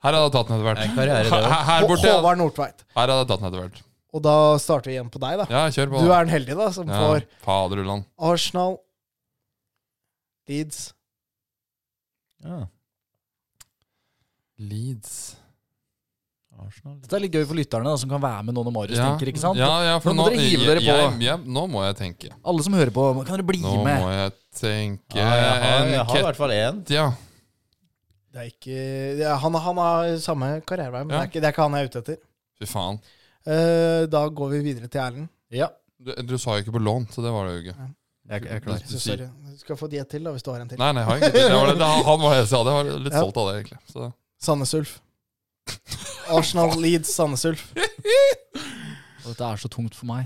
Speaker 1: Her hadde jeg tatt den etter
Speaker 4: er en
Speaker 1: hvert.
Speaker 4: karriere, det
Speaker 1: Her,
Speaker 4: òg.
Speaker 1: her
Speaker 2: og
Speaker 1: borte Her
Speaker 2: Håvard Nordtveit.
Speaker 1: hadde jeg tatt den etter hvert.
Speaker 2: Og da starter vi igjen på deg, da.
Speaker 1: Ja, kjør på.
Speaker 2: Du er den heldige, da, som
Speaker 1: ja,
Speaker 2: får
Speaker 1: Fader Ulland.
Speaker 2: Arsenal, Leeds
Speaker 4: Ja.
Speaker 1: Leeds.
Speaker 4: Arsenal.
Speaker 5: Dette er litt gøy for lytterne da, som kan være med nå når Marius tenker. ikke sant?
Speaker 1: Ja, ja, for nå,
Speaker 5: Nå må dere hive dere på.
Speaker 1: Jeg, jeg, nå må jeg tenke.
Speaker 5: Alle som hører på, kan dere bli
Speaker 1: Nå
Speaker 5: med?
Speaker 1: må jeg tenke
Speaker 4: Ja, jeg har,
Speaker 1: en
Speaker 4: jeg har i
Speaker 1: Kettia.
Speaker 4: hvert fall én.
Speaker 2: Det er ikke det er, han, han har samme karrierevei, men det,
Speaker 1: Ja.
Speaker 2: er ikke, det er ikke han jeg er ute etter.
Speaker 1: Fy faen.
Speaker 2: Eh, da går vi videre til Erlend.
Speaker 5: Ja,
Speaker 1: Du, du sa jo ikke på lån, så det var det jo ikke.
Speaker 5: jeg, jeg er
Speaker 1: Nei,
Speaker 5: klar.
Speaker 1: du
Speaker 2: Så
Speaker 1: sier-
Speaker 2: sorry. Du skal få de et til, da, hvis du har en til.
Speaker 1: Nei, nei, jeg har ingenting. Det var det, det, han var jeg sa. Jeg var litt
Speaker 2: Ja.
Speaker 1: stolt av det, egentlig. Så.
Speaker 2: Sandnes Ulf. Arsenal Leeds Sandnes Ulf.
Speaker 5: Og dette er så tungt for meg.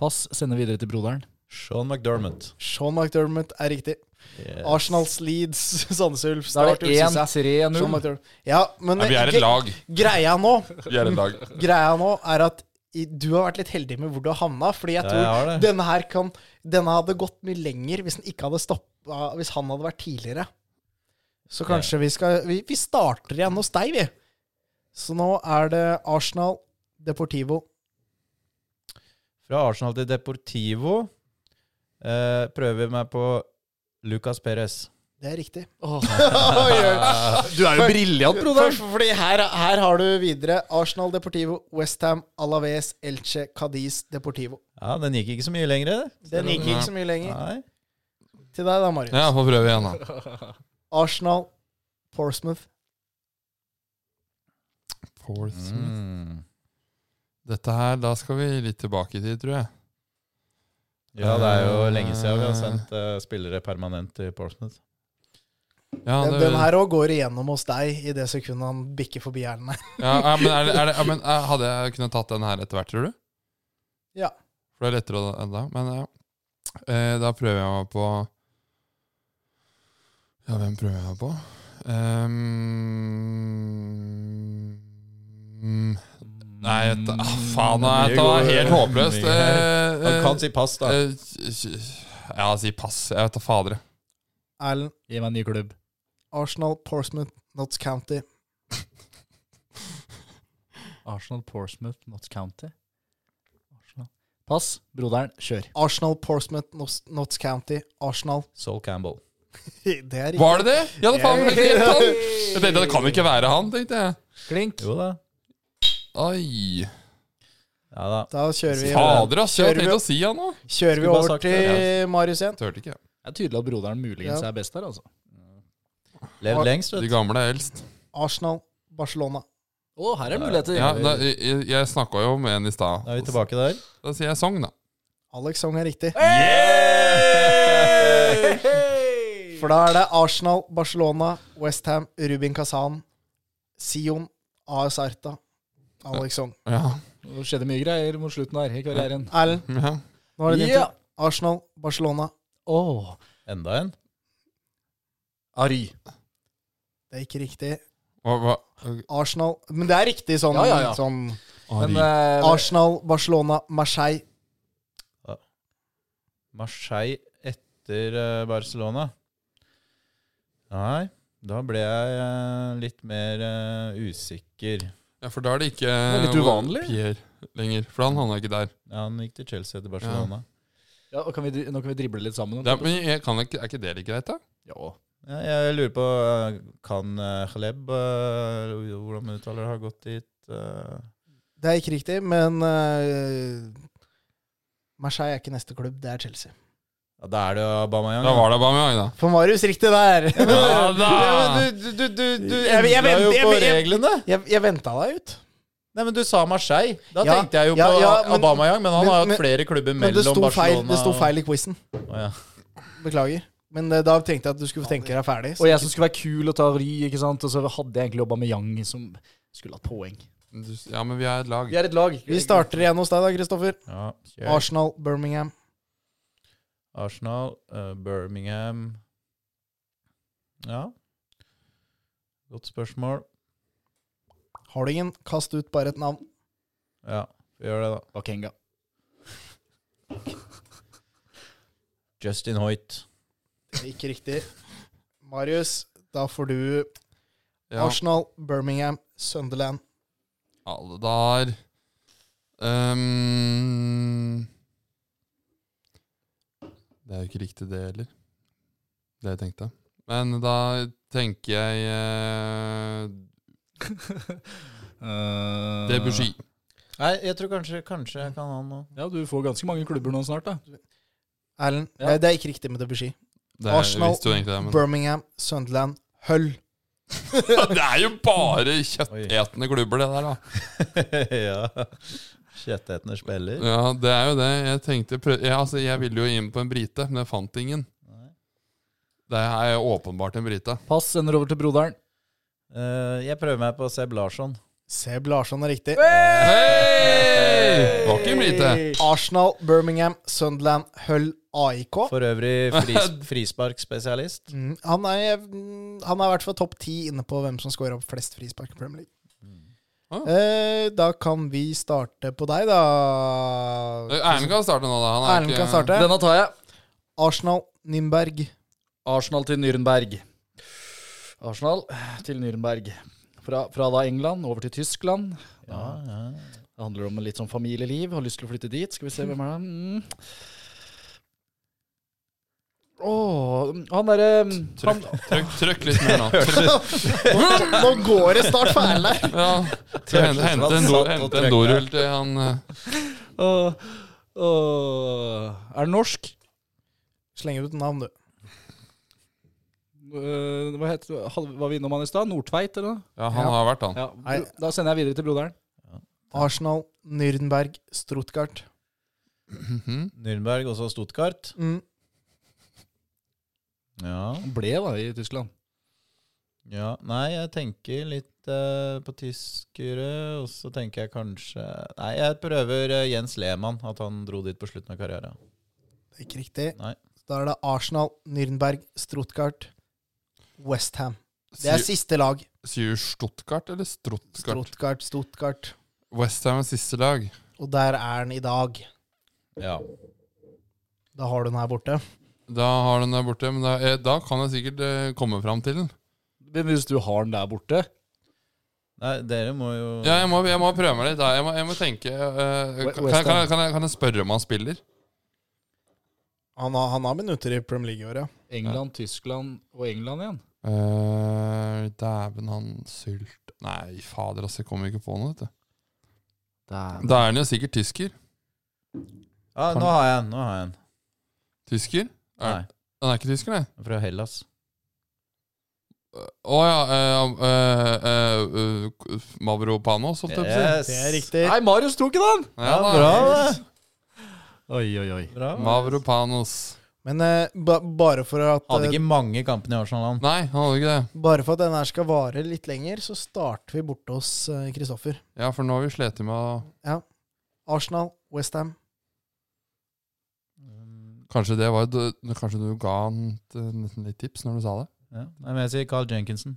Speaker 5: Pass, sender videre til broderen.
Speaker 4: Sean McDermott.
Speaker 2: Sean McDermott er riktig.
Speaker 4: Yes.
Speaker 2: Arsenals Leeds Sandnes Ulf.
Speaker 5: Da er
Speaker 2: Start
Speaker 5: det
Speaker 2: Ulf, synes jeg. Sean
Speaker 5: 1-3-0.
Speaker 2: McDermott. Ja, men
Speaker 1: Nei, vi er et
Speaker 2: ikke-
Speaker 1: lag.
Speaker 2: greia nå
Speaker 1: Vi er et lag.
Speaker 2: Greia nå er at i- du har vært litt heldig med hvor du har havna, fordi jeg
Speaker 4: Ja,
Speaker 2: tror
Speaker 4: jeg har det.
Speaker 2: denne her kan Denne hadde gått mye lenger hvis den ikke hadde stoppa Hvis han hadde vært tidligere. Så kanskje vi skal vi, vi starter igjen hos deg, vi. Så nå er det Arsenal, Deportivo
Speaker 4: Fra Arsenal til Deportivo eh, prøver vi meg på Lucas Perez.
Speaker 2: Det er riktig.
Speaker 5: Du er jo briljant,
Speaker 2: Først, fordi her, her har du videre Arsenal, Deportivo, Westham, Alaves, Elche, Cadiz, Deportivo.
Speaker 4: Ja, den gikk ikke så mye lenger, det.
Speaker 2: Den gikk ikke så mye lenger.
Speaker 4: Nei.
Speaker 2: Til deg da, Marius.
Speaker 1: Ja, får prøve igjen, da.
Speaker 2: Arsenal, Portsmouth.
Speaker 1: Portsmouth.
Speaker 4: Mm.
Speaker 1: Dette her, da skal vi litt tilbake i tid, tror jeg.
Speaker 4: Ja, det er
Speaker 1: Eh.
Speaker 4: jo lenge siden vi har sendt eh, spillere permanent til Portsmouth.
Speaker 1: Ja,
Speaker 2: Den,
Speaker 1: det,
Speaker 2: den her òg går igjennom hos deg i det sekundet han bikker forbi hjernen her.
Speaker 1: ja, ja, men, er det, er det, ja, men eh, Hadde jeg kunnet tatt den her etter hvert, tror du?
Speaker 2: Ja.
Speaker 1: For det er lettere å- enn da. Men ja. Eh, da prøver jeg meg på Ja, hvem prøver jeg meg på? Ehm, Um, nei, vet du- ah, faen, nei, dette var helt håpløst. Eh,
Speaker 4: Han kan si pass, da.
Speaker 1: Eh, k- k- Ja, si pass. Jeg vet da fader.
Speaker 2: Erlend,
Speaker 5: Gi meg en ny klubb.
Speaker 2: Arsenal, Portsmouth, Notts County.
Speaker 5: Arsenal, Portsmouth, Notts County. Arsenal. Pass, broderen, kjør.
Speaker 2: Arsenal, Portsmouth, Notts Notts County, Arsenal.
Speaker 4: Saul Campbell.
Speaker 2: Det er riktig.
Speaker 1: Var det det? Ja, det faen helt rett han. Jeg tenkte det kan ikke være han, tenkte jeg.
Speaker 5: Klink.
Speaker 4: Jo da.
Speaker 1: Oi.
Speaker 4: Ja da.
Speaker 2: Da kjører vi,
Speaker 1: Fader, ass. Jeg
Speaker 2: Kjører vi-
Speaker 1: tenkte å si han nå.
Speaker 2: kjører vi
Speaker 4: Skulle bare
Speaker 2: over
Speaker 4: sagt
Speaker 2: til Marius igjen.
Speaker 1: Turte ikke.
Speaker 5: Det er tydelig at broderen muligens
Speaker 2: Ja.
Speaker 5: er best her, altså.
Speaker 4: Levd lengst,
Speaker 1: De
Speaker 4: vet du.
Speaker 1: gamle er eldst.
Speaker 2: Arsenal, Barcelona.
Speaker 5: Å, her er muligheter.
Speaker 1: Ja, da, jeg jeg snakka jo om en i stad.
Speaker 4: Da er vi tilbake der.
Speaker 1: Da sier jeg Sogn, da.
Speaker 2: Alex Song er riktig.
Speaker 5: Hey!
Speaker 2: For da er det Arsenal, Barcelona, Westham, Rubin Kazan, Sion, AS Arta, Alex Song.
Speaker 1: Ja.
Speaker 5: Det skjedde mye greier mot slutten her i karrieren.
Speaker 2: Erlend,
Speaker 1: ja.
Speaker 2: nå er det din
Speaker 5: Ja.
Speaker 2: tur. Arsenal, Barcelona.
Speaker 5: Åh.
Speaker 4: Enda en.
Speaker 5: Ary.
Speaker 2: Det er ikke riktig.
Speaker 1: Hva, hva?
Speaker 2: Arsenal Men det er riktig sånn,
Speaker 5: Ja, ja, ja.
Speaker 2: sånn
Speaker 1: Ari.
Speaker 5: Men eh,
Speaker 2: Arsenal, Barcelona, Marseille.
Speaker 4: Marseille etter eh, Barcelona. Nei, da ble jeg eh, litt mer eh, usikker.
Speaker 1: Ja, for da er det ikke
Speaker 5: er litt uvanlig.
Speaker 1: Pierre lenger. For han havna ikke der.
Speaker 4: Ja, han gikk til Chelsea etter Barcelona.
Speaker 5: ja, og kan vi, dri- nå kan vi drible litt sammen. om
Speaker 1: Ja,
Speaker 5: det.
Speaker 1: men jeg kan ikke, er ikke det litt greit, da?
Speaker 5: Ja.
Speaker 4: Ja, jeg lurer på eh, Kan eh, Khaleb, eh, hvordan man uttaler det, ha gått dit? eh?
Speaker 2: Det er ikke riktig, men eh, Marseille er ikke neste klubb, det er Chelsea.
Speaker 4: Ja, Da er det jo Aubameyang.
Speaker 1: Da var det Aubameyang, da.
Speaker 2: For Marius, riktig der!
Speaker 1: Ja, da.
Speaker 4: men du, du, du, du
Speaker 2: Jeg- jeg
Speaker 4: endra jo
Speaker 2: venter- jeg-
Speaker 4: på
Speaker 2: jeg-
Speaker 4: reglene!
Speaker 2: Jeg, jeg venta deg ut.
Speaker 4: Nei, men du sa Marseille. Da
Speaker 2: Ja,
Speaker 4: tenkte jeg jo
Speaker 2: ja,
Speaker 4: på
Speaker 2: ja, men-
Speaker 4: Aubameyang, men han
Speaker 2: men-
Speaker 4: har
Speaker 2: men-
Speaker 4: hatt flere klubber
Speaker 2: Men det
Speaker 4: mellom
Speaker 2: sto feil,
Speaker 4: Barcelona
Speaker 2: det sto
Speaker 4: og-
Speaker 2: feil i quizen.
Speaker 4: Å, ja.
Speaker 2: Beklager. Men eh, da tenkte jeg at du skulle tenke deg ferdig.
Speaker 5: Og jeg som skulle være kul og ta Ary, ikke sant. Og så hadde jeg egentlig jobba med Yang, som skulle hatt poeng.
Speaker 1: Du- Ja, men vi er et lag.
Speaker 5: Vi er et lag.
Speaker 2: Vi starter igjen hos deg da, Kristoffer.
Speaker 4: Ja, kjør.
Speaker 2: Arsenal, Birmingham.
Speaker 4: Arsenal, eh, Birmingham Ja. Godt spørsmål.
Speaker 2: Har du ingen, kast ut bare et navn.
Speaker 4: Ja, vi gjør det, da.
Speaker 5: Bakenga.
Speaker 4: Justin Hoit.
Speaker 2: Det er Ikke riktig. Marius, da får du
Speaker 1: Ja,
Speaker 2: Arsenal, Birmingham, Sunderland.
Speaker 1: alle der. Ehm, det er jo ikke riktig det heller, det jeg tenkte. Men da tenker jeg eh, Debussy.
Speaker 4: Nei, jeg tror kanskje, kanskje jeg kan ha noe.
Speaker 5: Eh, Ja, du får ganske mange klubber nå snart, da.
Speaker 2: Erlend,
Speaker 5: Ja.
Speaker 2: nei, det er ikke riktig med Debussy.
Speaker 1: Det er, jeg
Speaker 2: Arsenal,
Speaker 1: visste jo egentlig det, men
Speaker 2: Birmingham, Sunderland, Hull.
Speaker 1: Det er jo bare kjøttetende klubber, det der, da.
Speaker 4: ja. Kjøttetende spiller.
Speaker 1: Ja, det er jo det. Jeg tenkte prø- jeg, altså, jeg ville jo inn på en brite, men jeg fant ingen. Det er åpenbart en brite.
Speaker 5: Pass sender over til broderen.
Speaker 4: Eh, jeg prøver meg på Seb Larsson.
Speaker 2: Seb Larsson er riktig.
Speaker 1: Hei! Var ikke en brite.
Speaker 2: Arsenal, Birmingham, Sunderland, Hull, AIK.
Speaker 4: For øvrig fris, frisparkspesialist.
Speaker 2: Mm, han, er, mm, han er i hvert fall topp ti inne på hvem som scorer opp flest frispark i Premier League. Mm.
Speaker 1: Ah.
Speaker 2: Eh, da kan vi starte på deg, da.
Speaker 1: Erlend kan starte nå, da. Han er
Speaker 2: Erlend
Speaker 1: ikke-
Speaker 2: kan starte.
Speaker 5: Denne tar jeg.
Speaker 2: Arsenal, Nimberg.
Speaker 5: Arsenal til Nürnberg. Arsenal til Nürnberg. Fra, fra da England over til Tyskland.
Speaker 4: Ja, ja.
Speaker 5: Det handler om litt sånn familieliv. Har lyst til å flytte dit. Skal vi se hvem er det mm. Åh, han derre mm, han,
Speaker 1: Trykk, trykk, trykk litt mer nå. Trykk,
Speaker 2: Nå går det snart for Erlend!
Speaker 1: ja. Så hente, hente en, do, hente en dorull til han eh,
Speaker 5: åh, åh, Er det norsk?
Speaker 2: Slenger ut navn, du.
Speaker 5: Eh, hva het, hal- var vi innom han i stad? Nordtveit, eller noe?
Speaker 1: Ja, han har vært, han.
Speaker 5: Ja,
Speaker 2: Nei.
Speaker 5: bro- da sender jeg videre til broderen.
Speaker 2: Arsenal, Nürnberg, Stuttgart.
Speaker 1: Mhm.
Speaker 4: Nürnberg, også Stuttgart.
Speaker 2: Mm.
Speaker 4: Ja.
Speaker 5: Han ble da i Tyskland.
Speaker 4: ja. Nei, jeg tenker litt eh, på tyskere, og så tenker jeg kanskje Nei, jeg prøver eh, Jens Lehmann, at han dro dit på slutten av karrieren.
Speaker 2: Det er ikke riktig.
Speaker 4: Nei.
Speaker 2: Da er det Arsenal, Nürnberg, Stuttgart, Westham. Det er
Speaker 1: Sier-
Speaker 2: siste lag.
Speaker 1: Sier Stuttgart eller Struttgart?
Speaker 2: Stuttgart, Stuttgart.
Speaker 1: Westham er siste lag.
Speaker 2: Og der er han i dag.
Speaker 4: Ja.
Speaker 2: Da har du den her borte.
Speaker 1: Da har den der borte. Men da, eh, da kan jeg sikkert eh, komme fram til den.
Speaker 5: Men hvis du har den der borte
Speaker 4: Nei, dere må jo
Speaker 1: Ja, jeg må, jeg må prøve meg litt. Da. Jeg, må, jeg må tenke eh, kan, kan, kan, jeg- kan, jeg, kan jeg spørre om han spiller?
Speaker 2: Han har, han har minutter i Premier League i år, ja.
Speaker 5: England, Tyskland og England igjen.
Speaker 1: Eh, Dæven, han sylt Nei, fader, altså. Jeg kommer ikke på noe, vet du. Da er han jo sikkert tysker.
Speaker 4: Ja, nå har jeg en. Nå har jeg en.
Speaker 1: Tysker?
Speaker 4: Nei,
Speaker 1: Er, han er ikke tysker, nei?
Speaker 4: fra Hellas.
Speaker 1: Å ja. eh, eh, eh, eh, Mavropanos, holdt jeg på å si.
Speaker 4: Yes.
Speaker 2: Det er riktig.
Speaker 5: Nei, Marius tok ikke den!
Speaker 1: Ja, da.
Speaker 4: Bra, det.
Speaker 5: Oi, oi, oi.
Speaker 4: Bra.
Speaker 1: Mavropanos.
Speaker 2: Men eh, ba, bare, for at,
Speaker 4: Hadde
Speaker 2: eh,
Speaker 4: ikke mange kampene i Arsenal. han.
Speaker 1: Nei, han hadde ikke det.
Speaker 2: bare for at denne her skal vare litt lenger, så starter vi borte hos eh, Kristoffer.
Speaker 1: Ja, for nå har vi slitt med å
Speaker 2: Arsenal, Westham.
Speaker 1: Kanskje det var et- Kanskje du ga han et, eh, nesten litt tips når du sa det?
Speaker 4: Ja. Nei, men jeg sier Carl Jenkinson.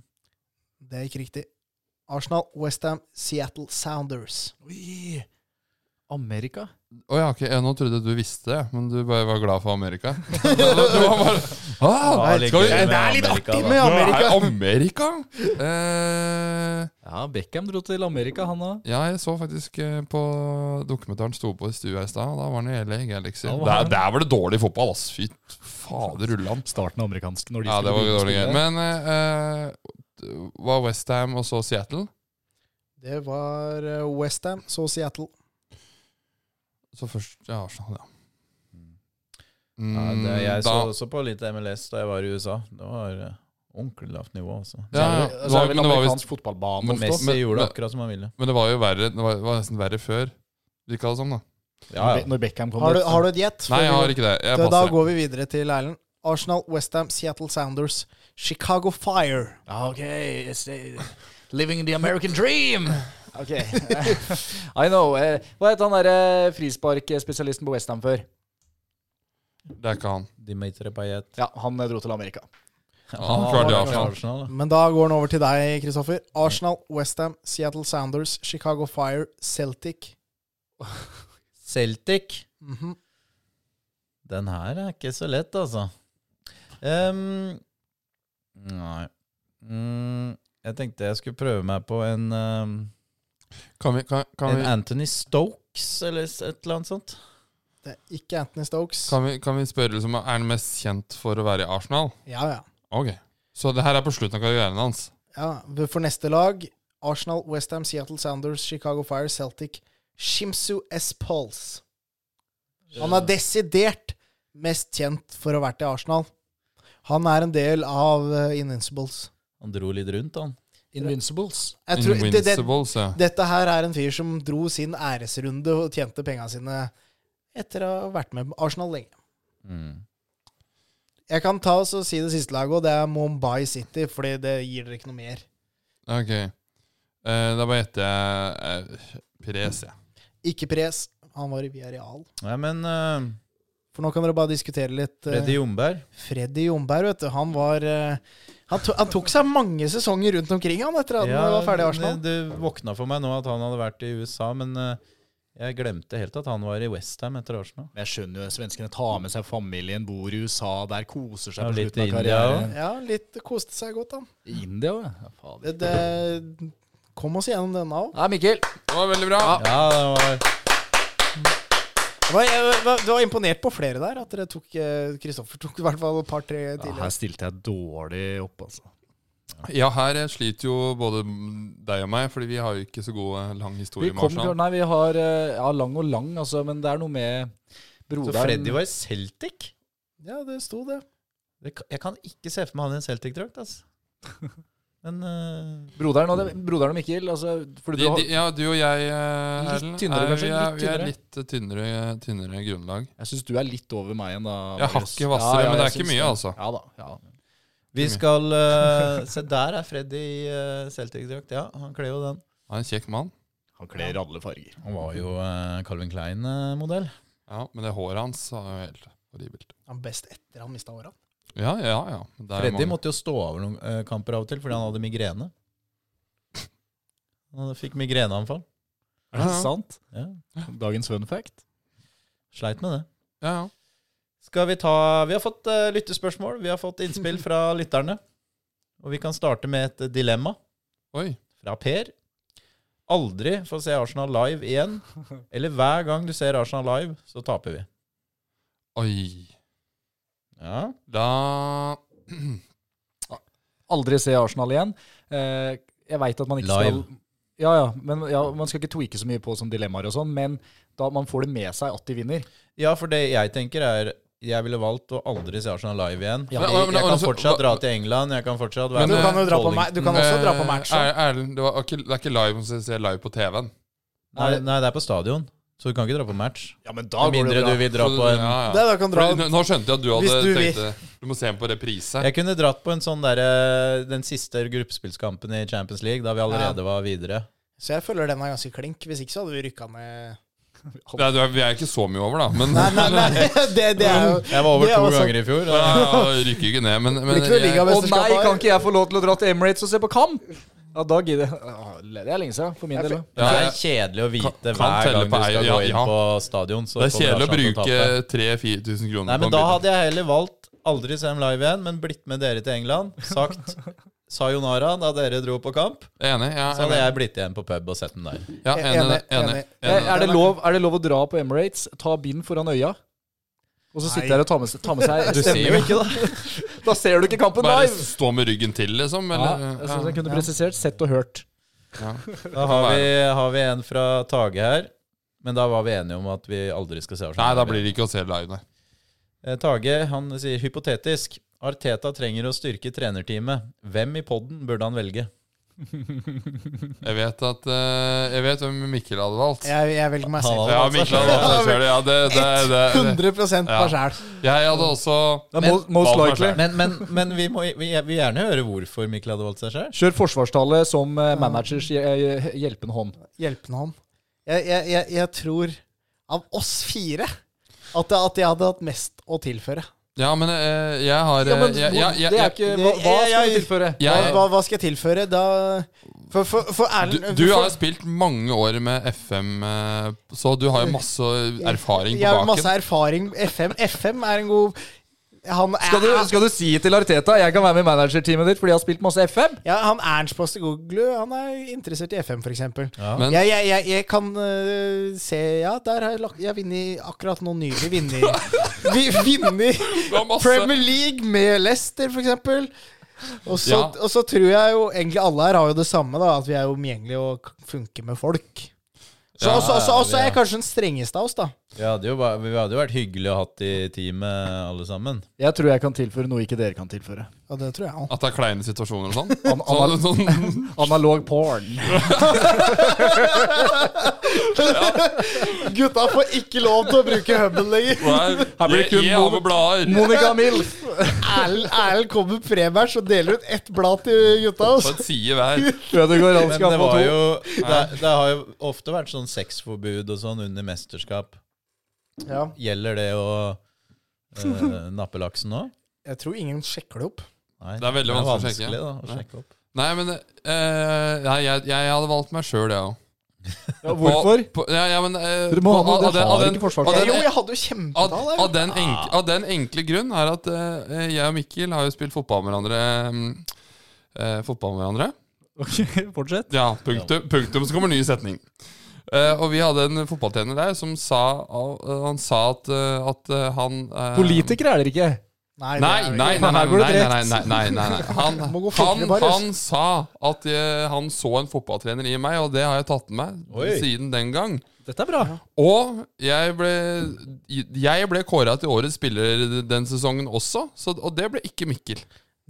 Speaker 2: Det er ikke riktig. Arsenal, Westham, Seattle Sounders.
Speaker 5: Oi. Amerika?
Speaker 1: Å ja, ok, jeg nå trodde jeg du visste det, men du bare var glad for Amerika. du var bare ah,
Speaker 4: Hva
Speaker 1: skal vi,
Speaker 4: ligger
Speaker 1: det
Speaker 4: med
Speaker 1: er litt
Speaker 4: Amerika,
Speaker 1: artig
Speaker 4: da?
Speaker 1: med Amerika! Amerika? Eh,
Speaker 5: Ja, Beckham dro til Amerika, han òg.
Speaker 1: ja, jeg så faktisk eh, på dokumentaren sto på i stua i stad. og Da var han i LA Galaxy.
Speaker 5: Ja, hva
Speaker 1: der,
Speaker 5: er det?
Speaker 1: der var det dårlig fotball, ass. Fy fader rullan.
Speaker 5: Starten av amerikansk når de
Speaker 1: Ja, det var
Speaker 5: begynne å
Speaker 1: dårlig
Speaker 5: spille.
Speaker 1: gøy. Men eh, eh, var Westham og så Seattle?
Speaker 2: Det var eh, Westham, så Seattle.
Speaker 1: Så først ja, Arsenal, ja.
Speaker 4: Mm, Ja, det, jeg
Speaker 1: Mm, da-
Speaker 4: så også på litt MLS da jeg var i USA. Det var eh, ordentlig lavt nivå, altså.
Speaker 1: ja, ja.
Speaker 5: Så er
Speaker 1: Det var,
Speaker 5: det vel
Speaker 1: men det var visst
Speaker 5: amerikansk fotballbane
Speaker 1: Men
Speaker 5: ofte.
Speaker 4: Messi
Speaker 1: men-
Speaker 4: gjorde
Speaker 1: men-
Speaker 4: akkurat som han ville.
Speaker 1: Men det var jo verre Det var, det var nesten verre før. Virka det som, da.
Speaker 4: Ja,
Speaker 5: Når Be-
Speaker 4: ja.
Speaker 5: Når Beckham kom
Speaker 2: Har du,
Speaker 5: dit.
Speaker 2: har du et gjett?
Speaker 1: Nei, jeg
Speaker 2: Før vi-
Speaker 1: har ikke det. Jeg
Speaker 2: Da, da
Speaker 1: passer.
Speaker 2: går vi videre til Erlend. Arsenal, Westham, Seattle Sounders, Chicago Fire.
Speaker 5: Ja, ok, it's, uh, living the American dream! Ok. I know. Eh, Hva het han derre frisparkspesialisten på Westham før?
Speaker 1: Det er ikke han.
Speaker 4: Dimitri Payet.
Speaker 5: Ja, han eh, dro til Amerika.
Speaker 1: Han er klart i Arsenal.
Speaker 4: da.
Speaker 2: Men da går den over til deg, Kristoffer. Arsenal, Westham, Seattle Sounders, Chicago Fire, Celtic.
Speaker 4: Celtic.
Speaker 2: Mhm.
Speaker 4: Den her er ikke så lett, altså. Ehm, nei. Mm, jeg tenkte jeg skulle prøve meg på en, ehm,
Speaker 1: Kan vi, kan, kan
Speaker 4: en
Speaker 1: vi,
Speaker 4: Anthony Stokes eller s- et eller annet sånt.
Speaker 2: Det er ikke Anthony Stokes.
Speaker 1: kan vi, kan vi spørre liksom, Er han mest kjent for å være i Arsenal?
Speaker 2: Ja, ja.
Speaker 1: Ok. Så det her er på slutten av karrieren hans.
Speaker 2: ja. For neste lag Arsenal, Westham, Seattle Sounders, Chicago Fire, Celtic. Shimsu S. Pulse. Han er desidert mest kjent for å ha vært i Arsenal. Han er en del av eh, Invincibles.
Speaker 4: Han dro litt rundt, han.
Speaker 5: Invincibles.
Speaker 2: Jeg tror, det, det,
Speaker 1: Invincibles, ja.
Speaker 2: Dette her er en fyr som dro sin æresrunde og tjente penga sine etter å ha vært med Arsenal lenge.
Speaker 4: Mm.
Speaker 2: Jeg kan ta oss og si det siste laget, og det er Mumbai City, fordi det gir dere ikke noe mer.
Speaker 1: Ok. Eh, da bare gjetter jeg eh, Pires, jeg.
Speaker 2: Ikke pres. Han var i Villarreal.
Speaker 4: Nei, men uh,
Speaker 2: For nå kan dere bare diskutere litt. eh,
Speaker 4: Freddy Jomberg
Speaker 2: Freddy Jomberg, vet du. Han var eh, han, to, han tok seg mange sesonger rundt omkring han etter at han var ferdig i Arsenal.
Speaker 4: Det, det våkna eh, for meg nå at han hadde vært i USA, men eh, jeg glemte helt at han var i Westham etter Arsenal.
Speaker 5: Men jeg skjønner jo svenskene tar med seg familien, bor i USA, der koser seg
Speaker 4: Ja,
Speaker 5: på
Speaker 4: litt
Speaker 5: slutten av
Speaker 4: i India
Speaker 5: karrieren.
Speaker 2: Ja, litt koste seg godt, han.
Speaker 5: I India òg, ja. faen.
Speaker 2: Det, det, kom oss gjennom denne òg.
Speaker 5: Nei, Mikkel.
Speaker 1: Det var veldig bra.
Speaker 4: Ja, det var
Speaker 2: Det var- jeg var- Du var imponert på flere der. At dere tok eh, Kristoffer tok i hvert fall et par-tre
Speaker 5: Ja,
Speaker 2: tidligere.
Speaker 5: her stilte jeg dårlig opp, altså.
Speaker 1: Ja, her eh, sliter jo både deg og meg, fordi vi har jo ikke så god eh, lang
Speaker 5: Vi
Speaker 1: historie med
Speaker 5: kom,
Speaker 1: Arsenal.
Speaker 5: nei, vi har eh, ja, lang og lang, altså, men det er noe med
Speaker 4: Så
Speaker 5: broderen
Speaker 4: Freddy var i Celtic?
Speaker 2: Ja, det sto det.
Speaker 4: Det, kan- jeg kan ikke se for meg han i en Celtic-drakt, altså. Men eh,
Speaker 5: Broderen og, det, broderen og Mikkel, altså fordi
Speaker 1: De,
Speaker 5: du har,
Speaker 1: de, ja, du og jeg, eh,
Speaker 5: Litt
Speaker 1: Erlend,
Speaker 5: tynnere,
Speaker 1: er-
Speaker 5: kanskje?
Speaker 1: vi er,
Speaker 5: Litt
Speaker 1: vi er
Speaker 5: tynnere.
Speaker 1: litt eh, tynnere, tynnere grunnlag.
Speaker 5: Jeg syns du er litt over meg igjen, da.
Speaker 1: Jeg har
Speaker 5: Marius.
Speaker 1: ikke hvassere, men det er
Speaker 5: jeg
Speaker 1: ikke
Speaker 5: syns
Speaker 1: mye, altså.
Speaker 5: Ja da. Ja.
Speaker 4: vi skal eh, Se, der er Freddy i eh, Celtic-drakt. Ja, han kler jo den.
Speaker 1: Han er en kjekk mann.
Speaker 5: Han kler alle farger.
Speaker 4: Han var jo eh, Calvin Klein-modell.
Speaker 1: Ja, Men det håret hans er jo helt horribelt.
Speaker 2: Han best etter han mista åra.
Speaker 1: Ja, ja, ja. Det er
Speaker 4: Freddy
Speaker 1: mange-
Speaker 4: måtte jo stå over noen eh, kamper av og til fordi han hadde migrene. Han fikk migreneanfall.
Speaker 5: Er det
Speaker 1: Ja.
Speaker 5: sant?
Speaker 4: Ja,
Speaker 5: Dagens fun fact.
Speaker 4: sleit med det.
Speaker 1: ja, ja.
Speaker 4: Skal vi ta Vi har fått eh, lyttespørsmål, vi har fått innspill fra lytterne. Og vi kan starte med et dilemma
Speaker 1: Oi.
Speaker 4: fra Per. Aldri få se Arsenal live igjen. Eller hver gang du ser Arsenal live, så taper vi.
Speaker 1: Oi.
Speaker 4: Ja.
Speaker 1: Da
Speaker 5: Aldri se Arsenal igjen. Eh, jeg veit at man ikke
Speaker 4: Live.
Speaker 5: skal ja, ja, men ja, Man skal ikke tweake så mye på som dilemmaer og sånn, men da man får det med seg at de vinner.
Speaker 4: ja, for det jeg tenker, er jeg ville valgt å aldri se Arsenal live igjen.
Speaker 1: Ja,
Speaker 4: jeg,
Speaker 1: men- men-
Speaker 4: jeg kan
Speaker 1: altså,
Speaker 4: fortsatt
Speaker 1: hva-
Speaker 4: dra til England, jeg kan fortsatt være
Speaker 2: Men du
Speaker 1: eh,
Speaker 2: kan jo dra på,
Speaker 4: Collington.
Speaker 2: ma- du kan også dra på
Speaker 1: Eh,
Speaker 2: match.
Speaker 1: Er- Erlend, det, var ikke- det er ikke live, man skal se live på TV-en.
Speaker 4: Nei, nei, det er på stadion, så du kan ikke dra på match.
Speaker 5: Ja, men
Speaker 4: Med mindre du vil dra
Speaker 1: Så-
Speaker 4: på en
Speaker 1: ja, ja.
Speaker 2: Det da kan dra
Speaker 1: Fordi nå- Nå skjønte jeg at du
Speaker 2: Hvis
Speaker 1: hadde
Speaker 2: du vil.
Speaker 1: tenkt det. Du må se den på reprise.
Speaker 4: Jeg kunne dratt på en sånn derre Den siste gruppespillskampen i Champions League, da vi allerede var videre.
Speaker 2: Så jeg føler den er ganske klink. Hvis ikke så hadde vi rykka ned
Speaker 1: Nei, du er- vi er ikke så mye over, da. Men
Speaker 2: Nei, nei, nei. Det, det er jo
Speaker 4: Jeg var over
Speaker 2: Det er
Speaker 4: to
Speaker 2: også-
Speaker 4: ganger i fjor.
Speaker 1: altså- Ja,
Speaker 4: Da.
Speaker 1: ja, ja, rykker ikke ned, men, men
Speaker 2: Blir ikke noe
Speaker 1: jeg-
Speaker 2: liga-
Speaker 5: Å nei,
Speaker 2: mesterskapet er-
Speaker 5: kan ikke jeg få lov til å dra til Emirates og se på kamp? Ja, da gidder jeg. Åh, Det er lenge siden, for min
Speaker 2: Jeg
Speaker 5: del.
Speaker 2: fikk-
Speaker 5: da.
Speaker 4: Det er
Speaker 1: Ja,
Speaker 4: kjedelig å vite
Speaker 1: Kan- kan
Speaker 4: hver
Speaker 1: telle
Speaker 4: gang
Speaker 1: på
Speaker 4: du skal
Speaker 1: ei-
Speaker 4: gå
Speaker 1: ja,
Speaker 4: inn
Speaker 1: ja.
Speaker 4: på stadion. Så
Speaker 1: det er
Speaker 4: kommer
Speaker 1: kjedelig å
Speaker 4: Arsenal til tape.
Speaker 1: bruke 3000-4000 kroner
Speaker 4: Nei,
Speaker 1: på
Speaker 4: men
Speaker 1: en
Speaker 4: Da
Speaker 1: billett.
Speaker 4: hadde jeg heller valgt aldri se dem live igjen, men blitt med dere til England. Sagt sayonara da dere dro på kamp.
Speaker 1: Jeg er Enig? Ja,
Speaker 4: Så hadde Sånn, jeg blitt igjen på pub og sett dem der.
Speaker 1: ja,
Speaker 2: Enig,
Speaker 1: enig, enig,
Speaker 2: enig.
Speaker 1: enig,
Speaker 5: Er, Eh, er, det lov, er det lov å dra på Emirates, ta bind foran øya, og så
Speaker 2: Nei.
Speaker 5: sitte her og ta med, seg- ta med seg
Speaker 4: Du ser jo
Speaker 5: stemningen?
Speaker 4: ikke, da.
Speaker 5: Da ser du ikke kampen
Speaker 1: Bare
Speaker 5: live!
Speaker 1: stå med ryggen til, liksom?
Speaker 5: Ja,
Speaker 1: Eller?
Speaker 5: jeg synes jeg
Speaker 1: Ja.
Speaker 5: kunne presisert, sett og hørt.
Speaker 1: Ja.
Speaker 4: Da har vi, har vi en fra Tage her. Men da var vi enige om at vi aldri skal se
Speaker 1: Nei,
Speaker 4: Arsenal.
Speaker 1: da
Speaker 4: live igjen.
Speaker 1: blir det ikke å se live, nei.
Speaker 4: Eh, Tage han sier hypotetisk Arteta trenger å styrke trenerteamet. Hvem i podden burde han velge?
Speaker 1: Jeg vet at eh, Jeg vet hvem Mikkel hadde valgt.
Speaker 2: Jeg, jeg velger meg selv.
Speaker 1: Ja, Mikkel hadde valgt seg selv. Ja, det, det, det, det.
Speaker 2: 100 meg
Speaker 1: Ja.
Speaker 2: sjæl.
Speaker 1: Jeg hadde også
Speaker 5: Det er
Speaker 4: Men-
Speaker 5: most, most
Speaker 1: Valgt meg
Speaker 5: likely.
Speaker 1: selv.
Speaker 4: Men, men, men vi må vi, jeg vil gjerne høre hvorfor Mikkel hadde valgt seg sjøl.
Speaker 5: Kjør forsvarstale som eh, managers eh, hjelpende hånd.
Speaker 2: Hjelpende hånd. Jeg, jeg, jeg, jeg tror, av oss fire, at, jeg- at jeg hadde hatt mest å tilføre.
Speaker 1: Ja, men eh, jeg har eh, jeg- jeg- jeg-
Speaker 5: det
Speaker 1: jeg-
Speaker 5: er ikke Hva, hva skal vi
Speaker 2: Jeg-
Speaker 5: tilføre?
Speaker 2: Hva,
Speaker 1: jeg-
Speaker 2: hva, hva skal jeg tilføre? Da For, for, for
Speaker 1: du,
Speaker 2: Erlend
Speaker 1: du
Speaker 2: for,
Speaker 1: har spilt mange år med FM, eh, så du har jo masse erfaring på
Speaker 2: Jeg har masse
Speaker 1: baken.
Speaker 2: erfaring. FM, FM er en god han er,
Speaker 5: Skal du, skal du si til Arteta jeg kan være med i managerteamet ditt fordi jeg har spilt masse FM?
Speaker 2: Ja, han Ernst Postegoglu han er interessert i FM, f.eks. Ja.
Speaker 1: Men-
Speaker 2: Jeg, jeg, jeg, jeg kan øh, se Ja, der har jeg lagt Jeg har vunnet akkurat nå nylig. Vunnet vi- vunnet
Speaker 1: har masse-
Speaker 2: Premier League med Leicester, f.eks. Og så,
Speaker 1: Ja.
Speaker 2: og så tror jeg jo egentlig alle her har jo det samme, da at vi er jo omgjengelige og k- funker med folk. Så
Speaker 1: Ja,
Speaker 2: også, også,
Speaker 4: ja,
Speaker 2: også er
Speaker 4: vi
Speaker 2: jeg kanskje den strengeste av oss, da.
Speaker 4: Vi hadde jo ba- vi hadde jo vært hyggelig å hatt i teamet, alle sammen.
Speaker 5: Jeg tror jeg kan tilføre noe ikke dere kan tilføre.
Speaker 2: Ja, det tror jeg også.
Speaker 1: At det er kleine situasjoner og sånn.
Speaker 5: An
Speaker 1: Så hadde
Speaker 5: anal
Speaker 1: du sånn
Speaker 5: analog porn.
Speaker 2: Gutta får ikke lov til å bruke huben lenger.
Speaker 1: Her
Speaker 5: blir det kun
Speaker 1: av og blader.
Speaker 5: Monica Milf.
Speaker 2: Erlend Erlend kommer prebæsj og deler ut ett blad til gutta.
Speaker 1: På
Speaker 2: Altså.
Speaker 1: en side hver.
Speaker 5: Ødegaard han
Speaker 4: Men
Speaker 5: skal
Speaker 4: det,
Speaker 5: få
Speaker 4: var
Speaker 5: to.
Speaker 4: jo, det, det har jo ofte vært sånn sexforbud og sånn under mesterskap.
Speaker 2: Ja,
Speaker 4: Gjelder det å eh, nappe laksen nå?
Speaker 2: jeg tror ingen sjekker det opp.
Speaker 4: Nei,
Speaker 1: Det er veldig vanskelig å sjekke.
Speaker 4: vanskelig, da, å
Speaker 1: Nei.
Speaker 4: sjekke opp.
Speaker 1: Nei, men eh, nei, jeg, jeg hadde valgt meg sjøl, jeg òg.
Speaker 5: Ja, hvorfor?
Speaker 1: På, ja, ja, men, eh,
Speaker 5: Dere må ha
Speaker 1: på-
Speaker 5: noe,
Speaker 1: av- av den-
Speaker 5: dere har
Speaker 1: av den-
Speaker 5: ikke forsvar.
Speaker 1: av den-
Speaker 2: jo, jeg hadde jo
Speaker 1: Av,
Speaker 2: kjempetall. jeg.
Speaker 1: av, den enkle, av den enkle grunn er at eh, jeg og Mikkel har jo spilt fotball med hverandre. mm, eh, fotball med hverandre.
Speaker 5: Ok, Fortsett.
Speaker 1: Ja, punktum, punktum, så kommer ny setning. Eh, og vi hadde en fotballtrener der som sa, eh, han sa at, eh, at eh, han eh,
Speaker 5: Um, Politikere er dere ikke.
Speaker 2: Nei,
Speaker 1: Nei,
Speaker 2: det
Speaker 1: nei,
Speaker 2: er-
Speaker 1: nei, nei,
Speaker 5: Her går det
Speaker 1: nei, nei,
Speaker 5: tregt.
Speaker 1: nei, nei, nei, nei. Han,
Speaker 2: Må gå
Speaker 1: han,
Speaker 2: fortere bare, ass.
Speaker 1: han sa at eh, han så en fotballtrener i meg, og det har jeg tatt med meg
Speaker 4: Oi.
Speaker 1: siden den gang.
Speaker 5: Dette er bra.
Speaker 1: Og jeg ble, jeg ble kåra til årets spiller den sesongen også, så, og det ble ikke Mikkel.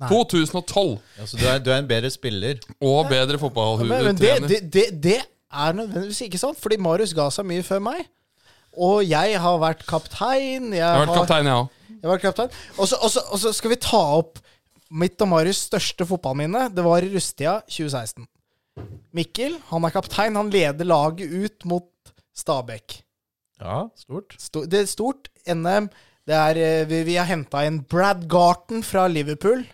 Speaker 1: 2012
Speaker 4: Altså, du, er, du er en bedre spiller.
Speaker 1: og bedre
Speaker 2: Men, men det,
Speaker 1: fotballtrener.
Speaker 2: det, det, det er nødvendigvis ikke sant, fordi Marius ga seg mye før meg. Og jeg har vært kaptein. Jeg
Speaker 1: Jeg har vært kaptein, jeg òg.
Speaker 2: Jeg var kaptein. Og så- Og så og så skal vi ta opp mitt og Marius' største fotballminne. Det var i Rustia 2016. Mikkel han er kaptein. Han leder laget ut mot Stabæk.
Speaker 4: Ja, stort.
Speaker 2: Sto- Det er stort. NM. Det er, eh, vi, vi har henta inn Brad Garton fra Liverpool.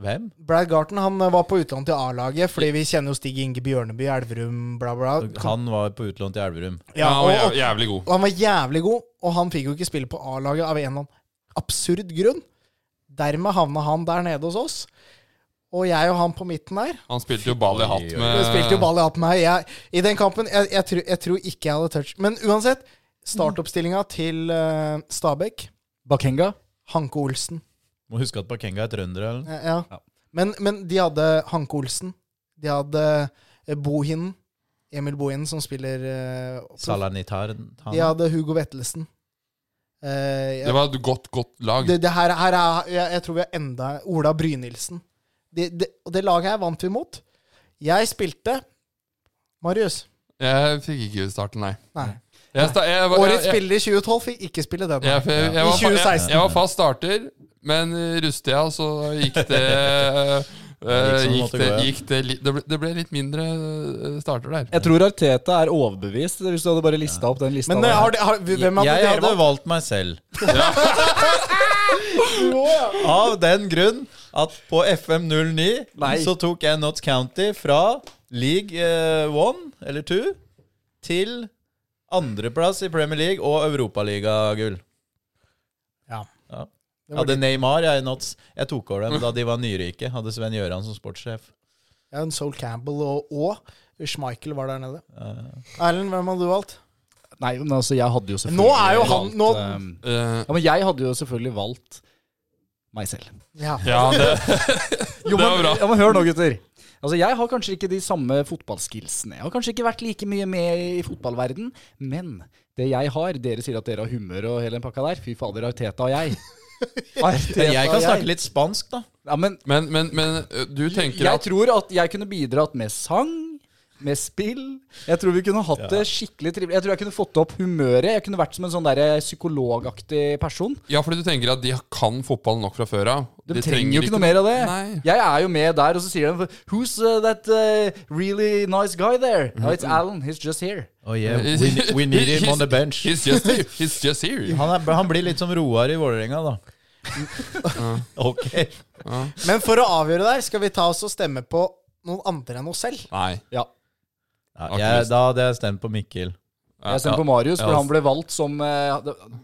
Speaker 4: Hvem?
Speaker 2: Brad Garton han eh, var på utlån til A-laget, fordi vi kjenner jo Stig Inge Bjørneby, Elverum, bla, bla.
Speaker 4: Han var på utlån til Elverum.
Speaker 1: Ja,
Speaker 2: Ja,
Speaker 1: og
Speaker 2: og, og,
Speaker 1: jæv- jævlig god.
Speaker 2: og han var jævlig god, og han fikk jo ikke spille på A-laget av en eller annen absurd grunn. Dermed havna han der nede hos oss. Og jeg og han på midten der.
Speaker 1: Han spilte jo ball i hatt med
Speaker 2: Vi spilte jo ball i hatt med meg. Jeg, I den kampen jeg, jeg, tror, jeg tror ikke jeg hadde touch. Men uansett, startoppstillinga til eh, Stabæk
Speaker 5: Bakenga.
Speaker 2: Hanke Olsen.
Speaker 4: Må huske at Bakenga er trønder. Eller?
Speaker 2: Eh, ja. Men, men de hadde Hanke Olsen. De hadde eh, Bohinen. Emil Bohinen, som spiller eh,
Speaker 4: Salanitar. han-
Speaker 2: De hadde Hugo Vettelsen. Eh, jeg-
Speaker 1: Det var et godt, godt lag.
Speaker 2: Det, det her, her er, jeg, jeg tror vi har enda Ola Brynildsen. Det, det, og det laget her vant vi mot. Jeg spilte Marius.
Speaker 1: Jeg fikk ikke starten, nei.
Speaker 2: Nei.
Speaker 1: Jeg, sta- jeg, var- jeg,
Speaker 2: Årets
Speaker 1: jeg,
Speaker 2: spiller i 2012 fikk ikke spille den.
Speaker 1: jeg, jeg, jeg, var,
Speaker 2: I
Speaker 1: fa- jeg,
Speaker 2: 2016.
Speaker 1: jeg var fast starter, men i Rustia så gikk det eh,
Speaker 4: sånn
Speaker 1: gikk
Speaker 4: måtte
Speaker 1: det,
Speaker 4: gå, ja.
Speaker 1: gikk det, li- det, ble, det ble litt mindre eh, starter der.
Speaker 5: Jeg tror Arteta er overbevist, hvis du hadde bare lista opp den lista.
Speaker 2: Men
Speaker 5: der.
Speaker 2: eh, har, de- har, hvem hadde
Speaker 4: jeg
Speaker 2: dere
Speaker 4: hadde
Speaker 2: valgt?
Speaker 4: valgt meg selv. Av den grunn at på FM09
Speaker 5: Nei.
Speaker 4: så tok jeg Notts County fra league eh, one eller two til andreplass i Premier League og Europaligagull.
Speaker 2: Ja.
Speaker 4: Ja. Jeg hadde Neymar jeg i Notts. Jeg tok over dem da de var nyrike. Hadde Sven Gjøran som sportssjef.
Speaker 2: Ja, en Sol Campbell og, og Schmeichel var der nede. Erlend, hvem hadde du valgt?
Speaker 5: Nei, men altså, jeg hadde jo selvfølgelig
Speaker 2: Nå er jo han-
Speaker 5: valgt,
Speaker 2: nå-
Speaker 5: ehm,
Speaker 1: Eh,
Speaker 5: Ja, men jeg hadde jo selvfølgelig valgt meg selv.
Speaker 2: Ja.
Speaker 1: ja, det,
Speaker 5: Jo,
Speaker 1: Det var
Speaker 5: men,
Speaker 1: bra.
Speaker 5: ja, men hør nå, gutter. Altså, Jeg har kanskje ikke de samme fotballskillsene. Jeg har kanskje ikke vært like mye med i fotballverden, men det jeg har Dere sier at dere har humør og hele den pakka der. Fy fader, Arteta og jeg. Arteta.
Speaker 4: Jeg kan snakke litt spansk, da.
Speaker 5: Ja, men
Speaker 1: Men, men, men ø, du tenker
Speaker 5: jeg
Speaker 1: at
Speaker 5: tror at jeg kunne bidratt med sang, med spill. Jeg tror vi kunne hatt det skikkelig trivelig. Jeg tror jeg kunne fått opp humøret. Jeg kunne vært som en sånn der psykologaktig person.
Speaker 1: Ja, fordi du tenker at de kan fotballen nok fra før av.
Speaker 5: De, trenger jo ikke noe mer av det.
Speaker 1: Nei.
Speaker 5: Jeg er jo med der, og så sier de Who's uh, that uh, really nice guy there? No, it's Alan. He's just here.
Speaker 4: Oh yeah, we, ne- we need him on the bench.
Speaker 1: He's just, he's just here.
Speaker 4: Han, er, han blir litt som Roar i Vålerenga, da. ok.
Speaker 2: Men for å avgjøre der, skal vi ta oss og stemme på noen andre enn oss selv.
Speaker 1: Nei.
Speaker 5: Ja.
Speaker 4: Ja, jeg, da hadde jeg stemt på Mikkel.
Speaker 5: Jeg stemmer på Marius, for han ble valgt som uh,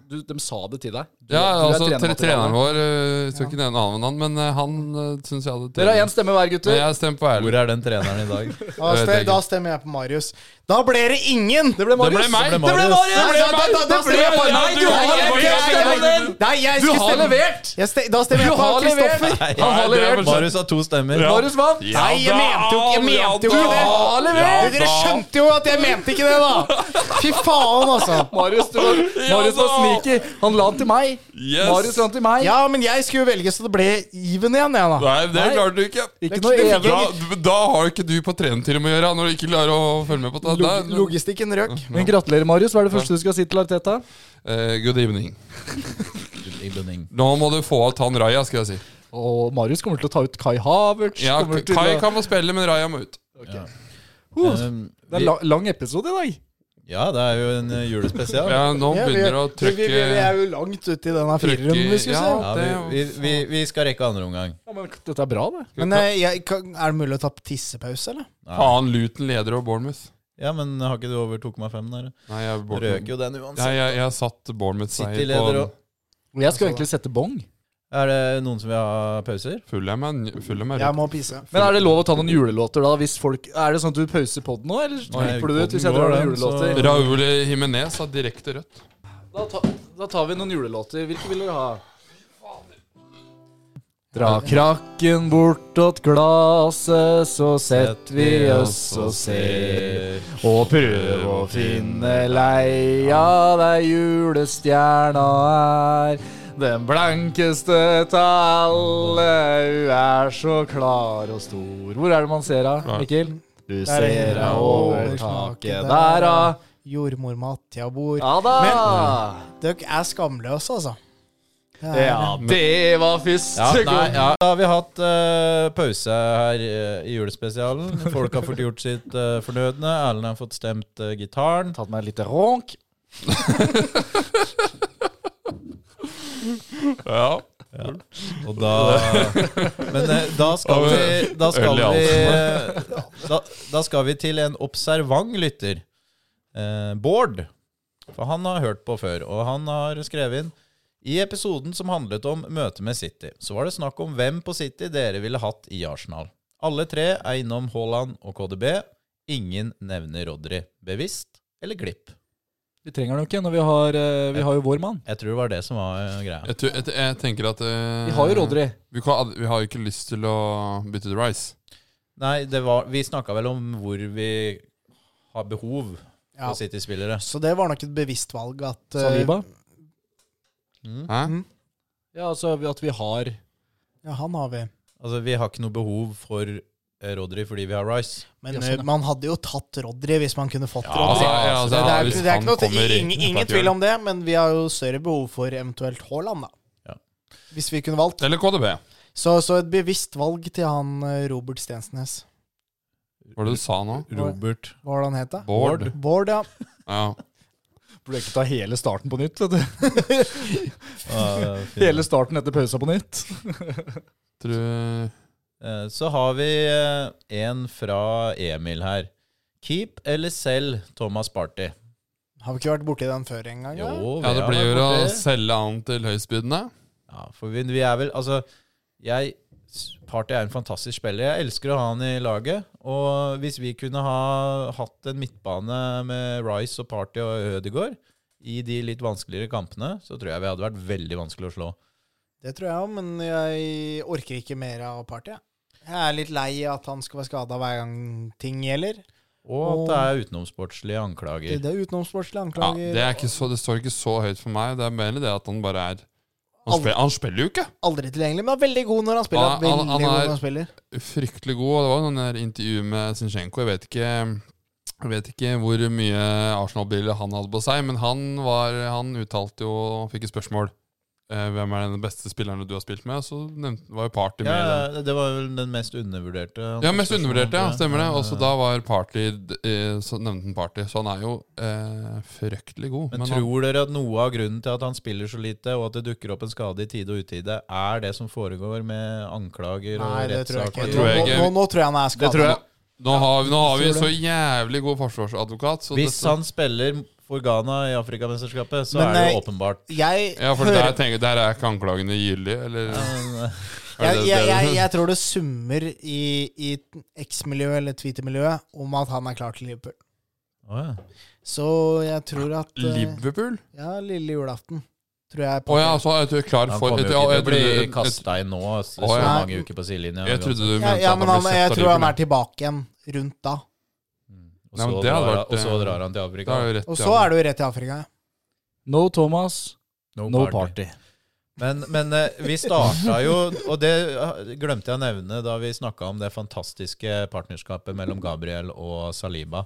Speaker 5: du, De sa det til deg. Du,
Speaker 1: Ja,
Speaker 5: du er
Speaker 1: altså tre,
Speaker 5: trenermateriale.
Speaker 1: treneren vår ø, Skal ikke nevne navnet han, men ø, han ø, syns jeg hadde
Speaker 5: Dere har én stemme hver,
Speaker 1: Men
Speaker 5: gutter.
Speaker 1: jeg stemmer på Erlend.
Speaker 4: Hvor er den treneren i dag?
Speaker 2: Da,
Speaker 1: Det
Speaker 2: stem,
Speaker 1: er
Speaker 2: da stemmer jeg på Marius. Da ble det ingen!
Speaker 5: Det ble Marius.
Speaker 1: ble meg.
Speaker 5: Det ble
Speaker 4: Marius.
Speaker 5: Marius.
Speaker 2: Nei, da- da- da- da
Speaker 5: Det ble
Speaker 2: stemmer jeg på-
Speaker 5: Marius.
Speaker 1: Nei,
Speaker 5: Nei, du har
Speaker 1: jeg-
Speaker 5: ikke
Speaker 1: jeg- jeg-
Speaker 5: stemt på den!
Speaker 2: Nei, jeg
Speaker 5: Du
Speaker 2: skal
Speaker 5: har
Speaker 2: stemme.
Speaker 5: levert!
Speaker 2: Jeg ste da stemmer
Speaker 5: Du
Speaker 2: jeg på
Speaker 5: har
Speaker 2: Kristoffer.
Speaker 5: levert! Han har levert.
Speaker 4: Marius har to stemmer.
Speaker 5: Marius vant!
Speaker 2: Nei, jeg mente jo ikke, jeg mente jo ikke det!
Speaker 5: har levert!
Speaker 2: Dere skjønte jo at jeg mente ikke det, da! Fy faen, altså.
Speaker 5: Marius, du var, Marius var sneaky. Han la den til meg.
Speaker 1: Yes.
Speaker 5: Marius la den til meg.
Speaker 2: Ja, men jeg skulle jo velge, så det ble even igjen, jeg, da.
Speaker 1: Nei, det
Speaker 5: Nei.
Speaker 1: klarte du ikke.
Speaker 5: Ikke noe evig.
Speaker 1: Da, da har ikke du på trenerteam å gjøre, når du ikke klarer å følge med på det.
Speaker 2: Log logistikken røk.
Speaker 5: Men gratulerer, Marius. Hva er det første du skal si til Arteta?
Speaker 1: Eh, good evening.
Speaker 4: Evening.
Speaker 1: Nå må du få av Tan Raja, skal jeg si.
Speaker 5: Og Marius kommer til å ta ut Kai Havertz.
Speaker 1: Ja,
Speaker 5: kommer til
Speaker 1: Kai
Speaker 5: å-
Speaker 1: kan få spille, men Raja må ut.
Speaker 5: Uh,
Speaker 4: Um,
Speaker 5: Det er
Speaker 4: vi,
Speaker 5: la, lang episode i dag.
Speaker 4: ja, det er jo en eh, julespesial.
Speaker 1: Ja, nå
Speaker 2: Ja, vi,
Speaker 1: begynner det å
Speaker 2: vi, vi, vi
Speaker 1: trykke
Speaker 2: er jo langt ute i denne firerunden, vi skulle
Speaker 1: ja,
Speaker 2: se.
Speaker 4: Ja, vi, vi, vi, vi skal rekke andre omgang.
Speaker 5: Ja, men dette er bra, det.
Speaker 2: Men eh, jeg, kan, er det mulig å ta tissepause, eller?
Speaker 1: Faen, Luton leder over Bournemouth.
Speaker 4: Ja, men har ikke du over 2,5 der?
Speaker 1: Nei, jeg,
Speaker 4: Røker
Speaker 1: Bournemouth.
Speaker 4: jo den
Speaker 1: Nei,
Speaker 4: uansett.
Speaker 1: jeg, jeg har satt Bournemouth-seier
Speaker 4: City-leder
Speaker 1: på
Speaker 4: og
Speaker 5: Og jeg skal jo egentlig sette bong.
Speaker 4: Er det noen som vil ha pauser?
Speaker 1: Fulham er- Fulham er
Speaker 2: Jeg må pisse.
Speaker 5: Men er det lov å ta noen julelåter, da? Hvis folk, er det sånn at du pauser podden nå, eller
Speaker 4: Nei,
Speaker 5: klipper du det ut hvis jeg
Speaker 4: podden
Speaker 5: drar
Speaker 4: går,
Speaker 5: noen
Speaker 4: den, så-
Speaker 5: julelåter?
Speaker 1: Raúl Jiménez har direkte rødt.
Speaker 5: Da, ta, da tar vi noen julelåter. Hvilke vil dere ha? Dra krakken bort åt glaset, så sett vi oss og ser. Og prøv å finne leia der julestjerna er. Den blankeste til alle, hun er så klar og stor. Hvor er det man ser henne, Mikkel? Du ser henne over taket der, da.
Speaker 2: Jordmormat, ja, bord.
Speaker 5: Ja da!
Speaker 2: Dere er skamløse, altså. Det er-
Speaker 5: Ja, det var
Speaker 4: Ja,
Speaker 5: første
Speaker 4: nei,
Speaker 5: gang.
Speaker 4: ja. Da har vi hatt eh, pause her eh, i julespesialen. Folk har fått gjort sitt eh, fornødne. Erlend har fått stemt eh, gitaren.
Speaker 5: Tatt meg litt ronk.
Speaker 1: Ja.
Speaker 4: Og da Men eh, da skal
Speaker 1: Og,
Speaker 4: vi Da skal
Speaker 1: øl i
Speaker 4: vi,
Speaker 1: halsen.
Speaker 4: eh, da, da skal vi til en observant lytter. Eh, Bård. For han har hørt på før, og han har skrevet inn I episoden som handlet om møtet med City, så var det snakk om hvem på City dere ville hatt i Arsenal. Alle tre er innom Haaland og KDB. Ingen nevner Rodry. Bevisst eller glipp?
Speaker 5: Vi trenger den jo ikke når vi har, eh, vi har jo vår mann.
Speaker 4: Jeg tror det var det som var eh, greia.
Speaker 1: Jeg, tror- jeg, jeg tenker at eh,
Speaker 5: Vi har jo Rodri.
Speaker 1: Vi, kan, vi har jo ikke lyst til å bytte til Rice.
Speaker 4: Nei, det var, vi snakka vel om hvor vi har behov
Speaker 2: Ja.
Speaker 4: for City-spillere.
Speaker 2: Så det var nok et bevisst valg at eh,
Speaker 5: Saliba.
Speaker 4: Mm.
Speaker 1: Hæ?
Speaker 2: Mm.
Speaker 5: Ja, altså at vi har
Speaker 2: Ja, han har vi.
Speaker 4: Altså, vi har ikke noe behov for eh, Rodri fordi vi har Rice.
Speaker 2: Men
Speaker 5: Ja, sånn,
Speaker 2: eh,
Speaker 5: ja.
Speaker 2: man hadde jo tatt Rodri hvis man kunne fått
Speaker 1: altså,
Speaker 2: Rodri.
Speaker 1: ja, altså,
Speaker 2: det, er,
Speaker 1: hvis
Speaker 2: ikke- det er
Speaker 1: han
Speaker 2: ikke noe,
Speaker 1: kommer i-
Speaker 2: ingen,
Speaker 1: på
Speaker 2: ingen
Speaker 1: et
Speaker 2: tvil
Speaker 1: hjørne.
Speaker 2: om det, men vi har jo større behov for eventuelt Haaland, da.
Speaker 4: Ja.
Speaker 2: Hvis vi kunne valgt.
Speaker 1: Eller KDB.
Speaker 2: Så, så et bevisst valg til han eh, Robert Stensnes.
Speaker 1: Hva var det du sa nå?
Speaker 4: Robert.
Speaker 2: Hva var det han het, da?
Speaker 1: Bård?
Speaker 2: Bård, ja.
Speaker 1: Ja.
Speaker 5: Burde ikke ta hele starten på nytt, vet du.
Speaker 4: Eh, fin.
Speaker 5: Hele starten etter pausa på nytt.
Speaker 1: Tror
Speaker 4: Eh, Så har vi eh, en fra Emil her. Keep eller selg Thomas Party?
Speaker 2: Har vi ikke vært borti den før engang? da?
Speaker 4: Jo,
Speaker 1: Ja, det
Speaker 4: har
Speaker 1: blir
Speaker 4: vært
Speaker 1: jo å
Speaker 4: borti det.
Speaker 1: selge han til høystbydende.
Speaker 4: Ja, for vi, vi er vel Altså, jeg Party er en fantastisk spiller. Jeg elsker å ha han i laget. Og hvis vi kunne ha hatt en midtbane med Rice og Party og Ødegaard i de litt vanskeligere kampene, så tror jeg vi hadde vært veldig vanskelig å slå.
Speaker 2: Det tror jeg òg, men jeg orker ikke mer av Party. jeg. Jeg er litt lei at han skal være skada hver gang ting gjelder.
Speaker 4: Og at det er utenomsportslige anklager.
Speaker 2: Det er utenomsportslige
Speaker 1: Ja,
Speaker 2: anklager.
Speaker 1: det, er ikke så, det står ikke så høyt for meg. Det er mer det at han bare er Han, spiller, han spiller jo ikke!
Speaker 2: Aldri tilgjengelig, men er veldig god når han spiller.
Speaker 1: Han- han- han
Speaker 2: veldig god
Speaker 1: er-
Speaker 2: når han spiller.
Speaker 1: Fryktelig god. og Det var jo noen der intervju med Zinchenko. Jeg vet ikke jeg vet ikke hvor mye Arsenal-briller han hadde på seg, men han, var, han uttalte jo Han fikk et spørsmål. eh, Hvem er den beste spilleren du har spilt med? Så nevnte, var jo Party med. i den.
Speaker 4: Ja, det var vel den mest undervurderte.
Speaker 1: Ja, mest undervurderte, ja. Stemmer det. Og så da var Party eh, Så nevnte han Party. Så han er jo eh, fryktelig god.
Speaker 4: Men,
Speaker 1: Men han,
Speaker 4: tror dere at noe av grunnen til at han spiller så lite, og at det dukker opp en skade i tide og utide, er det som foregår med anklager
Speaker 2: Nei,
Speaker 4: og
Speaker 2: det tror jeg ikke.
Speaker 4: rettssaker?
Speaker 1: Det tror jeg
Speaker 2: Nå,
Speaker 1: ikke.
Speaker 2: nå, nå tror jeg han er
Speaker 5: Det tror
Speaker 2: skada.
Speaker 5: jeg.
Speaker 1: nå, har, vi- nå har vi
Speaker 2: tror
Speaker 1: så jævlig god forsvarsadvokat, så
Speaker 4: Hvis
Speaker 1: dette-
Speaker 4: han spiller for Ghana i Afrikamesterskapet, så
Speaker 2: Men,
Speaker 4: er det jo
Speaker 2: eh,
Speaker 4: åpenbart.
Speaker 2: Jeg,
Speaker 1: Ja, for
Speaker 2: hører,
Speaker 1: der, tenker, jeg- der er ikke anklagene gyldige, eller
Speaker 4: Men, eh,
Speaker 1: er
Speaker 2: jeg,
Speaker 1: det-
Speaker 2: jeg,
Speaker 1: det er
Speaker 2: jeg,
Speaker 1: det-
Speaker 2: jeg tror det summer i, i X-miljøet eller Twitter-miljøet om at han er klar til Liverpool.
Speaker 4: Å ja.
Speaker 2: Så jeg tror at eh,
Speaker 1: Liverpool?
Speaker 2: Ja, lille julaften. Tror jeg
Speaker 1: Å ja, så er du klar
Speaker 4: Han
Speaker 1: for
Speaker 4: kommer jo
Speaker 1: et,
Speaker 4: ikke
Speaker 1: ja,
Speaker 4: til
Speaker 1: jeg,
Speaker 4: å bli
Speaker 1: trodde, et,
Speaker 4: kasta inn nå, så, så
Speaker 1: Å, ja.
Speaker 4: mange uker på sidelinja.
Speaker 1: jeg trodde du
Speaker 2: ja,
Speaker 1: mente
Speaker 2: ja,
Speaker 1: at
Speaker 2: men
Speaker 1: han
Speaker 2: han,
Speaker 1: ble
Speaker 2: jeg
Speaker 1: kjøpt av
Speaker 2: tror han er
Speaker 1: Liverpool.
Speaker 2: tilbake igjen rundt da.
Speaker 4: Mm.
Speaker 1: Nei,
Speaker 4: Og så,
Speaker 1: men det hadde
Speaker 4: drar,
Speaker 1: vært,
Speaker 4: og så
Speaker 1: eh,
Speaker 4: drar han til Afrika.
Speaker 1: Da er du rett
Speaker 2: Og
Speaker 1: i
Speaker 2: så
Speaker 1: alle.
Speaker 2: er du rett i Afrika. ja.
Speaker 5: No Thomas,
Speaker 4: No,
Speaker 5: no
Speaker 4: party.
Speaker 5: party.
Speaker 4: Men, men eh, vi starta jo, og det eh, glemte jeg å nevne da vi snakka om det fantastiske partnerskapet mellom Gabriel og Saliba.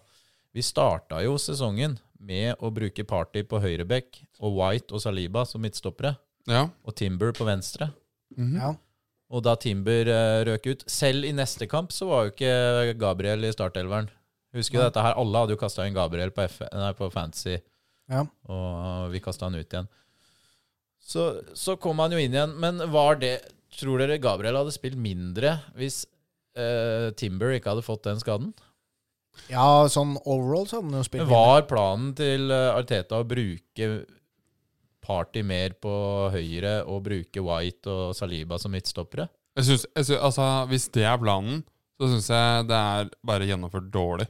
Speaker 4: Vi starta jo sesongen med å bruke Party på høyreback og White og Saliba som midtstoppere,
Speaker 1: Ja.
Speaker 4: og Timber på venstre.
Speaker 1: Mhm.
Speaker 2: Ja.
Speaker 4: Og da Timber eh, røk ut Selv i neste kamp så var jo ikke Gabriel i startelveren. Husker du dette her? Alle hadde jo kasta inn Gabriel på, F nei, på Fantasy,
Speaker 2: Ja.
Speaker 4: og vi kasta han ut igjen. Så, så kom han jo inn igjen. Men var det Tror dere Gabriel hadde spilt mindre hvis eh, Timber ikke hadde fått den skaden?
Speaker 2: ja, sånn overall så hadde han jo
Speaker 4: Men
Speaker 2: spilt mindre.
Speaker 4: var planen til eh, Arteta å bruke Party mer på høyre og bruke White og Saliba som midtstoppere?
Speaker 1: Jeg synes, jeg synes, altså, hvis det er planen, så syns jeg det er bare gjennomført dårlig.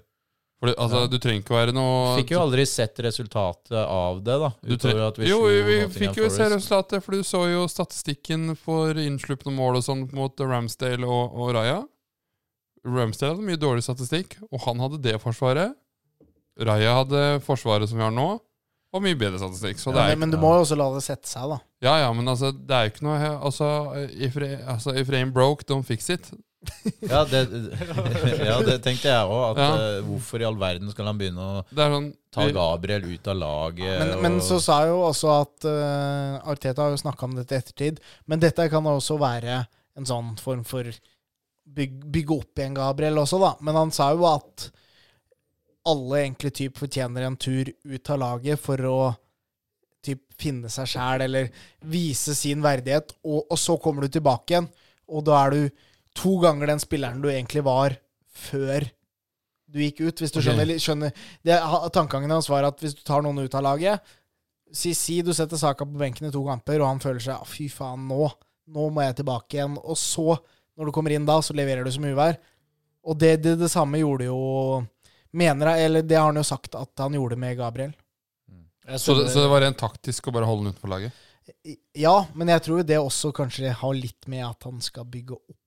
Speaker 1: For det, altså,
Speaker 4: Ja.
Speaker 1: Du trenger ikke være noe
Speaker 4: Fikk jo aldri sett resultatet av det, da.
Speaker 1: du
Speaker 4: Utover
Speaker 1: tre-
Speaker 4: at vi
Speaker 1: Jo,
Speaker 4: slo
Speaker 1: vi, vi
Speaker 4: Nottingham
Speaker 1: fikk jo se
Speaker 4: Forest.
Speaker 1: resultatet, for du så jo statistikken for innslupne mål og sånn mot Ramsdale og, og Raja. Ramsdale hadde mye dårlig statistikk, og han hadde det forsvaret. Raja hadde forsvaret som vi har nå, og mye bedre statistikk. Så
Speaker 2: Ja,
Speaker 1: det er
Speaker 2: men, men du må jo også la det sette seg, da.
Speaker 1: Ja, ja, men altså, det er jo ikke noe he- Altså, if, re- altså, if rain broke, don't fix it.
Speaker 4: Ja, det, ja, det tenkte jeg òg.
Speaker 1: Ja.
Speaker 4: Hvorfor i all verden skal han begynne å
Speaker 1: Det er sånn
Speaker 4: ta Gabriel ut av laget?
Speaker 2: Men,
Speaker 4: og-
Speaker 2: men så sa jeg jo også at eh, Arteta har jo snakka om dette i ettertid, men dette kan også være en sånn form for byg, bygge opp igjen Gabriel også, da. Men han sa jo at alle egentlig typ fortjener en tur ut av laget for å typ finne seg sjæl eller vise sin verdighet, og, og så kommer du tilbake igjen, og da er du to ganger den spilleren du egentlig var før du gikk ut, hvis du
Speaker 1: Ok.
Speaker 2: skjønner, skjønner det, ha- Tankegangen hans var at hvis du tar noen ut av laget Si, si du setter Saka på benken i to kamper, og han føler seg «Ah, Fy faen, nå Nå må jeg tilbake igjen. Og så, når du kommer inn da, så leverer du som uvær. Og det, det, det samme gjorde jo Mener jeg, eller det har han jo sagt at han gjorde med Gabriel.
Speaker 1: så, det- så det var rent taktisk å bare holde den utenfor laget?
Speaker 2: I- Ja, men jeg tror jo det også kanskje har litt med at han skal bygge opp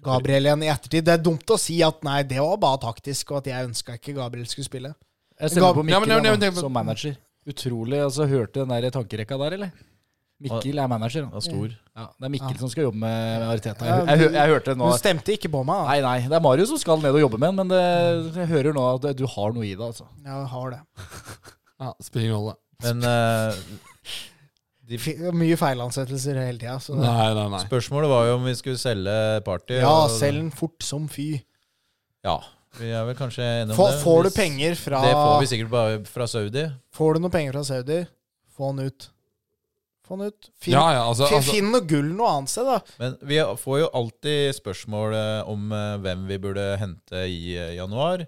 Speaker 2: Gabriel igjen i ettertid. Det er dumt å si at nei, det var bare taktisk, og at jeg ønska ikke Gabriel skulle spille.
Speaker 5: Jeg stemmer
Speaker 1: Ja,
Speaker 5: på
Speaker 1: men-
Speaker 5: Mikkel
Speaker 1: ja, men-
Speaker 5: da,
Speaker 1: ja, men-
Speaker 5: som manager. Utrolig. altså Hørte du den der tankerekka der, eller? Mikkel er manager.
Speaker 4: Han
Speaker 5: Han.
Speaker 4: er stor.
Speaker 5: Ja, det er Mikkel
Speaker 2: Ja.
Speaker 5: som skal jobbe med Ariteta.
Speaker 2: Ja,
Speaker 5: Jeg, jeg, hø- jeg hørte det
Speaker 2: Du
Speaker 5: nå.
Speaker 2: stemte ikke på meg, da.
Speaker 5: Nei, nei. Det er Mario som skal ned og jobbe med den, men det, jeg hører nå at du har noe i det. altså.
Speaker 2: Jeg har det.
Speaker 1: Ja, spiller ingen rolle.
Speaker 4: Men eh,
Speaker 2: Fi- Mye feilansettelser hele tida. Så
Speaker 1: Nei, nei, nei.
Speaker 4: spørsmålet var jo om vi skulle selge Party.
Speaker 2: ja,
Speaker 4: og-
Speaker 2: selg den fort som fy.
Speaker 4: Ja, vi er vel kanskje enige om
Speaker 2: Få,
Speaker 4: det.
Speaker 2: får du
Speaker 4: Hvis-
Speaker 2: penger fra
Speaker 4: Det får vi sikkert bare fra Saudi.
Speaker 2: Får du noe penger fra Saudi, få den ut. Få den ut. Finn,
Speaker 1: Ja, ja, altså,
Speaker 2: fi-
Speaker 1: altså
Speaker 2: finn noe gull noe annet sted, da.
Speaker 4: Men vi får jo alltid spørsmål eh, om eh, hvem vi burde hente i eh, januar.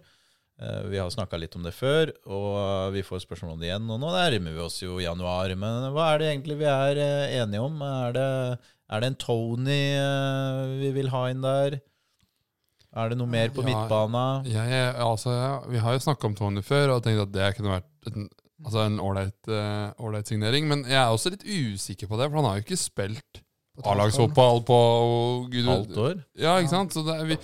Speaker 4: Eh, Vi har snakka litt om det før, og eh, vi får spørsmål om det igjen. Og nå nærmer vi oss jo januar, men hva er det egentlig vi er eh, enige om? Er det, er det en Tony eh, vi vil ha inn der? Er det noe mer på
Speaker 1: Ja.
Speaker 4: midtbana?
Speaker 1: Jeg, jeg, altså, ja, vi har jo snakka om Tony før og tenkt at det kunne vært en altså en ålreit eh, ålreit signering. Men jeg er også litt usikker på det, for han har jo ikke spilt A-lagsfotball på og gud,
Speaker 4: Halvt år?
Speaker 1: Ja, ikke sant? Så det, er- vi,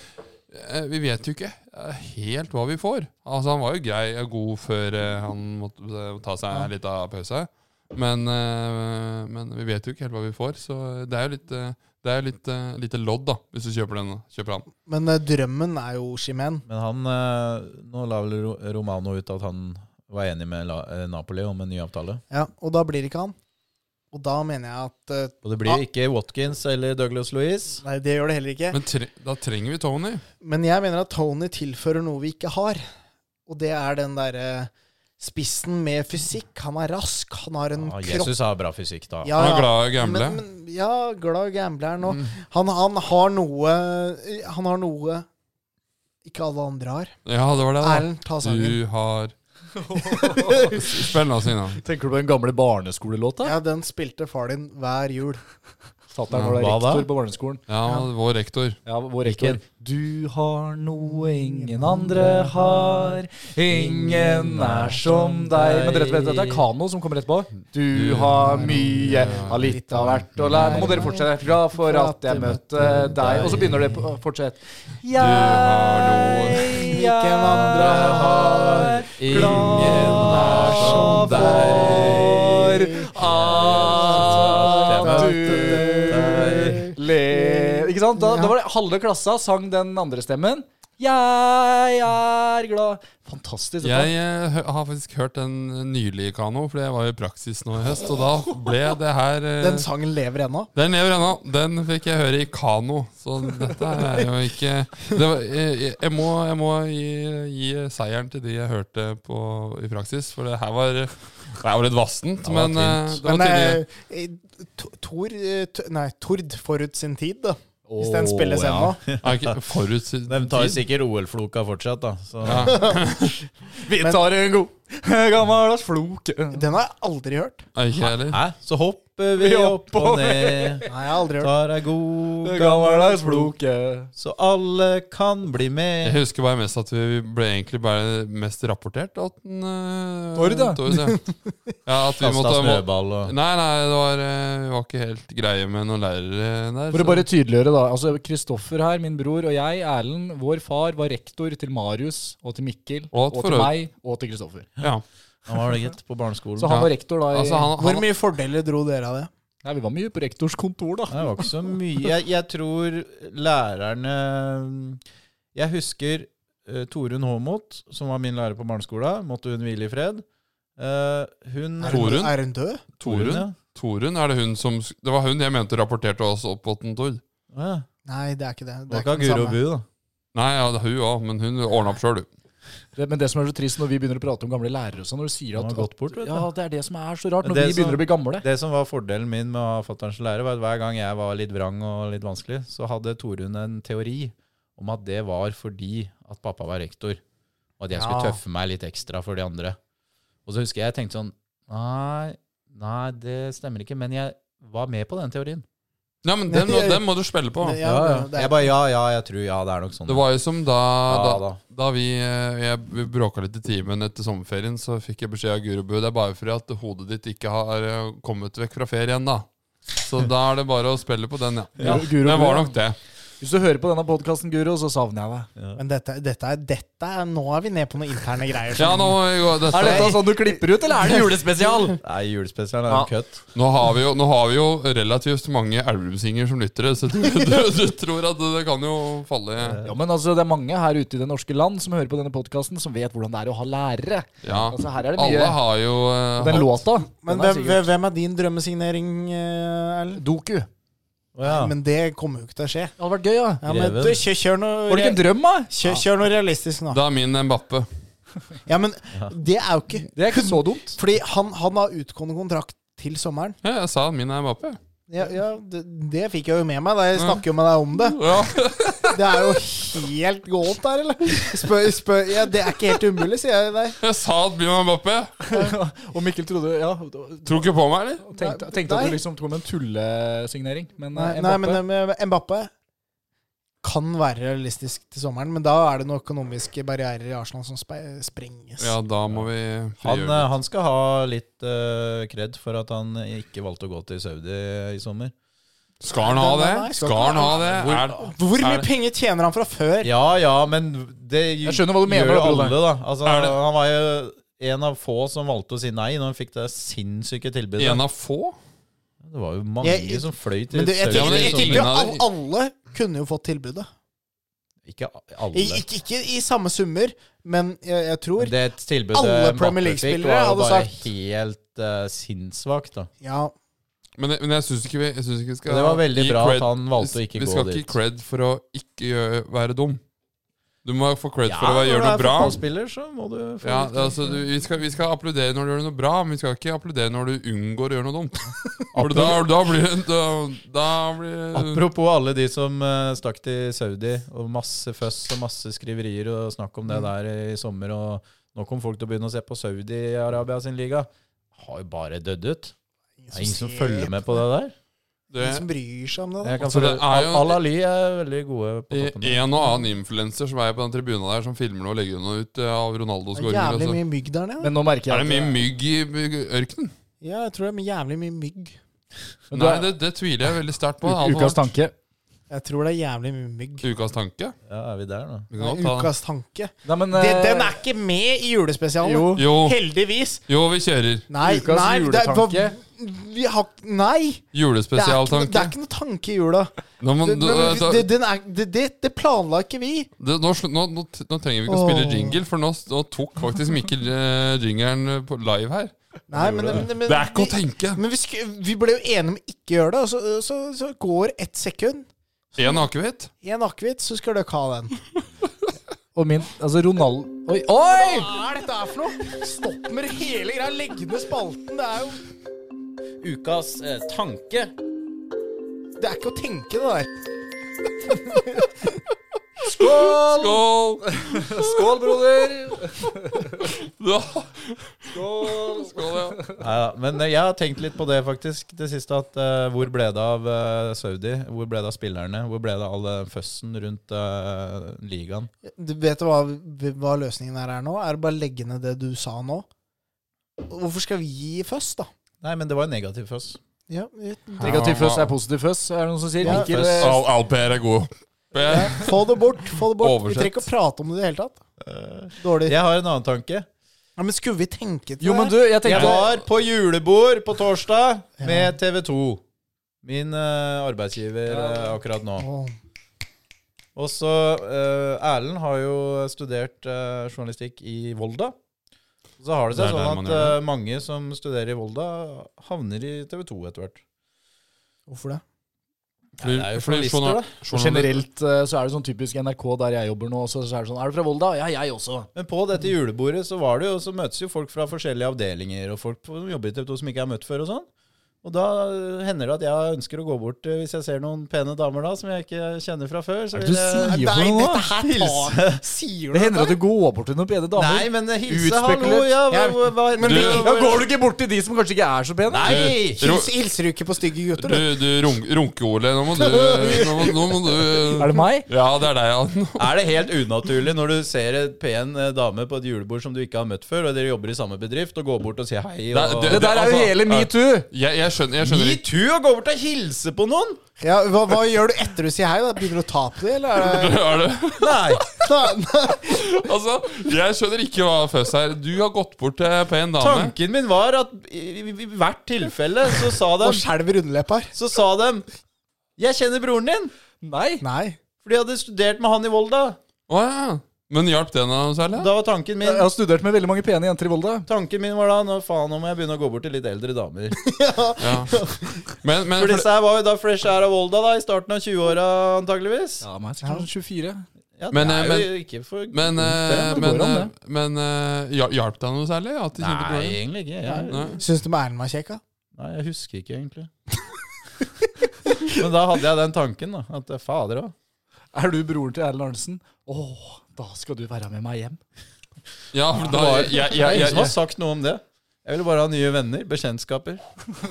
Speaker 1: eh, vi vet jo ikke eh, helt hva vi eh, får. Altså Han var jo grei og god før eh, han måtte eh, ta seg litt av pause. Men, eh, men vi vet jo ikke helt hva vi får, så det er jo litt, eh, det er jo litt eh, lite lodd, da, hvis du kjøper den. Kjøper han.
Speaker 2: Men eh, drømmen er jo Chimen.
Speaker 4: Men han eh, Nå la vel Ro- Romano ut at han var enig med La eh, Napoli om en ny avtale.
Speaker 2: Ja, og da blir det ikke han. Og da mener jeg at eh,
Speaker 4: Og det blir jo ikke Watkins eller Douglas Louise.
Speaker 2: Nei, det gjør det heller ikke.
Speaker 1: Men tre, da trenger vi Tony.
Speaker 2: Men jeg mener at Tony tilfører noe vi ikke har. Og det er den derre spissen med fysikk. Han er rask, han har en
Speaker 4: Ja,
Speaker 2: kropp
Speaker 4: Ah, Jesus har bra fysikk, da.
Speaker 2: Ja,
Speaker 1: Ah, Han er
Speaker 2: ja.
Speaker 1: glad i å gamble. Mm.
Speaker 2: Men, men, ja, glad gambleren òg. Han, han har noe eh, Han har noe ikke alle andre har.
Speaker 1: Ja, det var det. da.
Speaker 2: Erlend, ta sangen.
Speaker 1: Du har Spill nå, Sina.
Speaker 5: Tenker du på den gamle barneskolelåta?
Speaker 2: Ja, den spilte far din hver jul.
Speaker 5: Satt der når det er
Speaker 4: Hva da?
Speaker 5: rektor på barneskolen.
Speaker 1: Ja, vår rektor.
Speaker 5: Ja, vår rektor. Du har noe ingen andre har, ingen er som deg Men dere vet at det er Kano som kommer etterpå. Du har mye av litt av hvert å lære. Nå må dere fortsette herfra for at jeg møtte deg. Og så begynner det på Fortsett.
Speaker 1: Du har noe
Speaker 2: Ikke en andre har.
Speaker 4: Ingen er som deg.
Speaker 5: At du
Speaker 4: Deg.
Speaker 5: le... Ikke sant? Da, da var det halve klassa sang den andre stemmen. Jeg er glad Fantastisk. dette.
Speaker 1: Jeg eh, hø- har faktisk hørt den nylig, Kano, for jeg var jo i praksis nå i høst. Og da ble det her eh,
Speaker 2: Den sangen lever ennå.
Speaker 1: Den lever ennå. Den fikk jeg høre i Kano. Så dette er jo ikke det var, jeg, jeg må, jeg må gi, gi seieren til de jeg hørte på i praksis, for det her var Det her var litt vassent,
Speaker 4: var
Speaker 1: men eh,
Speaker 4: tynt.
Speaker 1: det var
Speaker 2: Men
Speaker 1: tydelig.
Speaker 2: eh, Tor- Tor, eh, T- nei, Tord forut sin tid, da. Hvis
Speaker 4: Åh,
Speaker 2: den spilles
Speaker 4: ja.
Speaker 2: ennå.
Speaker 1: Er ikke forut
Speaker 4: De tar jo sikkert OL-floka fortsatt, da. Så.
Speaker 5: Vi tar en god gammeldags floke.
Speaker 2: Den har jeg aldri hørt.
Speaker 1: Er ikke jeg heller.
Speaker 4: Hæ? Så hopper vi
Speaker 5: Vi
Speaker 4: opp og
Speaker 5: oppover.
Speaker 4: ned,
Speaker 2: Nei, jeg har aldri hørt.
Speaker 4: tar ei god
Speaker 5: Gammeldags floke.
Speaker 4: så alle kan bli
Speaker 1: Jeg
Speaker 4: med.
Speaker 1: husker bare mest at vi ble egentlig bare mest rapportert at den eh,
Speaker 5: Tord, ja.
Speaker 1: Tord, ja. ja at vi
Speaker 4: Kasta
Speaker 1: måtte,
Speaker 4: snøball og
Speaker 1: Nei, nei, det var, eh, vi var ikke helt greie med noen lærere der.
Speaker 5: For å
Speaker 1: så-
Speaker 5: bare tydeliggjøre, da. Altså, Kristoffer her, min bror, og jeg, Erlend, vår far, var rektor til Marius og til Mikkel
Speaker 1: Og
Speaker 5: og,
Speaker 1: at for
Speaker 5: til
Speaker 1: øvrig-
Speaker 5: meg og til Kristoffer.
Speaker 1: ja.
Speaker 4: Han var det gitt på barneskolen.
Speaker 5: Så han
Speaker 1: Ja.
Speaker 5: var rektor da i
Speaker 1: altså, han,
Speaker 2: Hvor
Speaker 1: han,
Speaker 2: mye fordeler dro dere av det?
Speaker 5: Nei, vi var mye på rektors kontor, da.
Speaker 4: Det var ikke så mye. Jeg, jeg tror lærerne Jeg husker eh, Torunn Håmot, som var min lærer på barneskolen. Måtte hun hvile i fred. Eh, hun
Speaker 2: Er
Speaker 1: Torunn?
Speaker 2: hun, er hun død?
Speaker 1: Torunn?
Speaker 4: ja.
Speaker 1: Torunn, er det hun som sk- Det var hun jeg mente rapporterte oss opp på den, Tord.
Speaker 4: Ja.
Speaker 2: Nei, det er ikke det.
Speaker 4: Det
Speaker 2: Det
Speaker 4: var
Speaker 2: er ikke
Speaker 4: ikke
Speaker 2: den
Speaker 4: Guro
Speaker 2: samme.
Speaker 4: Bu, da.
Speaker 1: Nei, ja, det er hun òg, men hun ordna opp sjøl, du.
Speaker 5: Det, men det som er så trist når vi begynner å prate om gamle lærere og sånn, når du sier
Speaker 4: Hun
Speaker 5: at
Speaker 4: har gått bort, vet du.
Speaker 5: Ja, det er det som er så rart, når
Speaker 4: Det
Speaker 5: vi
Speaker 4: som-
Speaker 5: begynner å bli gamle.
Speaker 4: Det som var fordelen min med å ha fatterns lærer, var at hver gang jeg var litt vrang og litt vanskelig, så hadde Torunn en teori om at det var fordi at pappa var rektor, og at jeg skulle
Speaker 2: Ja.
Speaker 4: tøffe meg litt ekstra for de andre. Og så husker jeg jeg tenkte sånn Nei, nei, det stemmer ikke, men jeg var med på den teorien.
Speaker 1: Ja, men den, må- den må du spille på.
Speaker 2: Ja, det- det er-
Speaker 4: Jeg bare ja, ja, jeg tror ja, det er nok sånn.
Speaker 1: Det var jo som da, da,
Speaker 4: Ja,
Speaker 1: da.
Speaker 4: da.
Speaker 1: vi, eh, jeg, vi bråka litt i timen etter sommerferien, så fikk jeg beskjed av Gurubu Det er bare fordi at hodet ditt ikke har eh, kommet vekk fra ferien, da. Så da er det bare å spille på den, ja.
Speaker 5: Guro- Guro-
Speaker 1: Det var nok det.
Speaker 5: Hvis du hører på denne podkasten, Guro, så savner jeg deg.
Speaker 2: Men dette, dette, er, dette er Nå er vi ned på noen interne greier.
Speaker 1: Ja,
Speaker 2: som-
Speaker 1: nå, må vi gå- dette,
Speaker 5: Er dette sånn du klipper ut, eller er det julespesial?
Speaker 4: Nei, julespesialen er en kødd.
Speaker 1: nå, har vi jo, nå har vi jo relativt mange Elverumsinger som lyttere, så du, du, du tror at det kan jo falle
Speaker 5: Ja, men altså, Det er mange her ute i det norske land som hører på denne podkasten, som vet hvordan det er å ha lærere.
Speaker 1: Ja.
Speaker 5: Altså, her er det mye.
Speaker 1: Alle har jo eh,
Speaker 5: Den
Speaker 1: hatt-
Speaker 5: låta
Speaker 2: Men
Speaker 5: den er
Speaker 2: hvem,
Speaker 5: sikkert-
Speaker 2: hvem er din drømmesignering, eh, Erlend?
Speaker 5: Doku. Det
Speaker 4: Å, ja.
Speaker 2: Men det kommer jo ikke til å skje.
Speaker 5: hadde vært gøy, ja.
Speaker 2: Ja, men
Speaker 4: Greven.
Speaker 2: du, kjør, kjør, noe,
Speaker 5: Var det ikke en drøm, da?
Speaker 2: kjør, kjør noe realistisk nå.
Speaker 1: Da er min Mbappe.
Speaker 2: Ja, men det er jo ikke
Speaker 5: Det er ikke så dumt.
Speaker 2: Fordi han, han har utgående kontrakt til sommeren.
Speaker 1: Ja, jeg sa min er Mbappe.
Speaker 2: Ja, ja det, det fikk jeg jo med meg. Da. Jeg snakker jo med deg om det.
Speaker 1: Ja.
Speaker 2: Det er jo helt gålt der, eller? Spør, spør, ja, det er ikke helt umulig, sier jeg deg.
Speaker 1: Jeg sa at min er Mbappe!
Speaker 5: Og Mikkel trodde ja,
Speaker 1: Tror ikke på meg, eller?
Speaker 5: tenkte, tenkte at du liksom tok med en tullesignering. Men
Speaker 2: Nei,
Speaker 5: eh,
Speaker 2: nei
Speaker 5: Mbappé-
Speaker 2: men eh, Mbappé kan være realistisk til sommeren, men da er det noen økonomiske barrierer i Arsenal som spe- sprenges.
Speaker 1: Ja, da må vi
Speaker 4: Han,
Speaker 1: frigjøre
Speaker 4: eh,
Speaker 1: litt.
Speaker 4: han skal ha litt eh, kred for at han ikke valgte å gå til Saudi i sommer.
Speaker 1: Skal han ha det?
Speaker 2: Nei, nei,
Speaker 1: Skal han ha det? Er,
Speaker 2: Hvor
Speaker 1: Er
Speaker 2: mye
Speaker 1: det-
Speaker 2: penger tjener han fra før?
Speaker 4: Ja ja, men det
Speaker 5: Jeg skjønner hva du mener,
Speaker 4: gjør
Speaker 5: da,
Speaker 4: jo
Speaker 5: Brolle.
Speaker 4: alle, da. Altså,
Speaker 1: Er det-
Speaker 4: han var jo en av få som valgte å si nei når han fikk det sinnssyke tilbudet.
Speaker 1: En av få?
Speaker 4: Det var jo mange
Speaker 2: Jeg-
Speaker 4: som fløy til
Speaker 2: Men du, jeg
Speaker 4: Sørlandet
Speaker 1: Ja,
Speaker 2: tenker,
Speaker 1: men
Speaker 2: jeg
Speaker 1: det-
Speaker 2: tenker jo
Speaker 1: ingen
Speaker 2: al-
Speaker 1: av-
Speaker 2: alle kunne jo fått tilbudet.
Speaker 4: Ikke
Speaker 2: I,
Speaker 4: alle.
Speaker 2: ikke, ikke i samme summer, men jeg, jeg tror
Speaker 4: Men det tilbudet
Speaker 2: Alle Premier
Speaker 4: Mbappe fikk,
Speaker 2: League-spillere
Speaker 4: var jo
Speaker 2: hadde
Speaker 4: bare
Speaker 2: sagt-
Speaker 4: helt eh, sinnssvakt, da.
Speaker 2: Ja,
Speaker 1: Men, men jeg syns ikke, vi- jeg synes ikke vi skal
Speaker 4: Det var veldig
Speaker 1: gi
Speaker 4: bra
Speaker 1: cred-
Speaker 4: at han valgte å ikke
Speaker 1: Vi
Speaker 4: gå
Speaker 1: skal
Speaker 4: dit.
Speaker 1: ikke gi cred for å ikke gjøre, være dum. Du må få cred
Speaker 4: Ja,
Speaker 1: for å være- gjøre
Speaker 4: når du
Speaker 1: noe
Speaker 4: er
Speaker 1: bra.
Speaker 4: fotballspiller, så må du få
Speaker 1: Ja,
Speaker 4: litt-
Speaker 1: altså, du, vi, skal, vi skal applaudere når du gjør noe bra, men vi skal ikke applaudere når du unngår å gjøre noe dumt. For da, da blir det da, da blir,
Speaker 4: Apropos alle de som eh, stakk til Saudi, og masse føss og masse skriverier og snakk om det der i sommer, og nå kom folk til å begynne å se på Saudi-Arabia sin liga. Har jo bare dødd ut. Det er ingen som
Speaker 2: ser-
Speaker 4: følger med på det der.
Speaker 2: Ingen som
Speaker 1: det,
Speaker 2: bryr seg om det.
Speaker 4: Jeg kan
Speaker 1: Altså, det
Speaker 4: følge-
Speaker 1: er jo-
Speaker 4: Al- Al-Ali er veldig gode på toppen. der.
Speaker 1: En og annen influenser som er på den tribunen der, som filmer noe og legger noe ut eh, av Ronaldos
Speaker 2: Det er
Speaker 1: skåringer.
Speaker 2: jævlig
Speaker 1: Altså.
Speaker 2: mye mygg der nede.
Speaker 5: Men nå merker
Speaker 1: Er
Speaker 5: jeg
Speaker 1: det mye mygg i i ørkenen?
Speaker 2: Ja, jeg tror det er jævlig mye mygg.
Speaker 5: Men du
Speaker 1: Nei,
Speaker 5: er-
Speaker 1: det, det tviler jeg veldig sterkt på.
Speaker 5: U-
Speaker 1: Altså,
Speaker 5: Ukas tanke.
Speaker 2: Jeg tror det er jævlig mye mygg.
Speaker 1: Ukas tanke?
Speaker 4: Ja, er vi der nå?
Speaker 1: Vi
Speaker 2: Nei,
Speaker 1: kan godt ta
Speaker 2: Ukas tanke.
Speaker 5: Nei, men,
Speaker 2: Det,
Speaker 5: eh,
Speaker 2: den er ikke med i julespesialen.
Speaker 5: Jo.
Speaker 1: Jo,
Speaker 2: Heldigvis.
Speaker 1: jo, vi kjører.
Speaker 2: Nei,
Speaker 5: Ukas
Speaker 2: nei, det er- hva-
Speaker 5: juletanke.
Speaker 2: vi har, nei det, er ikke, det
Speaker 1: Julespesialtanke.
Speaker 2: er ikke noe tanke i jula.
Speaker 1: Nå, men,
Speaker 2: Det,
Speaker 1: da- eh, da-
Speaker 2: det, den er, det, det, det planla ikke vi.
Speaker 1: det, nå, sl- nå, nå, t- nå trenger vi ikke å
Speaker 2: Åh.
Speaker 1: spille jingle, for nå, nå tok faktisk Mikkel eh, jingeren på live her.
Speaker 2: Nei, men, men, men,
Speaker 1: Det er ikke å
Speaker 2: vi,
Speaker 1: tenke!
Speaker 2: men vi, sku, vi ble jo enige om ikke å gjøre det, og så, så, så går ett sekund.
Speaker 1: Én akevitt?
Speaker 2: En akevitt, så skal dere ha den.
Speaker 5: Og min Altså, Ronald... Oi! oi!
Speaker 2: Hva er dette her for noe? Stopp med hele greia. Legg ned spalten. Det er jo
Speaker 4: Ukas eh, tanke.
Speaker 2: Det er ikke å tenke, det der.
Speaker 1: Skål!
Speaker 5: Skål, broder!
Speaker 1: Ja. Skål, ja.
Speaker 4: Ja, men eh, jeg har tenkt litt på det faktisk det siste. at eh, Hvor ble det av eh, Saudi? Hvor ble det av spillerne? Hvor ble det av all den føssen rundt eh, ligaen?
Speaker 2: Du vet hva, hva løsningen her er nå? Er det bare å legge ned det du sa nå? Hvorfor skal vi gi først, da?
Speaker 4: Nei, men det var jo negativ føss.
Speaker 2: Ja, vi-
Speaker 5: Negativ føss er positiv føss, er det noen som sier.
Speaker 2: Ja.
Speaker 5: Mikkel,
Speaker 1: Føss.
Speaker 5: eh,
Speaker 1: Al, Al Per er god. Per.
Speaker 2: ja, få det bort. Få det bort. Vi
Speaker 1: Oversett.
Speaker 2: trenger ikke å prate om det i det hele tatt.
Speaker 4: Eh,
Speaker 2: Dårlig.
Speaker 4: Jeg har en annen tanke.
Speaker 2: Ja, men skulle vi tenke til
Speaker 5: jo, men
Speaker 2: det?
Speaker 5: du, jeg
Speaker 4: Jeg
Speaker 5: tenkte
Speaker 4: var på julebord på torsdag
Speaker 2: Ja.
Speaker 4: med TV 2. Min eh, arbeidsgiver eh, akkurat nå.
Speaker 2: Åh.
Speaker 4: Og så eh, Erlend har jo studert eh, journalistikk i Volda. Og Så har det
Speaker 1: Det er
Speaker 4: seg
Speaker 1: der
Speaker 4: sånn
Speaker 1: man
Speaker 4: at
Speaker 1: gjør
Speaker 4: eh, mange som studerer i Volda, havner i TV 2 etter hvert.
Speaker 2: Hvorfor det?
Speaker 1: Fordi-
Speaker 4: det er jo
Speaker 1: fordi
Speaker 4: journalister,
Speaker 1: journal-
Speaker 4: da.
Speaker 5: Og
Speaker 1: journal-
Speaker 5: generelt eh, så er det sånn typisk NRK der jeg jobber nå, så så er det sånn Er du fra Volda? Ja, jeg også.
Speaker 4: Men på dette julebordet så var det jo, så møtes jo folk fra forskjellige avdelinger, og folk som jobber i TV 2 som ikke jeg har møtt før og sånn. Og da eh, hender det at jeg ønsker å gå bort eh, hvis jeg ser noen pene damer da, som jeg ikke kjenner fra før. Så
Speaker 5: Hva er det
Speaker 4: vil
Speaker 5: du sier
Speaker 4: jeg-
Speaker 5: for
Speaker 2: Nei,
Speaker 5: noe
Speaker 2: dette
Speaker 5: nå?
Speaker 2: her tar Sier
Speaker 5: Det
Speaker 2: du
Speaker 5: hender at du går bort til noen pene damer.
Speaker 4: Nei, men eh, hilse,
Speaker 5: Utspekulert.
Speaker 4: hallo, ja, hva,
Speaker 2: Jeg-
Speaker 4: hva, hva,
Speaker 2: Men
Speaker 4: du-
Speaker 1: du-
Speaker 5: Ja, går du ikke bort til de som kanskje ikke er så pene?
Speaker 4: Nei!
Speaker 1: Du-
Speaker 2: Hils, hilser du ikke på stygge gutter,
Speaker 1: Du,
Speaker 2: du?
Speaker 1: du runk, runke-Ole, nå må du Nå må, nå må
Speaker 5: Er
Speaker 1: du
Speaker 5: det meg?
Speaker 1: Ja, det er deg, ja.
Speaker 4: Er det helt unaturlig når du ser en pen eh, dame på et julebord som du ikke har møtt før, og dere jobber i samme bedrift, og går bort og sier hei? Og...
Speaker 1: Det-
Speaker 5: Det der er jo
Speaker 1: altså,
Speaker 5: hele
Speaker 1: ja.
Speaker 5: metoo.
Speaker 1: Jeg, jeg skjønner, jeg skjønner ikke
Speaker 4: Metoo å gå bort og hilse på noen?
Speaker 2: Ja, hva, hva gjør du etter du sier hei? da? Begynner du å ta på det, eller er det
Speaker 1: er det?
Speaker 4: Nei.
Speaker 1: Altså, jeg skjønner ikke hva føss er. Du har gått bort til pen dame.
Speaker 4: Tanken min var at i, i, i hvert tilfelle så sa de,
Speaker 2: Nå skjelver underleppa her.
Speaker 4: så sa de Jeg kjenner broren din,
Speaker 5: Nei.
Speaker 2: Nei.
Speaker 4: for de hadde studert med han i Volda.
Speaker 1: Å ja. Men hjalp det noe særlig?
Speaker 4: Da var tanken min
Speaker 5: Jeg har studert med veldig mange pene jenter i Volda.
Speaker 4: Tanken min var da Nå faen, nå må jeg begynne å gå bort til litt eldre damer.
Speaker 1: Ja. Men, men
Speaker 4: For disse her var jo da fresh out av Volda, da, i starten av 20-åra antageligvis.
Speaker 5: Ja, men jeg er sikkert 24.
Speaker 4: Ja,
Speaker 1: Men,
Speaker 4: det
Speaker 1: eh,
Speaker 4: er jo ikke for
Speaker 1: Men, eh,
Speaker 5: det går
Speaker 1: men,
Speaker 5: an,
Speaker 1: eh, men eh, hja- hjalp deg noe særlig? At de kjente
Speaker 4: Nei,
Speaker 1: problemer?
Speaker 4: egentlig ikke. Jeg,
Speaker 1: Nei.
Speaker 2: Syns du Erlend var kjekk, da?
Speaker 4: Nei, jeg husker ikke egentlig. Men da hadde jeg den tanken, da. At eh, fader òg.
Speaker 5: Er du broren til Erlend Arnesen? Åh, da skal du være med meg hjem.
Speaker 1: Ja, for da jeg, jeg,
Speaker 4: Det er
Speaker 1: jeg,
Speaker 4: ingen som har
Speaker 1: jeg,
Speaker 4: sagt noe om det. Jeg ville bare ha nye venner, bekjentskaper,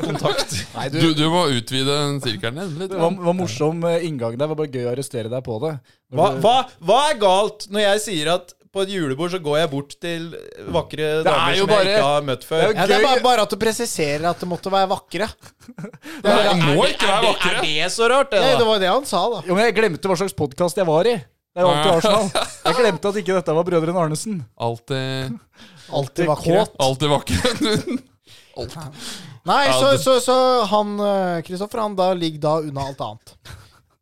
Speaker 4: kontakt. Nei,
Speaker 1: du, du må utvide den sirkelen din litt.
Speaker 5: Det var, var morsom eh, inngang der. Det var bare gøy å arrestere deg på det. Når
Speaker 4: Hva,
Speaker 5: du-
Speaker 4: hva, hva er galt når jeg sier at på et julebord så går jeg bort til vakre damer
Speaker 5: jo
Speaker 4: som
Speaker 5: bare-
Speaker 4: jeg ikke har møtt før?
Speaker 5: Det
Speaker 2: Ja, det er
Speaker 5: Gøy.
Speaker 2: bare, bare at du presiserer at det måtte være vakre.
Speaker 1: Nei, det må ikke være
Speaker 4: Er
Speaker 1: vakre!
Speaker 4: det så rart, det,
Speaker 2: Ja, det
Speaker 4: da?
Speaker 2: var jo det han sa, da.
Speaker 5: Jo, men jeg glemte hva slags podkast jeg var i. Det er jo alltid Arsenal. Jeg glemte at ikke dette var brødrene Arnesen.
Speaker 1: Alltid
Speaker 2: Alltid vakre.
Speaker 1: Alltid vakker.
Speaker 2: Nei,
Speaker 1: Ja,
Speaker 2: så,
Speaker 1: det-
Speaker 2: så, så han eh, Kristoffer, han da ligger da unna alt annet.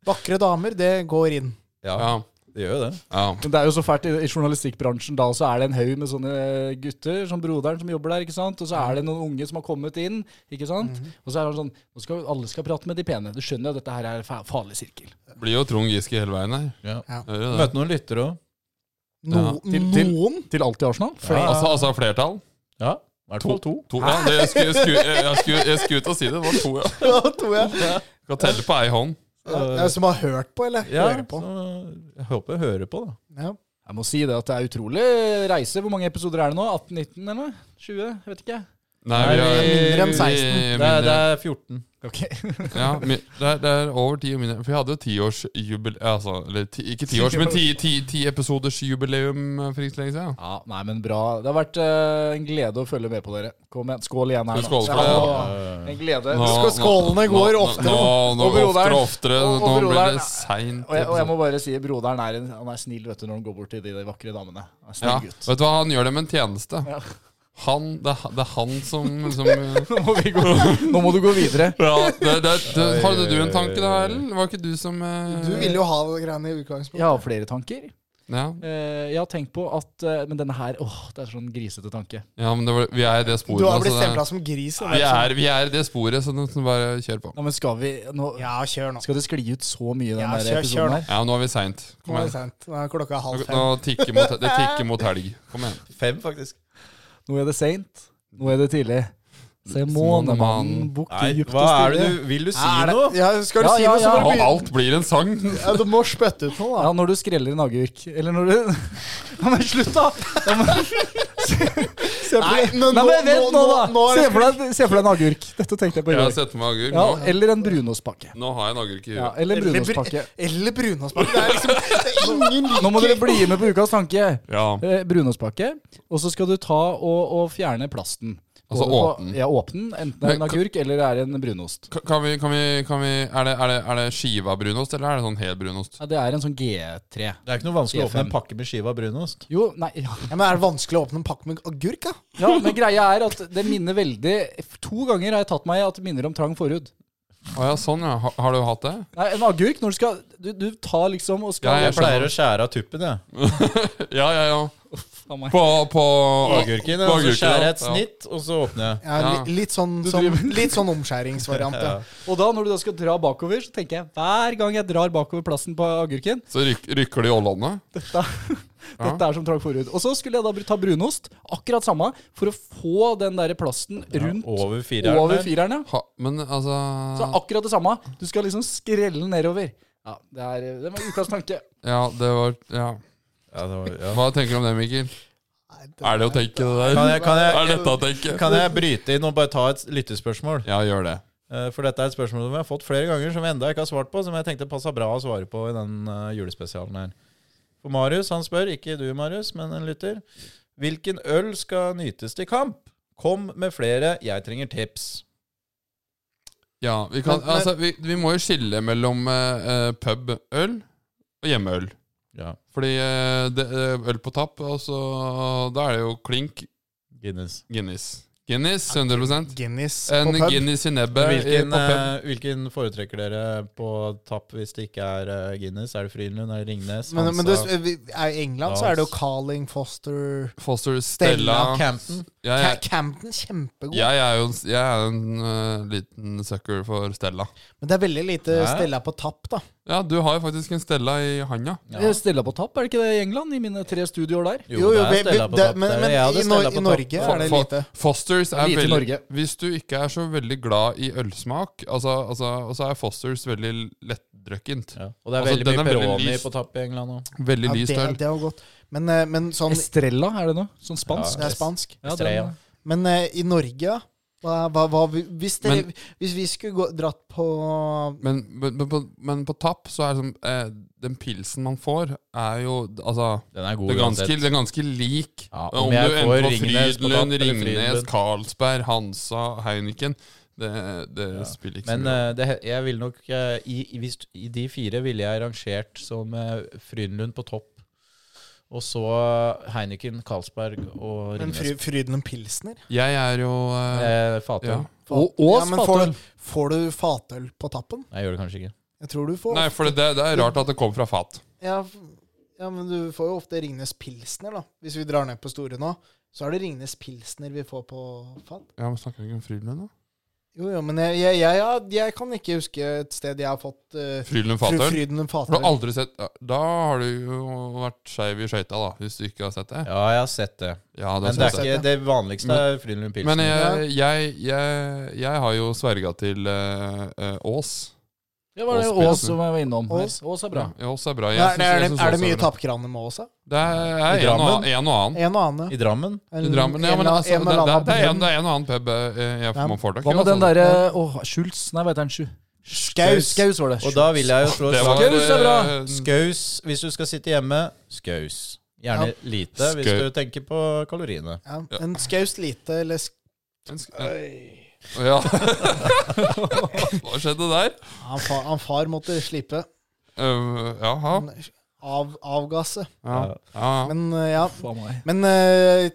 Speaker 2: Vakre damer, det går inn.
Speaker 1: ja,
Speaker 4: Ja, det gjør jo det.
Speaker 1: ja.
Speaker 5: Men det er jo så fælt i, i journalistikkbransjen. Da så er det en haug med sånne eh, gutter, som broderen, som jobber der. ikke sant? Og så er det noen unge som har kommet inn. ikke sant? Og så er det sånn nå skal, Alle skal prate med de pene. Du skjønner jo at dette her er fa- farlig sirkel.
Speaker 1: Blir jo Trond Giske hele veien her.
Speaker 4: Ja.
Speaker 1: Hører du det?
Speaker 4: Møte noen lyttere òg.
Speaker 2: No,
Speaker 1: Ja.
Speaker 5: Til- til-
Speaker 2: Noen?
Speaker 5: Til alt i Arsenal.
Speaker 2: Flere.
Speaker 1: Altså, altså flertall?
Speaker 4: Ja, i hvert fall to.
Speaker 1: To, ja, det, jeg, skulle, jeg, skulle, jeg, jeg, skulle, jeg skulle ut og si det. Det var to, ja.
Speaker 2: Ja, tror jeg.
Speaker 1: Skal telle på ei hånd.
Speaker 2: Ja, som har hørt på, eller?
Speaker 4: Ja,
Speaker 2: Hører på.
Speaker 4: så jeg håper jeg hører på, da.
Speaker 2: Ja.
Speaker 5: Jeg må si det at det er utrolig reise. Hvor mange episoder er det nå? 18-19 eller 20? Jeg Vet ikke.
Speaker 1: Nei,
Speaker 2: mindre enn
Speaker 1: vi-
Speaker 2: 16.
Speaker 4: Det er, det
Speaker 1: mindre.
Speaker 4: er 14.
Speaker 1: Ja, mi- det er, det er over ti og mindre. For vi hadde jo tiårsjubileum altså, Eller ti, ikke tiårs, men ti, ti, ti episoders jubileum eh, for ikke så lenge siden.
Speaker 5: Ja, nei, men bra. Det har vært eh, en glede å følge med på dere. Kom igjen. Skål igjen her
Speaker 1: Skal vi skåle for
Speaker 5: Ja,
Speaker 1: det,
Speaker 5: En glede.
Speaker 1: Nå-
Speaker 2: Skå- skålene
Speaker 1: nå-
Speaker 2: går
Speaker 1: nå-
Speaker 2: oftere
Speaker 1: Nå, nå,
Speaker 5: og broderen-
Speaker 1: oftere og oftere.
Speaker 5: og- og
Speaker 1: Nå blir
Speaker 5: broderen-
Speaker 1: det seint.
Speaker 5: Og jeg, og jeg må bare si, broderen er, en, han er snill vet du, når han går bort til de, de vakre damene. Han er snill
Speaker 1: Ja,
Speaker 5: gutt.
Speaker 1: vet du hva, han gjør dem en tjeneste.
Speaker 5: Ja.
Speaker 1: Han, det, er, det er han som, som ja,
Speaker 5: Nå må, vi gå, nå må du gå videre.
Speaker 1: det, det, det, Hadde du en tanke da, Erlend? Var ikke du som eh,
Speaker 2: Du ville jo ha det greiene i utgangspunktet.
Speaker 5: Jeg har flere tanker.
Speaker 1: ja.
Speaker 5: Eh, jeg har tenkt på at eh, Men denne her, åh, det er sånn grisete tanke.
Speaker 1: ja, men det var, vi er i det sporet.
Speaker 2: Du har
Speaker 1: nå,
Speaker 2: blitt
Speaker 1: så altså, det-
Speaker 2: stempla som gris. da.
Speaker 1: vi er, vi er i det sporet, så nå- så bare kjør på.
Speaker 5: Ja, men skal vi nå,
Speaker 2: sånn, Ja, kjør nå.
Speaker 5: Skal det skli ut så mye i den
Speaker 2: Ja,
Speaker 5: der
Speaker 2: kjør,
Speaker 5: episoden
Speaker 2: kjør
Speaker 5: her?
Speaker 1: Ja, nå er vi seint.
Speaker 2: Nå er det sent. Nå er klokka halv
Speaker 1: Nå
Speaker 2: fem.
Speaker 1: tikker mot, det tikker mot helg. Kom igjen.
Speaker 4: Fem, faktisk.
Speaker 5: Nå er det seint. Nå er det tidlig. Se månemannen bukke
Speaker 4: Nei,
Speaker 5: dypt
Speaker 4: hva
Speaker 5: og
Speaker 4: er det
Speaker 5: stille.
Speaker 4: du Vil du si
Speaker 2: Er det-
Speaker 4: noe?
Speaker 2: Ja, skal du
Speaker 5: Ja,
Speaker 2: si
Speaker 5: ja,
Speaker 2: noe, så
Speaker 5: ja.
Speaker 2: må
Speaker 1: Og
Speaker 2: du begynne.
Speaker 1: alt blir en sang.
Speaker 2: Ja, du må spytte ut noe,
Speaker 5: Ja, når du skreller en agurk. Eller når du Ja, men slutt, da! Ja, men, se
Speaker 2: da. Nei, men
Speaker 5: Nei,
Speaker 2: nå,
Speaker 5: men vent nå, da!
Speaker 2: nå er
Speaker 5: se,
Speaker 2: det
Speaker 5: for deg, se for deg en agurk. Dette tenkte jeg på i
Speaker 1: Jeg har
Speaker 5: går.
Speaker 1: sett på meg agurk.
Speaker 5: Ja,
Speaker 1: Nå,
Speaker 5: eller en brunostpakke.
Speaker 1: nå har jeg en agurk i
Speaker 5: Ja,
Speaker 1: huet.
Speaker 5: eller en
Speaker 2: Eller br-
Speaker 5: brunostpakke.
Speaker 2: Eller brunostpakke. Det er liksom det er ingen liker.
Speaker 5: Nå må dere bli med på ukas tanke.
Speaker 1: Ja.
Speaker 5: Eh, Brunostpakke. Og så skal du ta og, og fjerne plasten.
Speaker 1: Altså
Speaker 5: Både på-
Speaker 1: åpne den.
Speaker 5: Ja, åpne den. Enten det er en
Speaker 1: Men kan-
Speaker 5: agurk eller det er en brunost.
Speaker 1: Ka- Kan vi, kan vi, kan vi er, det, er, det, er det skiva brunost, eller er det sånn hel brunost?
Speaker 5: Ja, det er en sånn G3.
Speaker 4: Det er ikke noe vanskelig å åpne
Speaker 5: G5.
Speaker 4: en pakke med skive av brunost.
Speaker 5: Jo, nei ja.
Speaker 2: Ja, men Er det vanskelig å åpne en pakke med agurk? da?
Speaker 5: ja, men greia er at det minner veldig To ganger har jeg tatt meg i at det minner om trang forhud.
Speaker 1: Å ja, sånn ja. Har, har du hatt det?
Speaker 5: Nei, en agurk når du skal Du, du tar liksom og skal
Speaker 1: Ja,
Speaker 4: Jeg pleier å skjære av tuppen, jeg.
Speaker 1: Ja, ja, ja.
Speaker 5: Faen meg.
Speaker 1: På, på
Speaker 4: Agurken.
Speaker 1: agurken,
Speaker 4: Og så
Speaker 1: altså,
Speaker 4: skjærer jeg et
Speaker 1: ja.
Speaker 4: snitt, og så åpner jeg.
Speaker 2: Ja,
Speaker 1: Ja.
Speaker 2: li- Litt sånn,
Speaker 5: Du
Speaker 2: sånn,
Speaker 5: driver-
Speaker 2: litt sånn omskjæringsvariant. Ja.
Speaker 5: Og da når du da skal dra bakover, så tenker jeg hver gang jeg drar bakover plassen på agurken
Speaker 1: Så ryk, rykker det i ållene?
Speaker 5: Dette, dette er som trang forhud. Og så skulle jeg da br- ta brunost, akkurat samme, for å få den der plasten rundt
Speaker 4: Over fire
Speaker 5: over,
Speaker 4: er det.
Speaker 5: fireren. ja.
Speaker 1: Ha, men altså
Speaker 5: Så akkurat det samme. Du skal liksom skrelle den nedover. Ja, det, er, det var ukas tanke.
Speaker 1: Ja, det var Ja.
Speaker 4: Ja, det var, ja.
Speaker 1: Hva tenker du om det, Mikkel? Er det å tenke det
Speaker 4: Kan
Speaker 1: der?
Speaker 4: jeg, kan,
Speaker 1: Er
Speaker 4: jeg,
Speaker 1: dette å tenke?
Speaker 4: kan jeg bryte inn og bare ta et lyttespørsmål?
Speaker 1: Ja, gjør det.
Speaker 4: Eh, For dette er et spørsmål som jeg har fått flere ganger, som vi enda ikke har svart på, som jeg tenkte passa bra å svare på i den eh, julespesialen her. For Marius, han spør, ikke du Marius, men en lytter, hvilken øl skal nytes til kamp? Kom med flere, jeg trenger tips.
Speaker 1: Ja, vi, kan,
Speaker 2: Men- men-
Speaker 1: altså, vi, vi må jo skille mellom eh, eh, pubøl og hjemmeøl.
Speaker 4: Ja,
Speaker 1: Fordi eh, det, eh, øl på tapp, og så Da er det jo klink
Speaker 4: Guinness.
Speaker 1: Guinness. Guinness, 100
Speaker 2: Guinness
Speaker 1: En
Speaker 2: på pub.
Speaker 1: Guinness i nebbet i-
Speaker 4: Hvilken,
Speaker 1: på pub.
Speaker 4: eh, hvilken foretrekker dere på tapp hvis det ikke er eh, Guinness? Er det Frydenlund? Er det Ringnes?
Speaker 2: Men, men det,
Speaker 4: Hansa?
Speaker 2: er I England så er det jo Carling, Foster
Speaker 1: Foster
Speaker 2: Stella
Speaker 1: Stella.
Speaker 4: Campton?
Speaker 1: Jeg,
Speaker 2: Ca
Speaker 1: jeg,
Speaker 2: Campton, kjempegod.
Speaker 1: jeg er jo en, jeg er en eh, liten sucker for Stella.
Speaker 2: Men det er veldig lite
Speaker 4: Hæ?
Speaker 2: Stella på tapp, da.
Speaker 1: Ja, du har jo faktisk en Stella i handa.
Speaker 4: Ja.
Speaker 5: Stella på tapp, er det ikke det i England? I mine tre studioer der.
Speaker 4: Jo, det
Speaker 2: vi-
Speaker 4: er
Speaker 2: vi-
Speaker 4: Stella på
Speaker 2: det-
Speaker 4: tapp.
Speaker 2: Men,
Speaker 4: Det er-
Speaker 2: men
Speaker 4: jeg hadde
Speaker 2: i,
Speaker 4: Stella
Speaker 2: Nor
Speaker 4: på
Speaker 2: i
Speaker 4: tapp.
Speaker 2: Norge
Speaker 1: Fo-
Speaker 2: er det
Speaker 1: fo-
Speaker 2: lite.
Speaker 1: Fosters er
Speaker 5: Lite i
Speaker 1: veldig
Speaker 5: Norge.
Speaker 1: Hvis du ikke er så veldig glad i ølsmak, altså, altså, og så er Fosters veldig lettdrøkkent.
Speaker 4: Ja. Og det er
Speaker 1: Altså,
Speaker 4: veldig
Speaker 1: den er
Speaker 4: mye
Speaker 1: veldig
Speaker 4: Peroni
Speaker 1: lyst.
Speaker 4: på tapp i England òg.
Speaker 1: Veldig
Speaker 2: Ja, det,
Speaker 1: lyst øl.
Speaker 2: det var godt. Men, eh, men sånn
Speaker 5: Estrella, er det noe? Sånn spansk?
Speaker 4: Ja.
Speaker 2: Det er spansk.
Speaker 5: Ja,
Speaker 4: Estrella.
Speaker 2: Men eh, i Norge, da? Hva, hva, hva, hvis, dere,
Speaker 1: Men-
Speaker 2: hvis vi skulle gå, dratt på
Speaker 1: Men, men, men, på- men på tapp så er det sånn eh, Den pilsen man får, er jo Altså
Speaker 4: Den er god.
Speaker 1: det er, ganske,
Speaker 4: uansett.
Speaker 1: det er ganske lik.
Speaker 4: Ja,
Speaker 1: om
Speaker 4: om
Speaker 1: du
Speaker 4: jeg
Speaker 1: enten
Speaker 4: får
Speaker 1: får
Speaker 4: Ringnes på tapp
Speaker 1: Frydenlund,
Speaker 4: eller
Speaker 1: Ringnes,
Speaker 4: Frydenlund.
Speaker 1: Carlsberg, Hansa, Heineken Det, det spiller ikke så
Speaker 4: Men
Speaker 1: mye.
Speaker 4: eh, det, he- jeg vil nok eh, i, i, hvis, I de fire ville jeg rangert som uh, Frydenlund på eh, topp. Og så Heineken, Carlsberg og
Speaker 2: Men
Speaker 4: Ringnes.
Speaker 2: fry, fryden om pilsner?
Speaker 1: Jeg er jo eh,
Speaker 4: Eh, Fatøl.
Speaker 1: ja.
Speaker 4: Og, og
Speaker 2: Ja, men får,
Speaker 4: Fatøl!
Speaker 2: du, får du fatøl på tappen?
Speaker 4: Nei, jeg gjør det kanskje ikke.
Speaker 2: Jeg tror du får
Speaker 1: Nei, for det, det er rart at det kom fra fat.
Speaker 2: ja, f- ja, men du får jo ofte Ringnes Pilsner, da. Hvis vi drar ned på Store nå, så er det Ringnes Pilsner vi får på fat.
Speaker 1: Ja, men Snakker vi ikke om Frydlund, da?
Speaker 2: Jo, jo, men jeg, jeg, jeg, jeg, jeg kan ikke huske et sted jeg har fått uh,
Speaker 1: Frydlund Fatøl?
Speaker 2: Fryden om
Speaker 1: Har du
Speaker 2: fatøl.
Speaker 1: aldri sett ja, Da har du jo vært skeiv i skøyta, da, hvis du ikke har sett det.
Speaker 4: Ja, jeg har sett det.
Speaker 1: Ja, da
Speaker 4: Men det
Speaker 1: synes
Speaker 4: er
Speaker 1: jeg.
Speaker 4: ikke det vanligste er Frydenlund
Speaker 1: Men
Speaker 4: Pilsen.
Speaker 1: jeg, jeg, jeg, jeg har jo sverga til eh, eh, Ås.
Speaker 5: Det var det
Speaker 1: Ås
Speaker 5: Ås
Speaker 1: Pilsen.
Speaker 5: som jeg var innom.
Speaker 2: Ås.
Speaker 5: Ås, er bra.
Speaker 1: Ja, Ås er bra. Jeg
Speaker 2: Nei,
Speaker 1: synes-
Speaker 2: nei, er,
Speaker 1: jeg
Speaker 2: det,
Speaker 1: synes Ås
Speaker 2: er det mye
Speaker 1: bra.
Speaker 2: tapkraner med også?
Speaker 1: Det er
Speaker 4: I
Speaker 1: en og,
Speaker 4: Drammen?
Speaker 1: en og annen.
Speaker 2: En og annen.
Speaker 4: I Drammen?
Speaker 1: Mm. I Drammen, ja, men altså, det, det, det, er en, det er en og annen pub eh, jeg
Speaker 2: Ja.
Speaker 1: man får tak i.
Speaker 5: Hva med
Speaker 1: altså.
Speaker 5: den
Speaker 4: sånn.
Speaker 5: derre Åh, Schultz? Nei, hva heter den? Sju?
Speaker 2: Skaus.
Speaker 5: Skaus var det.
Speaker 4: Og da vil jeg jo slå et
Speaker 1: Det
Speaker 4: slag.
Speaker 1: var,
Speaker 5: Skaus er bra.
Speaker 1: eh,
Speaker 4: Skaus, hvis du skal sitte hjemme, skaus. Gjerne lite, hvis
Speaker 1: Skau-
Speaker 4: du tenker på kaloriene.
Speaker 2: Ja, en skaus lite eller sk
Speaker 1: en sk- Ja. Hva skjedde der?
Speaker 2: han, far, han far måtte slippe.
Speaker 1: Uh, jaha.
Speaker 2: Han Av, avgasse.
Speaker 1: Ja. Ja. ja.
Speaker 2: Men eh, ja.
Speaker 5: Faen meg.
Speaker 2: Men eh,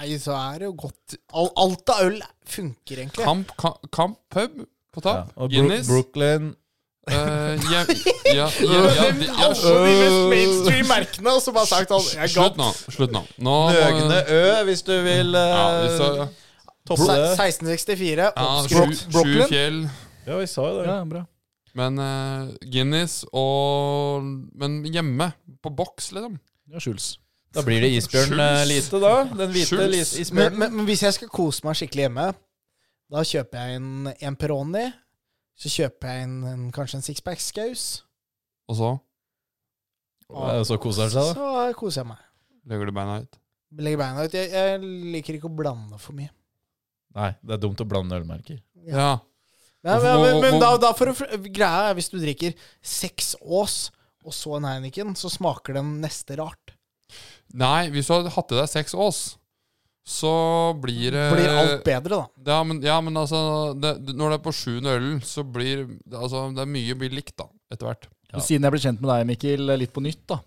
Speaker 2: Nei, så er det jo godt Al, Alt av øl funker, egentlig.
Speaker 1: Kamp, ka- kamp pub på
Speaker 4: Ja.
Speaker 1: tapp.
Speaker 4: Og Bro
Speaker 1: Guinness.
Speaker 4: Brooklyn
Speaker 1: Eh, hjem- ja, hjem- ja, de- ja,
Speaker 2: Alle de mest mainstream merkene, og så bare sagt alt. Jeg
Speaker 1: Slutt
Speaker 2: gadd.
Speaker 1: nå. Slutt nå. nå må-
Speaker 4: Nøgne Ø, hvis du vil eh,
Speaker 1: Ja, vi sa-
Speaker 4: toppe
Speaker 2: Se-
Speaker 4: det.
Speaker 2: 1664.
Speaker 1: ja,
Speaker 2: oppskrutt.
Speaker 1: sju, sju
Speaker 5: Brooklyn?
Speaker 1: fjell.
Speaker 4: Ja, vi sa jo det.
Speaker 5: Ja, bra.
Speaker 1: Men eh, Guinness og Men hjemme. På boks, liksom.
Speaker 5: Ja, Schultz.
Speaker 4: Da blir det isbjørn eh,
Speaker 1: Schultz.
Speaker 4: lite, da. Den hvite
Speaker 1: Schultz.
Speaker 4: lis-
Speaker 2: Men,
Speaker 4: isbjørnen.
Speaker 2: men, men hvis jeg skal kose meg skikkelig hjemme, da kjøper jeg en, en Peroni. Så kjøper jeg en, en, kanskje en sixpack skaus.
Speaker 1: Og så
Speaker 4: Ja, så koser han seg, da.
Speaker 2: Så koser jeg meg.
Speaker 1: legger du beina ut.
Speaker 2: Legger beina ut. Jeg, jeg liker ikke å blande for mye.
Speaker 4: Nei, det er dumt å blande ølmerker.
Speaker 1: Ja.
Speaker 2: Ja,
Speaker 1: Hvorfor-
Speaker 2: men men, men
Speaker 1: hvor-
Speaker 2: da, da får du fr- Greia er hvis du drikker seks Ås og så en Heineken, så smaker den neste rart.
Speaker 1: Nei, hvis du hadde hatt i deg seks Ås, så blir det
Speaker 2: Blir alt bedre, da.
Speaker 1: Ja, men, ja, men altså det, Når det er på sjuende ølen, så blir altså, det er mye blir likt, da, etter hvert.
Speaker 4: Ja.
Speaker 5: Siden jeg ble kjent med deg, Mikkel, litt på nytt, da.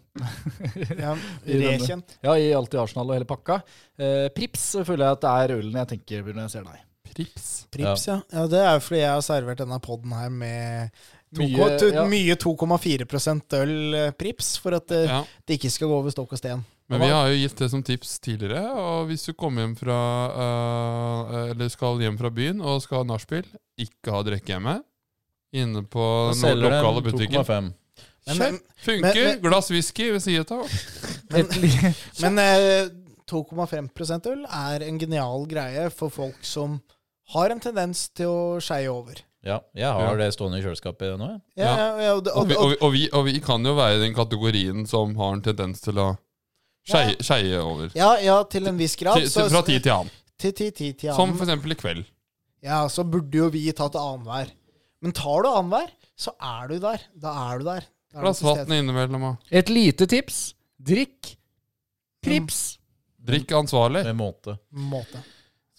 Speaker 2: Ja,
Speaker 5: I denne.
Speaker 2: rekjent.
Speaker 5: Ja, i alt i Arsenal og hele pakka. Eh, Prips føler jeg at det er ølen jeg tenker på når jeg ser deg.
Speaker 1: Prips.
Speaker 2: Prips, ja. ja. Det er jo fordi jeg har servert denne poden her med to,
Speaker 5: Mye,
Speaker 2: ko- to,
Speaker 5: ja.
Speaker 2: mye 2,4 øl eh, Prips, for at eh,
Speaker 1: Ja.
Speaker 2: det ikke skal gå over stokk og sten.
Speaker 1: Men vi har jo gitt det som tips tidligere, og hvis du kommer hjem fra øh, Eller skal hjem fra byen og skal ha nachspiel, ikke ha drikke hjemme. Inne på
Speaker 4: Da
Speaker 1: den
Speaker 4: selger
Speaker 1: lokale
Speaker 4: den
Speaker 1: butikken.
Speaker 4: 2,5.
Speaker 2: Men,
Speaker 1: Kjøp!
Speaker 2: men,
Speaker 1: Funker!
Speaker 2: men-
Speaker 1: Glass whisky ved siden av.
Speaker 2: Men-
Speaker 5: Et li-
Speaker 2: men eh, 2,5 øl er en genial greie for folk som har en tendens til å skeie over.
Speaker 4: Ja, jeg
Speaker 1: Ja.
Speaker 4: har det stående i kjøleskapet nå, jeg.
Speaker 2: Ja, ja.
Speaker 1: Ja.
Speaker 2: Ja, og, det-
Speaker 1: Og vi,
Speaker 2: og,
Speaker 1: og, vi- og, vi, og vi kan jo være i den kategorien som har en tendens til å skeie skeie over.
Speaker 2: ja, ja, til en viss grad.
Speaker 1: Til,
Speaker 2: så-
Speaker 1: til, fra tid til annen.
Speaker 2: til ti, ti, ti
Speaker 1: Som
Speaker 2: annen.
Speaker 1: for eksempel i kveld.
Speaker 2: Ja, så burde jo vi tatt annenhver. Men tar du annenhver, så er du der. Da er du der. Da er du
Speaker 1: Glass
Speaker 2: til stede.
Speaker 1: vann innimellom og
Speaker 5: Et lite tips. Drikk Prips.
Speaker 1: drikk ansvarlig.
Speaker 4: Med måte.
Speaker 2: Måte.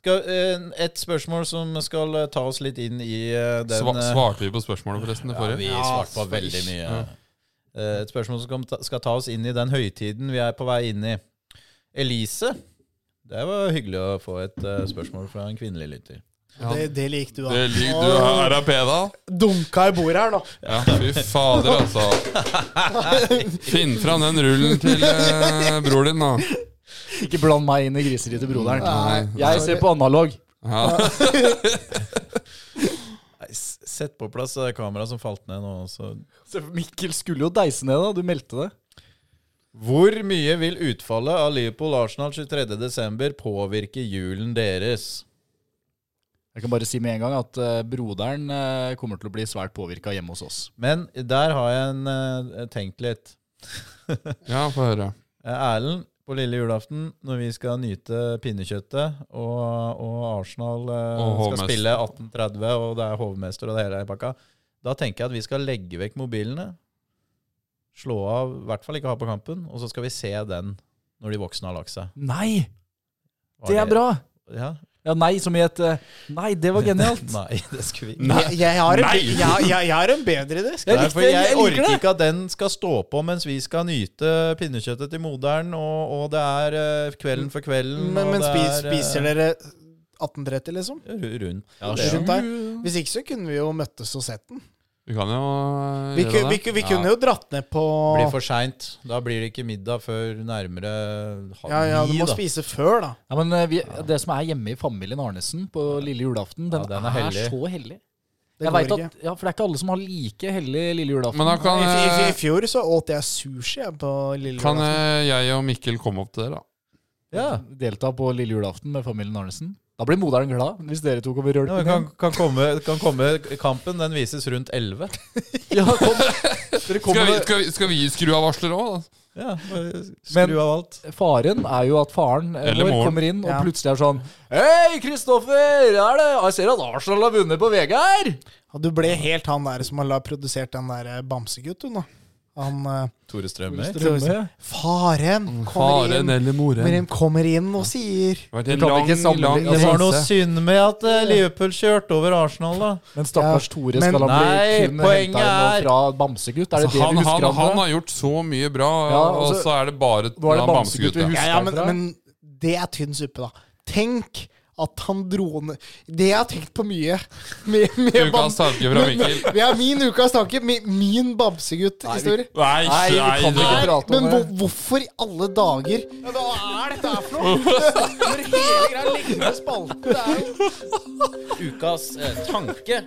Speaker 4: Skal, eh, et spørsmål som skal eh, ta oss litt inn i eh, den
Speaker 1: Sva,
Speaker 4: eh,
Speaker 1: svarte vi på spørsmålet forresten det
Speaker 4: Ja,
Speaker 1: forrige?
Speaker 4: vi svarte på veldig mye. Eh, Et spørsmål som kan ta- skal ta oss inn i den høytiden vi er på vei inn i. Elise, det var hyggelig å få et eh, spørsmål fra en kvinnelig lytter.
Speaker 1: Ja.
Speaker 2: Det, det likte du, da.
Speaker 1: Det ligger du her av peda.
Speaker 2: Dunka i bordet her, da.
Speaker 1: Ja, fy fader, altså. Finn fram den rullen til eh, bror din, da.
Speaker 4: Mm.
Speaker 5: Ikke bland meg inn i griseriet til broderen.
Speaker 1: Nei.
Speaker 5: Jeg ser på analog.
Speaker 1: Ja.
Speaker 4: Nei, s- Sett på plass eh, kameraet som falt ned nå. Så.
Speaker 5: Se, Mikkel skulle jo deise ned, da. Du meldte det.
Speaker 4: Hvor mye vil utfallet av Liverpool-Arsenal 23.12. påvirke julen deres?
Speaker 5: Jeg kan bare si med en gang at eh, broderen eh, kommer til å bli svært påvirka hjemme hos oss.
Speaker 4: Men der har jeg en, eh, tenkt litt.
Speaker 1: ja, få høre.
Speaker 4: Eh, Erlend, på lille julaften, når vi skal nyte pinnekjøttet, og, og Arsenal eh,
Speaker 1: Og
Speaker 4: skal
Speaker 1: hovmester.
Speaker 4: spille 1830, og det er hovmester og det hele i pakka, da tenker jeg at vi skal legge vekk mobilene, slå av, i hvert fall ikke ha på kampen, og så skal vi se den når de voksne har lagt seg.
Speaker 5: Nei!
Speaker 4: Var
Speaker 5: Det er bra!
Speaker 4: Ja,
Speaker 5: Ja, nei, som i et eh, Nei, det var genialt.
Speaker 4: Nei, det skulle vi ikke.
Speaker 2: Jeg, jeg, har en, jeg, jeg, jeg har en bedre idé. skal
Speaker 5: Jeg
Speaker 4: Nei,
Speaker 5: likte
Speaker 4: for
Speaker 5: det,
Speaker 4: jeg
Speaker 5: jeg liker
Speaker 4: orker
Speaker 5: det.
Speaker 4: ikke at den skal stå på mens vi skal nyte pinnekjøttet til moderen, og, og det er eh, kvelden for kvelden.
Speaker 2: Men,
Speaker 4: og
Speaker 2: men
Speaker 4: det
Speaker 2: spis,
Speaker 4: er, eh,
Speaker 2: spiser dere 1830, liksom?
Speaker 4: ru- Rundt. Ja,
Speaker 2: Det er
Speaker 4: sju.
Speaker 2: Rundt der? Hvis ikke så kunne vi jo møttes og sett den.
Speaker 1: Vi kan jo eh,
Speaker 2: Vi,
Speaker 1: gjøre
Speaker 2: ku,
Speaker 1: det.
Speaker 2: vi, ku- vi kunne jo dratt ned på
Speaker 4: blir for seint. Da blir det ikke middag før nærmere halv
Speaker 2: Ja, ja, du
Speaker 4: ni.
Speaker 2: må
Speaker 4: Da.
Speaker 2: spise før, da.
Speaker 5: Ja, men eh, vi, det som er hjemme i familien Arnesen på lille julaften, den,
Speaker 4: Ja, den er
Speaker 5: er,
Speaker 4: hellig.
Speaker 5: så hellig.
Speaker 2: Det
Speaker 5: Jeg
Speaker 2: går
Speaker 5: vet
Speaker 2: ikke.
Speaker 5: at, ja, For det er ikke alle som har like hellig lille julaften.
Speaker 1: Men da kan,
Speaker 2: I, f- i, f- I
Speaker 1: eh,
Speaker 2: fjor så åt jeg sushi jeg, på lille
Speaker 1: kan
Speaker 2: julaften.
Speaker 1: eh, jeg og Mikkel komme opp til dere, da.
Speaker 5: ja, Delta på lille julaften med familien Arnesen. Da blir moderen glad hvis dere to kommer
Speaker 4: Ja, men
Speaker 5: rølpende
Speaker 4: kan, kan, komme, kan komme Kampen den vises rundt 11.
Speaker 5: Ja, kom. Dere
Speaker 1: Skal
Speaker 5: kommer
Speaker 1: vi, skal vi, skal vi skru av varsler òg, da?
Speaker 4: Ja, bare skru
Speaker 5: Men-
Speaker 4: av alt.
Speaker 5: Faren er jo at faren eh,
Speaker 1: Eller
Speaker 5: vår
Speaker 1: moren.
Speaker 5: kommer inn og
Speaker 2: Ja.
Speaker 5: plutselig er sånn Hei, Kristoffer! Er det? Jeg ser at Arsenal har vunnet på VG her!
Speaker 1: eh,
Speaker 2: Og du ble helt han der som har la- produsert den der eh, Bamsegutt, du, nå. Han eh,
Speaker 4: Tore Strømøy.
Speaker 5: Strømme.
Speaker 2: Faren kommer
Speaker 1: Mm, Faren
Speaker 2: inn,
Speaker 1: eller
Speaker 2: kommer
Speaker 1: moren.
Speaker 2: inn, kommer inn og sier
Speaker 1: Det har vært en
Speaker 5: Du kan
Speaker 1: lang,
Speaker 5: ikke sammenligne-
Speaker 1: lang
Speaker 4: Det var noe
Speaker 1: reise.
Speaker 4: synd med at eh, Liverpool kjørte over Arsenal, da.
Speaker 5: Men stakkars
Speaker 2: Ja,
Speaker 5: Tore
Speaker 2: men-
Speaker 5: skal han bli
Speaker 4: Nei,
Speaker 5: kun
Speaker 4: poenget
Speaker 5: henta nå
Speaker 4: er-
Speaker 5: fra Bamsegutt? Er
Speaker 1: han,
Speaker 5: det det vi
Speaker 1: han,
Speaker 5: husker
Speaker 1: han
Speaker 5: han fra?
Speaker 1: har gjort så mye bra,
Speaker 5: Ja,
Speaker 1: og
Speaker 5: altså,
Speaker 1: så er det bare
Speaker 5: nå er det
Speaker 1: han
Speaker 5: Bamsegutt vi
Speaker 1: Bamsegutt, ja.
Speaker 5: husker.
Speaker 2: Ja, ja, men,
Speaker 5: Herfra.
Speaker 2: men det er tynn suppe, da. Tenk at han dro ned Det jeg har tenkt på mye. Med, med
Speaker 1: Ukas
Speaker 2: Bam-
Speaker 1: tanke fra Mikkel.
Speaker 2: Men- Ja, min ukas tanke. mi- Min Bamsegutt-historie.
Speaker 1: Nei,
Speaker 5: Nei, vi
Speaker 1: nei,
Speaker 5: kan ikke
Speaker 1: nei.
Speaker 5: prate om
Speaker 2: Men
Speaker 5: det.
Speaker 2: hvor, hvorfor i alle dager Hva er dette her for noe? Når hele greia ligger med spalte. Det er jo
Speaker 4: Ukas tanke.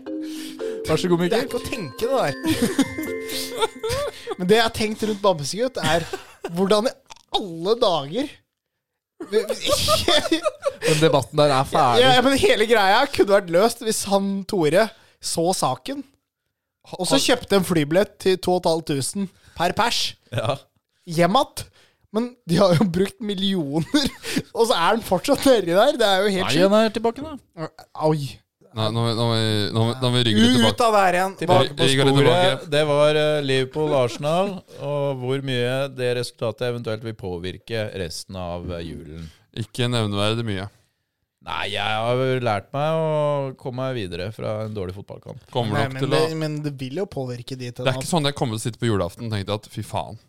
Speaker 5: Vær så god,
Speaker 2: det er
Speaker 5: Mikkel.
Speaker 2: ikke å tenke, det der. Men det jeg har tenkt rundt Bamsegutt, er hvordan i alle dager
Speaker 5: Den debatten der er ferdig.
Speaker 2: Ja, ja, men hele greia kunne vært løst hvis han Tore så saken. Og så kjøpte en flybillett til 2500 per pers
Speaker 4: Ja.
Speaker 2: hjem igjen. Men de har jo brukt millioner, og så er han fortsatt nedi der. Det er jo helt
Speaker 5: Nei,
Speaker 2: sjukt.
Speaker 5: han er tilbake, da.
Speaker 2: Oi.
Speaker 1: Nei, nå, må vi- nå, må vi- nå, må- nå må vi rygge litt
Speaker 2: Ut
Speaker 1: tilbake.
Speaker 2: av der igjen.
Speaker 1: Tilbake på Rygger det sporet. tilbake.
Speaker 4: Det var Liverpool-Arsenal, og hvor mye det resultatet eventuelt vil påvirke resten av eh, julen.
Speaker 1: Ikke nevneverdig mye.
Speaker 4: Nei, jeg har lært meg å komme meg videre fra en dårlig fotballkamp.
Speaker 1: Kommer
Speaker 2: Nei,
Speaker 1: nok
Speaker 2: men,
Speaker 1: til
Speaker 2: det,
Speaker 1: å
Speaker 2: men det vil jo påvirke de til
Speaker 1: Det er
Speaker 2: at-
Speaker 1: ikke sånn jeg kommer til å sitte på julaften og tenke at fy faen,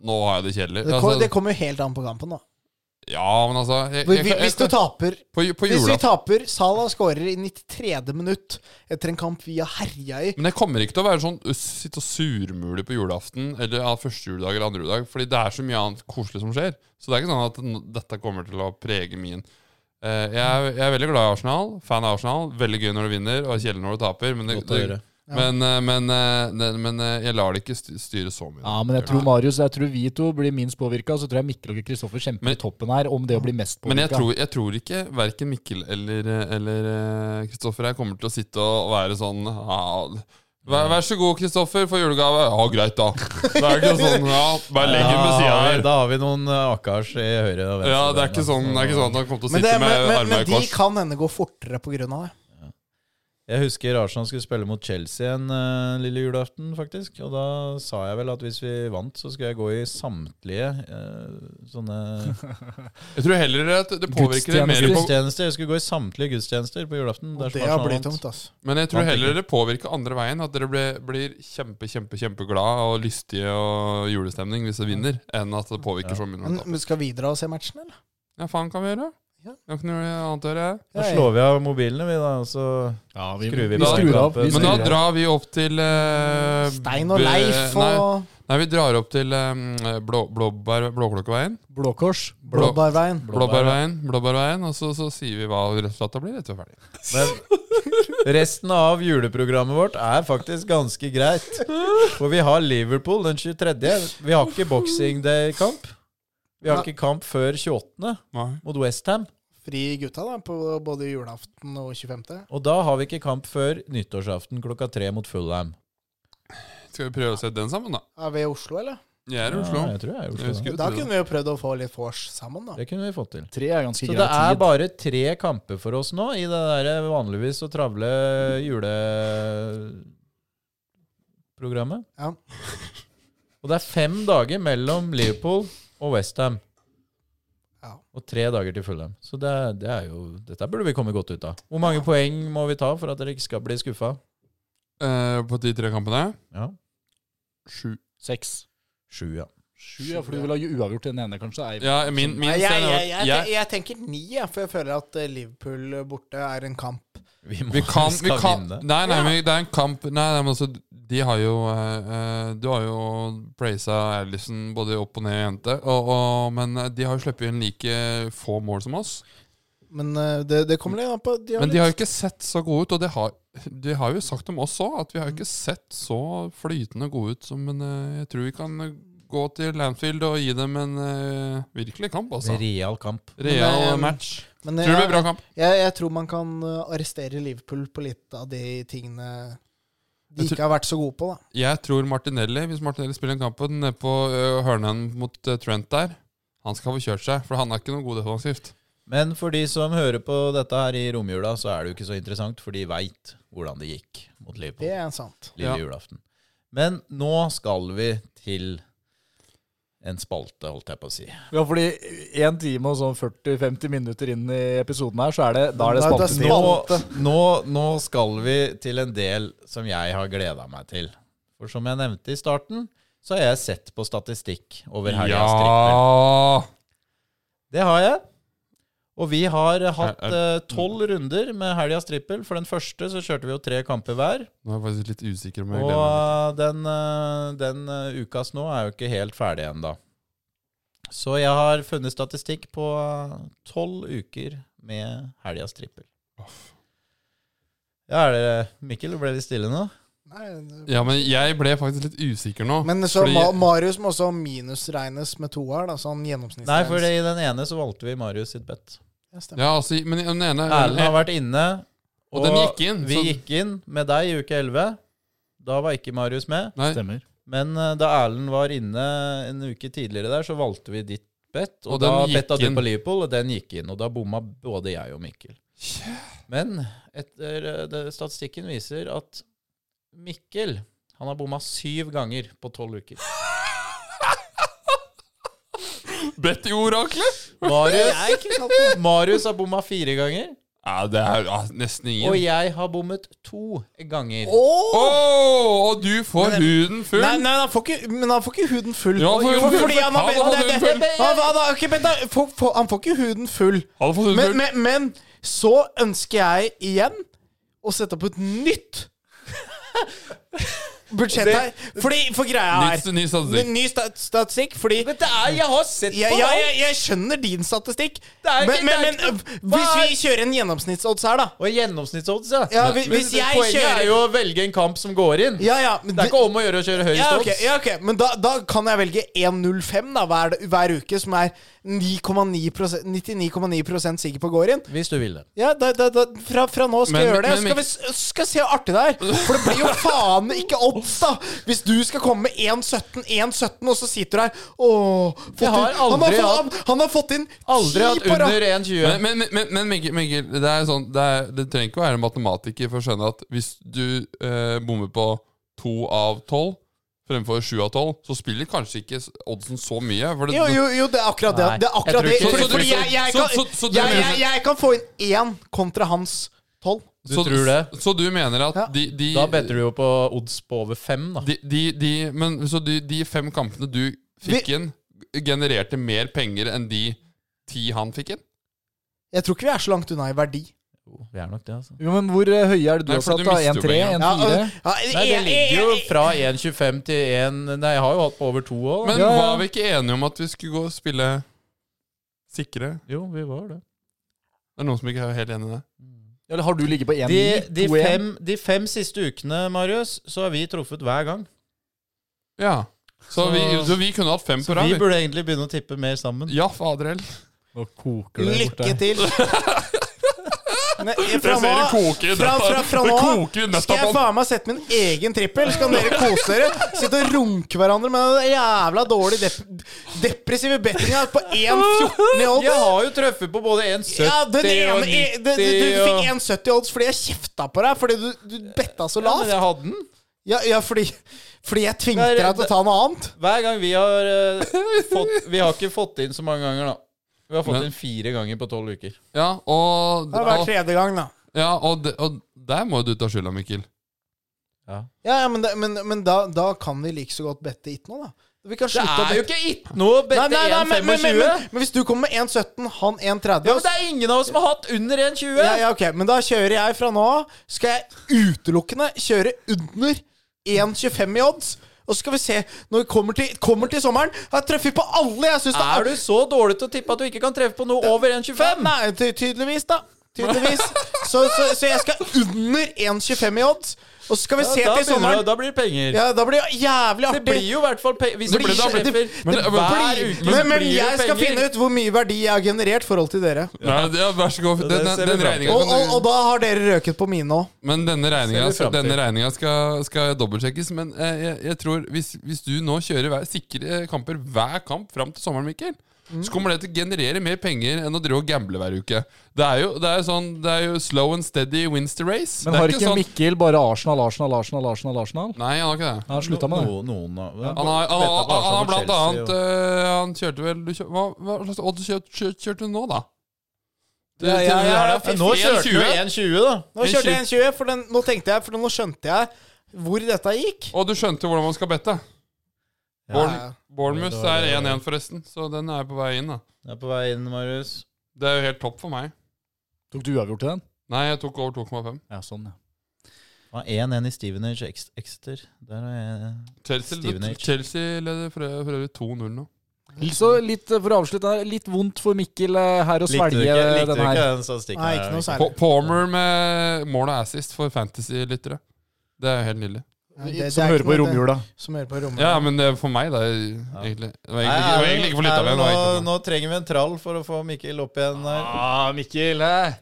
Speaker 1: nå har jeg det kjedelig.
Speaker 2: det, kom,
Speaker 1: Altså,
Speaker 2: det kommer jo helt an på kampen, da.
Speaker 1: ja, men altså jeg, jeg,
Speaker 2: Hvis,
Speaker 1: jeg,
Speaker 2: hvis du taper
Speaker 1: på, på
Speaker 2: Hvis vi
Speaker 1: julaften
Speaker 2: taper, Salah skårer i 93. minutt etter en kamp vi har herja i.
Speaker 1: Men jeg kommer ikke til å være sånn ø, sitte og surmule på julaften eller ja, første juledag eller andre juledag, fordi det er så mye annet koselig som skjer. Så det er ikke sånn at n- dette kommer til å prege min Eh, jeg, er- jeg er veldig glad i Arsenal, fan av Arsenal. Veldig gøy når du vinner, og kjedelig når du taper. Men, det,
Speaker 4: Godt å
Speaker 1: det,
Speaker 4: gjøre.
Speaker 1: men, eh, men, eh, ne- men eh, jeg lar det ikke sty- styre så mye.
Speaker 5: Ja, men jeg tror Marius, jeg tror vi to blir minst påvirka, så tror jeg Mikkel og Kristoffer kjemper
Speaker 1: Men-
Speaker 5: i toppen her om det å bli mest
Speaker 1: Men jeg
Speaker 5: påvirka.
Speaker 1: tror, jeg tror ikke verken Mikkel eller eller, eh, Kristoffer her kommer til å sitte og være sånn ja, vær, vær så god, Kristoffer, for julegave. Ja, greit, da. Det er ikke sånn ja, bare legg den ved sida
Speaker 4: Da-
Speaker 1: her.
Speaker 4: Da har vi noen eh, akkars i høyre og venstre.
Speaker 1: Ja, det er ikke sånn, det er ikke sånn at han kommer til å
Speaker 2: Men, det,
Speaker 1: sitte
Speaker 2: men,
Speaker 1: med
Speaker 2: men, men
Speaker 1: armene i
Speaker 2: de
Speaker 1: kors.
Speaker 2: kan hende gå fortere pga. det.
Speaker 4: Jeg husker Arsenal skulle spille mot Chelsea en eh, lille julaften, faktisk. Og da sa jeg vel at hvis vi vant, så skulle jeg gå i samtlige eh, sånne
Speaker 1: Jeg tror heller at det påvirker det mer på,
Speaker 4: gudstjenester. Jeg skulle gå i samtlige gudstjenester på julaften.
Speaker 2: Og
Speaker 4: dersom
Speaker 2: det
Speaker 4: Arsenal
Speaker 2: blir
Speaker 4: vant.
Speaker 2: tungt, altså.
Speaker 1: Men jeg tror heller det påvirker andre veien. At dere blir, blir kjempe, kjempe, kjempeglad og lystige og julestemning hvis dere vinner, enn at det påvirker så mye. når
Speaker 2: Men,
Speaker 1: dere taper.
Speaker 2: men skal vi dra og se matchen, eller?
Speaker 1: Ja, faen kan vi gjøre?
Speaker 2: Ja.
Speaker 1: Det er ikke noe annet å gjøre. jeg.
Speaker 4: Da slår vi av mobilene, vi, da. og Så
Speaker 5: Ja, vi,
Speaker 4: skrur vi
Speaker 5: vi
Speaker 4: på
Speaker 5: skrur av.
Speaker 4: kampen.
Speaker 5: Vi
Speaker 1: Men da
Speaker 5: skrur av.
Speaker 1: drar vi opp til eh,
Speaker 2: Stein og
Speaker 1: Bø-
Speaker 2: Leif
Speaker 1: nei,
Speaker 2: og
Speaker 1: nei, vi drar opp til eh, blå, blåbær, Blåklokkeveien.
Speaker 5: Blå Kors.
Speaker 1: Blå-
Speaker 2: Blåbærveien.
Speaker 1: Blåbærveien, Blåbærveien, og så, så sier vi hva resultatet blir etter vi er ferdig.
Speaker 4: Men resten av juleprogrammet vårt er faktisk ganske greit. For vi har Liverpool den 23. Vi har ikke Boxing Day-kamp. Vi har ikke kamp før 28. mot Westham.
Speaker 2: Fri gutta, da, på både julaften og 25.
Speaker 4: Og da har vi ikke kamp før nyttårsaften klokka tre mot Fulham.
Speaker 1: Skal vi prøve å se den sammen, da?
Speaker 2: Er vi i Oslo, eller?
Speaker 1: Jeg er i
Speaker 4: Ja,
Speaker 1: Oslo.
Speaker 4: jeg tror jeg er i
Speaker 1: Jeg
Speaker 4: Oslo.
Speaker 1: husker
Speaker 4: da.
Speaker 1: jo
Speaker 2: Da
Speaker 1: det.
Speaker 2: kunne vi jo prøvd å få litt vors sammen, da.
Speaker 4: Det kunne vi fått til.
Speaker 5: Tre er ganske
Speaker 4: Så
Speaker 5: grei
Speaker 4: det er
Speaker 5: tid.
Speaker 4: bare tre kamper for oss nå i det der vanligvis så travle juleprogrammet.
Speaker 2: Ja.
Speaker 4: Og det er fem dager mellom Liverpool og Westham.
Speaker 2: Ja.
Speaker 4: Og tre dager til Fulham. Så det, det er jo, dette burde vi komme godt ut av. Hvor mange poeng må vi ta for at dere ikke skal bli skuffa?
Speaker 1: Eh, på de tre kampene.
Speaker 4: Ja.
Speaker 1: Sju.
Speaker 5: Seks.
Speaker 4: Sju, ja.
Speaker 5: Sju, ja, for du vil ha uavgjort i den ene, kanskje? Nei,
Speaker 1: Ja, min, min
Speaker 2: Nei, jeg,
Speaker 1: stand er at
Speaker 2: jeg, jeg,
Speaker 1: jeg-
Speaker 2: jeg, jeg tenker ni, jeg, for jeg føler at eh, Liverpool borte er en kamp.
Speaker 4: Vi, må,
Speaker 1: Vi kan, vi
Speaker 4: skal
Speaker 1: kan
Speaker 4: vinne.
Speaker 1: Nei, nei, men det er en kamp Nei, nei men altså De har jo eh, eh, Du har jo praisa Alison både opp og ned og jente, og, og, men eh, de har jo sluppet inn like få mål som oss.
Speaker 2: Men eh, det, det kommer litt an på de har
Speaker 1: Men de
Speaker 2: litt-
Speaker 1: har jo ikke sett så gode ut, og det har, de har jo sagt om oss òg, at vi har jo ikke sett så flytende gode ut. som- Men eh, jeg tror vi kan gå til Lanfield og gi dem en eh, virkelig kamp, altså.
Speaker 4: Real kamp.
Speaker 1: Real
Speaker 2: Men, eh,
Speaker 1: match.
Speaker 2: Men
Speaker 1: Tror det
Speaker 2: jeg,
Speaker 1: blir bra kamp.
Speaker 2: jeg, jeg tror man kan eh, arrestere Liverpool på litt av de tingene de
Speaker 1: Jeg tror-
Speaker 2: ikke har vært så gode på, da.
Speaker 1: Jeg tror Martinelli, hvis Martinelli spiller den kampen nede på ø, hørnen mot ø, Trent der, han skal få kjørt seg, for han er ikke noe god defensivt.
Speaker 4: Men for de som hører på dette her i romjula, så er det jo ikke så interessant, for de veit hvordan det gikk mot Liverpool.
Speaker 2: Det er sant.
Speaker 4: lille
Speaker 1: Ja.
Speaker 4: julaften. Men nå skal vi til en spalte, holdt jeg på å si.
Speaker 5: Ja, fordi en time og sånn 40-50 minutter inn i episoden her, så er det, da er det
Speaker 2: Da er det
Speaker 5: spalten.
Speaker 4: Nå,
Speaker 5: igjen.
Speaker 4: nå, nå skal vi til en del som jeg har gleda meg til. For som jeg nevnte i starten, så har jeg sett på statistikk over helgas trippel.
Speaker 1: Ja!
Speaker 4: Det har jeg. Og vi har hatt eh,
Speaker 1: Er-
Speaker 4: tolv runder med helgas trippel. For den første så kjørte vi jo tre kamper hver.
Speaker 1: Nå er jeg faktisk litt usikker om jeg gleder meg.
Speaker 4: Og den, eh, den eh, ukas nå er jo ikke helt ferdig ennå. Så jeg har funnet statistikk på tolv uker med helgas trippel.
Speaker 1: Aff.
Speaker 4: Ja, er det Mikkel, ble vi stille nå?
Speaker 2: Nei, det-
Speaker 1: Ja, men jeg ble faktisk litt usikker nå.
Speaker 2: men så
Speaker 1: fordi-
Speaker 2: Ma Marius må også minusregnes med to her, da, sånn gjennomsnittsregnes.
Speaker 4: Nei, for i den ene så valgte vi Marius sitt bet.
Speaker 2: Ja, stemmer.
Speaker 1: Ja, altså, men den ene
Speaker 4: Erlend har vært inne,
Speaker 1: Og den gikk inn,
Speaker 4: Vi
Speaker 1: så-
Speaker 4: gikk inn med deg i uke 11. Da var ikke Marius med.
Speaker 1: Nei,
Speaker 5: Stemmer.
Speaker 4: Men eh, da Erlend var inne en uke tidligere der, så valgte vi ditt bet. Og,
Speaker 1: Og
Speaker 4: da
Speaker 1: den gikk
Speaker 4: betta du
Speaker 1: inn.
Speaker 4: på Liverpool, og den gikk inn. Og da bomma både jeg og Mikkel. Men etter, eh, det, statistikken viser at Mikkel han har bomma syv ganger på tolv uker.
Speaker 1: Bedt i oraklet!
Speaker 4: Marius, Marius har bomma fire ganger,
Speaker 1: Ja, det er ja, nesten
Speaker 4: og
Speaker 1: ingen.
Speaker 4: jeg har bommet to ganger.
Speaker 1: Å, og du får huden full!
Speaker 2: Nei, nei, han får ikke, men han får ikke huden full.
Speaker 1: Ja, han får
Speaker 2: Jo,
Speaker 1: huden full.
Speaker 2: fordi han har-
Speaker 1: Han får huden full.
Speaker 2: Han- han har ikke- men da- får- får- Han får ikke huden full.
Speaker 1: Han har fått huden
Speaker 2: Men,
Speaker 1: full.
Speaker 2: men, men så ønsker jeg igjen å sette opp et nytt budsjett her. Fordi, for greia
Speaker 1: Nytt,
Speaker 2: er
Speaker 1: ny statistikk.
Speaker 2: Ny stat- statistikk, fordi
Speaker 4: Dette er Jeg har sett
Speaker 2: jeg, jeg, jeg, jeg skjønner din statistikk,
Speaker 4: er ikke-
Speaker 2: men, men, men
Speaker 4: det er
Speaker 2: øh,
Speaker 4: ikke-
Speaker 2: hvis
Speaker 4: Hva er-
Speaker 2: vi kjører en gjennomsnittsodds her, da
Speaker 4: Og gjennomsnittsodds, ja.
Speaker 2: Ja, hvis-
Speaker 4: Men
Speaker 2: hvis jeg
Speaker 4: poenget
Speaker 2: kjører-
Speaker 4: er jo å velge en kamp som går inn.
Speaker 2: Ja, ja, men
Speaker 4: Det er
Speaker 2: du-
Speaker 4: ikke om å gjøre å kjøre høyest
Speaker 2: ja,
Speaker 4: odds.
Speaker 2: ok, ja, ok, Men da, da kan jeg velge 1,05 da hver, hver uke, som er 9,9 prosent- 99,9 prosent sikker på går inn.
Speaker 4: Hvis du vil det.
Speaker 2: Ja, da, da, da, fra, fra nå skal
Speaker 1: Men-
Speaker 2: jeg gjøre
Speaker 1: men-
Speaker 2: det. Skal vi s- skal se hvor artig det er. For det blir jo faen ikke odds, da. Hvis du skal komme med 1,17, 1,17, og så sitter du her Åh, fått
Speaker 4: Jeg har
Speaker 2: inn- han, har
Speaker 4: aldri
Speaker 2: fått,
Speaker 4: hatt-
Speaker 2: han, han har fått inn
Speaker 4: Aldri hatt
Speaker 2: på rad.
Speaker 4: under
Speaker 1: Men,
Speaker 4: 1,20.
Speaker 1: men, men- men, men Mikkel, Mikkel det, er sånn, det, er, det trenger ikke å være matematiker for å skjønne at hvis du eh, bommer på to av tolv fremfor sju av tolv, så spiller kanskje ikke s- oddsen så mye. For det,
Speaker 2: Jo, jo, jo, det er akkurat det.
Speaker 4: Nei,
Speaker 2: det, er
Speaker 4: jeg
Speaker 2: akkurat
Speaker 4: tror
Speaker 2: det.
Speaker 4: ikke-
Speaker 2: Fordi,
Speaker 1: Så- så-
Speaker 2: fordi jeg,
Speaker 1: så-
Speaker 2: jeg, kan,
Speaker 1: så- så du
Speaker 2: jeg,
Speaker 1: mener-
Speaker 2: jeg, jeg kan få inn én kontra hans tolv.
Speaker 1: Så,
Speaker 4: Du tror det?
Speaker 1: Så du mener at
Speaker 2: Ja.
Speaker 1: de, de,
Speaker 4: Da better du jo på odds på over fem, da.
Speaker 1: de, de, de, men, Så de, de fem kampene du fikk
Speaker 2: Vi-
Speaker 1: inn, genererte mer penger enn de ti han fikk inn?
Speaker 2: Jeg tror ikke vi er så langt unna i verdi.
Speaker 4: Jo, Vi er nok det, altså.
Speaker 5: Jo, men hvor eh, høye er det du
Speaker 1: Nei,
Speaker 5: har
Speaker 1: for
Speaker 5: satt,
Speaker 1: du
Speaker 5: da?
Speaker 1: mister jo
Speaker 5: 1-3?
Speaker 1: poenget.
Speaker 5: 1-4?
Speaker 2: Ja, øh, ja,
Speaker 4: Nei, det
Speaker 2: jeg-
Speaker 4: ligger jo
Speaker 2: jeg-
Speaker 4: fra 1,25 til 1 Nei, jeg har jo hatt på over to òg.
Speaker 1: Men
Speaker 5: Ja, ja.
Speaker 1: var vi ikke enige om at vi skulle gå og spille sikre?
Speaker 4: Jo, vi var det.
Speaker 1: Det er noen som ikke er helt enig i det.
Speaker 5: Eller har du ligget på 1-9?
Speaker 4: De, de,
Speaker 5: 2-1?
Speaker 4: fem, de fem siste ukene, Marius, så har vi truffet hver gang.
Speaker 1: Ja. Så,
Speaker 4: Så-
Speaker 1: vi, så vi kunne hatt fem
Speaker 4: Så
Speaker 1: på rad.
Speaker 4: vi
Speaker 1: vi.
Speaker 4: burde egentlig begynne å tippe mer sammen.
Speaker 1: Ja, faderell.
Speaker 5: Nå koker det borte.
Speaker 2: Lykke til. Nei, fra
Speaker 1: Jeg ser det
Speaker 2: nå,
Speaker 1: koker i
Speaker 2: fra,
Speaker 1: nøtta.
Speaker 2: fra, fra
Speaker 1: Det
Speaker 2: nå
Speaker 1: koker i nøtta
Speaker 2: skal jeg
Speaker 1: på han.
Speaker 2: faen meg sette min egen trippel, så kan dere kose dere. Sitte og runke hverandre med den jævla dårlig dep depressive bettinga på 1,14 i odds.
Speaker 4: Jeg har jo truffet på både 1,70
Speaker 2: Ja, den
Speaker 4: og
Speaker 2: ene,
Speaker 4: 90
Speaker 2: i- du, du, du
Speaker 4: og
Speaker 2: fikk 1,70 i odds fordi jeg kjefta på deg fordi du, du betta så
Speaker 4: Ja, men
Speaker 2: lavt.
Speaker 4: jeg hadde den.
Speaker 2: Ja, ja fordi, fordi jeg tvingte
Speaker 4: Det er-
Speaker 2: deg til å ta noe annet.
Speaker 4: Hver gang vi har eh, fått Vi har ikke fått inn så mange ganger, da. Vi har fått
Speaker 1: Men-
Speaker 4: den fire ganger på tolv uker.
Speaker 1: Ja, og,
Speaker 2: Det er hver
Speaker 1: og,
Speaker 2: tredje gang, da.
Speaker 1: ja, og, de- og der må jo du ta skylda, Mikkel.
Speaker 2: Ja, ja, men, det, men, men da, da kan vi like så godt bette it nå, da. Vi kan
Speaker 4: Det
Speaker 2: slutte å
Speaker 4: er jo
Speaker 2: bette.
Speaker 4: ikke ikke noe
Speaker 2: Nei,
Speaker 4: bette
Speaker 2: nei, nei, men, men, men,
Speaker 4: 1,25!
Speaker 2: men, men hvis du kommer med 1,17, han 1,30
Speaker 4: Ja, men det er ingen av oss som har hatt under 1,20!
Speaker 2: ja, ja, ok, Men da kjører jeg fra nå av. Skal jeg utelukkende kjøre under 1,25 i odds? Og så skal vi se, når vi kommer til, kommer til sommeren Jeg treffer på alle jeg syns det
Speaker 4: Er du så dårlig til å tippe at du ikke kan treffe på noe over 1,25?
Speaker 2: Nei, ty tydeligvis, da. Tydeligvis. Så, så, så jeg skal under 1,25 i odds. Og så skal vi se
Speaker 4: Da,
Speaker 2: til
Speaker 4: begynner du-
Speaker 2: sommeren.
Speaker 4: da blir det penger.
Speaker 2: Ja, Da blir det jævlig
Speaker 4: Det
Speaker 2: artig.
Speaker 4: blir jo i hvert fall penger hvis du
Speaker 1: blir-
Speaker 4: ikke
Speaker 1: det blir-
Speaker 4: treffer
Speaker 1: men det-
Speaker 4: hver
Speaker 1: blir-
Speaker 4: uke.
Speaker 2: men,
Speaker 4: så
Speaker 2: men
Speaker 4: blir
Speaker 2: jeg
Speaker 4: det
Speaker 2: skal
Speaker 4: penger.
Speaker 2: finne ut hvor mye verdi jeg har generert i forhold til dere.
Speaker 1: Nei, ja, vær så god.
Speaker 4: Ja, det
Speaker 1: Den,
Speaker 4: ser
Speaker 1: den,
Speaker 4: vi
Speaker 1: den
Speaker 4: fram
Speaker 1: regningen
Speaker 4: til.
Speaker 2: Og, og,
Speaker 1: kan du-
Speaker 2: og da har dere røket på mine òg.
Speaker 1: Men denne regninga
Speaker 4: Ser vi frem til.
Speaker 1: denne regninga skal, skal dobbeltsjekkes. Men eh, jeg, jeg tror hvis, hvis du nå kjører hver, sikre eh, kamper hver kamp fram til sommeren, Mikkel,
Speaker 4: Mm.
Speaker 1: så kommer det til å generere mer penger enn å drive og gamble hver uke. Det er jo, det er jo sånn Det er jo slow and steady wins the race.
Speaker 5: Men
Speaker 1: det er sånn-
Speaker 5: har ikke Mikkel bare Arsenal, Arsenal, Arsenal, Arsenal? Arsenal?
Speaker 1: Nei, han har ikke det.
Speaker 5: Han slutta med det.
Speaker 4: No- Noen, av- ja.
Speaker 1: Han har, han,
Speaker 4: Betta
Speaker 1: har-
Speaker 4: på
Speaker 1: han har
Speaker 4: Arsenal
Speaker 1: blant
Speaker 4: og
Speaker 1: annet
Speaker 4: Chelsea,
Speaker 1: eh, Han kjørte vel du kjør, Hva, hva slags odds kjør- kjør- kjørte du nå, da? Du-
Speaker 4: og-
Speaker 1: du- du har det.
Speaker 4: Ja, Nå kjørte du
Speaker 1: 1,20,
Speaker 4: 1,20, da.
Speaker 2: Nå kjørte jeg 1,20, for den, nå tenkte jeg, for nå skjønte jeg hvor dette gikk.
Speaker 1: Og du skjønte hvordan man skal bette. Born,
Speaker 2: Ja.
Speaker 1: Bournemouth
Speaker 4: Det var-
Speaker 1: er 1-1, forresten, så den er på vei inn. da
Speaker 4: Jeg er på vei inn, Marius.
Speaker 1: Det er jo helt topp for meg.
Speaker 5: Tok du uavgjort til den?
Speaker 1: Nei, jeg tok over 2,5.
Speaker 5: Ja, sånn, ja.
Speaker 4: Ja, 1-1 i Stevenage Ex- Exeter. Der er jeg
Speaker 1: Chelsea,
Speaker 4: Stevenage.
Speaker 1: Chelsea leder for for øvrig 2-0 nå.
Speaker 5: Så litt, eh, for å avslutte, den her, litt vondt for Mikkel eh, her å
Speaker 4: Likte du
Speaker 5: svelge
Speaker 4: ikke, likte
Speaker 5: den
Speaker 4: du ikke
Speaker 5: her.
Speaker 4: den statistikken?
Speaker 2: Nei, ikke noe
Speaker 4: her?
Speaker 1: Pa-
Speaker 2: særlig.
Speaker 1: Palmer med mål og assist for fantasy-lyttere. Det er jo helt nydelig.
Speaker 2: Ja, det- det er
Speaker 5: Som
Speaker 2: ikke
Speaker 5: hører på
Speaker 2: noe- det-
Speaker 5: romjula.
Speaker 2: Som hører på romjula.
Speaker 1: Ja, men det er for meg, da. Egentlig. Det var egentlig, det var egentlig ikke for litt av
Speaker 4: Nei,
Speaker 1: en. det var egentlig
Speaker 4: nå,
Speaker 1: for meg.
Speaker 4: nå trenger vi en trall for å få Mikkel opp igjen her.
Speaker 5: Ah, Mikkel! eh.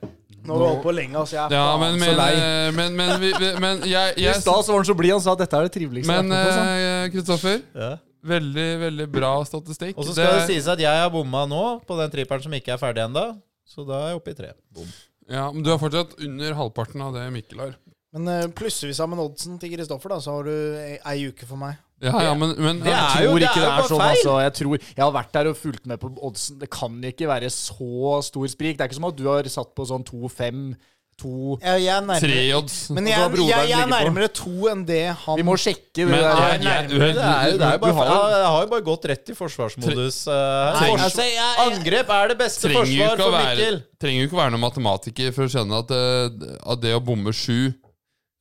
Speaker 2: Nå har vi holdt på lenge, altså. Jeg er
Speaker 1: Ja, men,
Speaker 2: faen
Speaker 1: men,
Speaker 2: så lei.
Speaker 1: eh, men, men, vi- vi- men jeg,
Speaker 5: I
Speaker 1: jeg
Speaker 5: stad så var han så blid, han sa at dette er det triveligste
Speaker 1: Men
Speaker 5: jeg har vært med på. sånn.
Speaker 1: eh, Kristoffer,
Speaker 4: Ja.
Speaker 1: veldig, veldig bra statistikk.
Speaker 4: Og så skal det
Speaker 1: Det-
Speaker 4: sies at jeg har bomma nå på den tripperen som ikke er ferdig ennå. Så da er jeg oppe i tre. Bom.
Speaker 1: ja, Men du er fortsatt under halvparten av det Mikkel har.
Speaker 2: Men eh, plusser vi sammen oddsen til Kristoffer, da, så har du ei, ei uke for meg.
Speaker 1: Ja, ja, men, men
Speaker 4: Det er
Speaker 5: Jeg
Speaker 4: jo-
Speaker 5: tror
Speaker 4: det
Speaker 5: ikke
Speaker 4: er
Speaker 5: det
Speaker 4: jo
Speaker 5: er
Speaker 4: bare
Speaker 5: sånn,
Speaker 4: feil.
Speaker 5: altså. Jeg, tror, jeg har vært der og fulgt med på oddsen. Det kan ikke være så stor sprik. Det er ikke som at du har satt på sånn 2-5, 2
Speaker 2: Jeg, jeg er nærmere,
Speaker 1: tre odds. Altså,
Speaker 2: men
Speaker 5: Og så har
Speaker 2: jeg,
Speaker 5: broderen
Speaker 2: jeg, jeg er
Speaker 5: ligget på.
Speaker 2: nærmere to enn det han
Speaker 5: Vi må sjekke det
Speaker 1: Men
Speaker 5: der.
Speaker 1: er- jeg-
Speaker 4: Det er jo det er jo
Speaker 1: du
Speaker 4: bare
Speaker 1: har
Speaker 4: feil.
Speaker 1: jo-
Speaker 4: Jeg har jo bare gått rett i forsvarsmodus eh, her.
Speaker 2: Nei,
Speaker 4: Forsvar-
Speaker 2: altså, jeg, jeg,
Speaker 4: Angrep er det beste
Speaker 1: trenger jo
Speaker 4: forsvar
Speaker 1: ikke å
Speaker 4: for
Speaker 1: være,
Speaker 4: Mikkel.
Speaker 1: trenger jo ikke å være noen matematiker for å skjønne at, eh, at det å bomme sju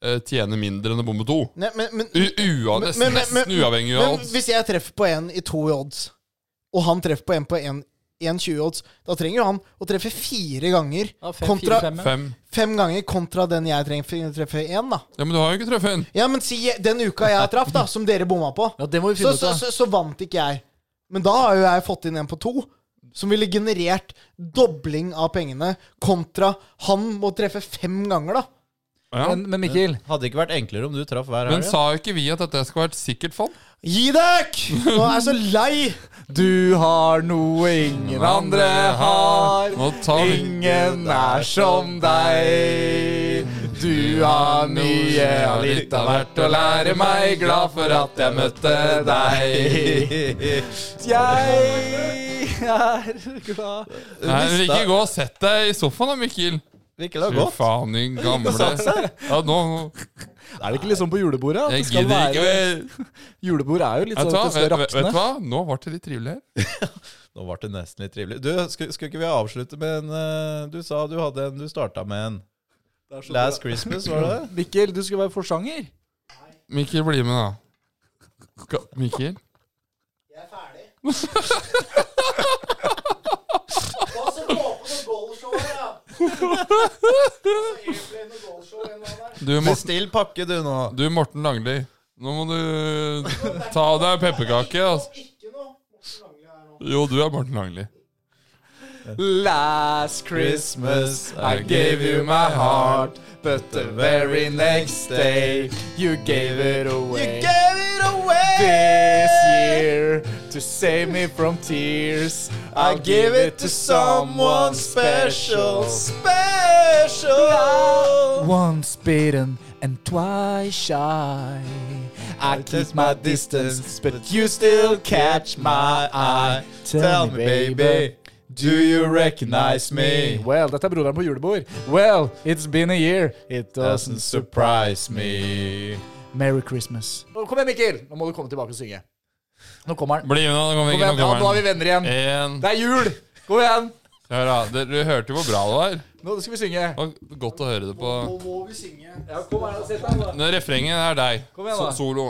Speaker 1: eh, tjener mindre enn å bomme to.
Speaker 2: Nei, men, men,
Speaker 1: U ua,
Speaker 2: Men-
Speaker 1: nesten,
Speaker 2: men-
Speaker 1: nesten
Speaker 2: men-
Speaker 1: uavhengig av
Speaker 2: men
Speaker 1: odds.
Speaker 2: hvis jeg treffer på én i to i odds, og han treffer på én på en- 1,20 odds, da trenger jo han å treffe fire ganger kontra
Speaker 1: Fem.
Speaker 2: Fem ganger kontra den jeg trenger treffe én, da.
Speaker 1: Ja, men du har jo ikke truffet en.
Speaker 2: Ja, men si den uka jeg traff, da, som dere bomma på,
Speaker 5: Ja, det må vi
Speaker 2: så,
Speaker 5: finne ut
Speaker 2: så,
Speaker 5: av.
Speaker 2: så, så vant ikke jeg. Men da har jo jeg fått inn en på to, som ville generert dobling av pengene, kontra han må treffe fem ganger, da.
Speaker 1: Ja.
Speaker 5: Men, men Mikkel,
Speaker 4: Hadde ikke vært enklere om du traff hver
Speaker 1: Men
Speaker 4: helg.
Speaker 1: sa jo ikke vi at dette skal være et sikkert fond?
Speaker 2: Gi døkk! Nå er jeg så lei!
Speaker 5: du har noe ingen andre har.
Speaker 1: Nå tar vi
Speaker 5: Ingen er som deg. Du har mye og litt av hvert å lære meg. Glad for at jeg møtte deg. Jeg er glad
Speaker 1: Nei, men
Speaker 4: Lista-
Speaker 1: ikke gå og sett deg i sofaen da, Mikkel.
Speaker 4: Mikkel har
Speaker 1: Fy
Speaker 4: gått.
Speaker 1: faen, din gamle Ja, nå
Speaker 5: Er det ikke litt sånn på julebordet? at
Speaker 1: Jeg
Speaker 5: det skal
Speaker 1: gidder ikke
Speaker 5: være-
Speaker 1: mer.
Speaker 5: Julebord er jo litt
Speaker 1: Vet
Speaker 5: sånn
Speaker 1: du hva?
Speaker 5: at det skal
Speaker 1: Vet, vet, vet du
Speaker 5: rakne.
Speaker 1: hva? Nå ble det litt trivelig her.
Speaker 4: Nå ble det nesten litt trivelig. Du, Skulle, skulle ikke vi avslutte med en eh, Du sa du hadde en du starta med en. Last Christmas, var det det?
Speaker 5: Mikkel, du skal være forsanger.
Speaker 1: Mikkel, bli med, da. Skal- Mikkel?
Speaker 2: Jeg er ferdig. Hva så håper du goalshow her, da?
Speaker 1: Du, Morten,
Speaker 4: Bestill pakke, du, nå.
Speaker 1: du, Morten Langli. Nå må du ta av deg pepperkake. Altså.
Speaker 2: Ikke noe Morten Langli her nå.
Speaker 1: Jo, du er Morten Langli.
Speaker 5: Last Christmas I gave you my heart, but the very next day you gave it away.
Speaker 4: gave it away!
Speaker 5: This year, to save me from tears, I give it to someone special.
Speaker 4: Special!
Speaker 5: Once bitten and twice shy. I keep my distance, but you still catch my eye. Tell me, baby,
Speaker 4: Do you recognize me?
Speaker 5: Well, dette er broderen på julebord. Well, it's been a year. It
Speaker 4: Doesn't surprise me.
Speaker 5: Merry Christmas. Nå- Kom igjen, Mikkel! Nå må du komme tilbake og synge. Nå kommer han.
Speaker 1: Bli med, nå. Nå kommer
Speaker 5: Kom
Speaker 1: vi
Speaker 5: igjen.
Speaker 1: ikke
Speaker 5: Ja, nå er
Speaker 1: noen
Speaker 5: vi venner
Speaker 4: Eh.
Speaker 5: igjen.
Speaker 1: En,
Speaker 5: Det er jul! Kom igjen!
Speaker 1: Hør, da. Dere- Du hørte jo hvor bra det var.
Speaker 5: Nå skal vi synge.
Speaker 1: Det var godt å høre det på
Speaker 2: må vi synge?
Speaker 5: Ja, kom her, sett deg, da.
Speaker 1: Når refrenget er deg.
Speaker 5: Kom igjen, da.
Speaker 1: so- Solo.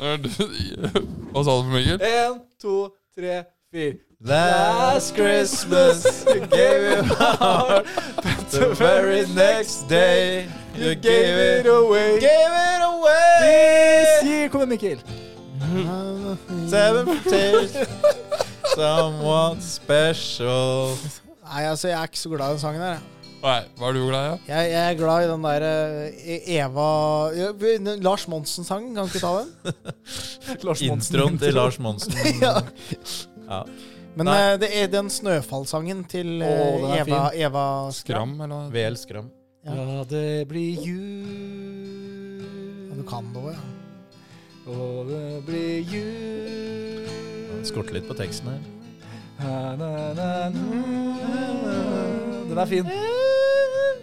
Speaker 1: Er du- Hva sa du for Mikkel?
Speaker 5: En, to, tre, fire.
Speaker 4: Last Christmas you gave it my heart, but the very next day you gave it away. Gave it away.
Speaker 5: Sier, kom igjen, Mikkel.
Speaker 4: Seven tears. Someone special.
Speaker 2: Nei, altså, jeg er ikke så glad i den sangen her. jeg.
Speaker 1: Nei, hva er du glad i? da?
Speaker 2: Jeg, jeg er glad i den der eh, Eva ja, den Lars Monsen-sangen, kan du ikke ta den?
Speaker 5: Lars Monsen.
Speaker 4: Introen til Lars Monsen.
Speaker 2: ja.
Speaker 4: Ja.
Speaker 2: Men
Speaker 4: Nei.
Speaker 2: eh, det er den snøfallsangen til eh,
Speaker 5: Å, den er
Speaker 2: Eva, Eva Skram.
Speaker 1: Skram, eller? hva?
Speaker 4: VL Skram.
Speaker 5: Ja, det blir jul
Speaker 2: Ja, du kan det òg, ja.
Speaker 5: Og det blir jul
Speaker 4: Han Skorter litt på teksten her.
Speaker 5: Na, na, na, na, na. Den er fin.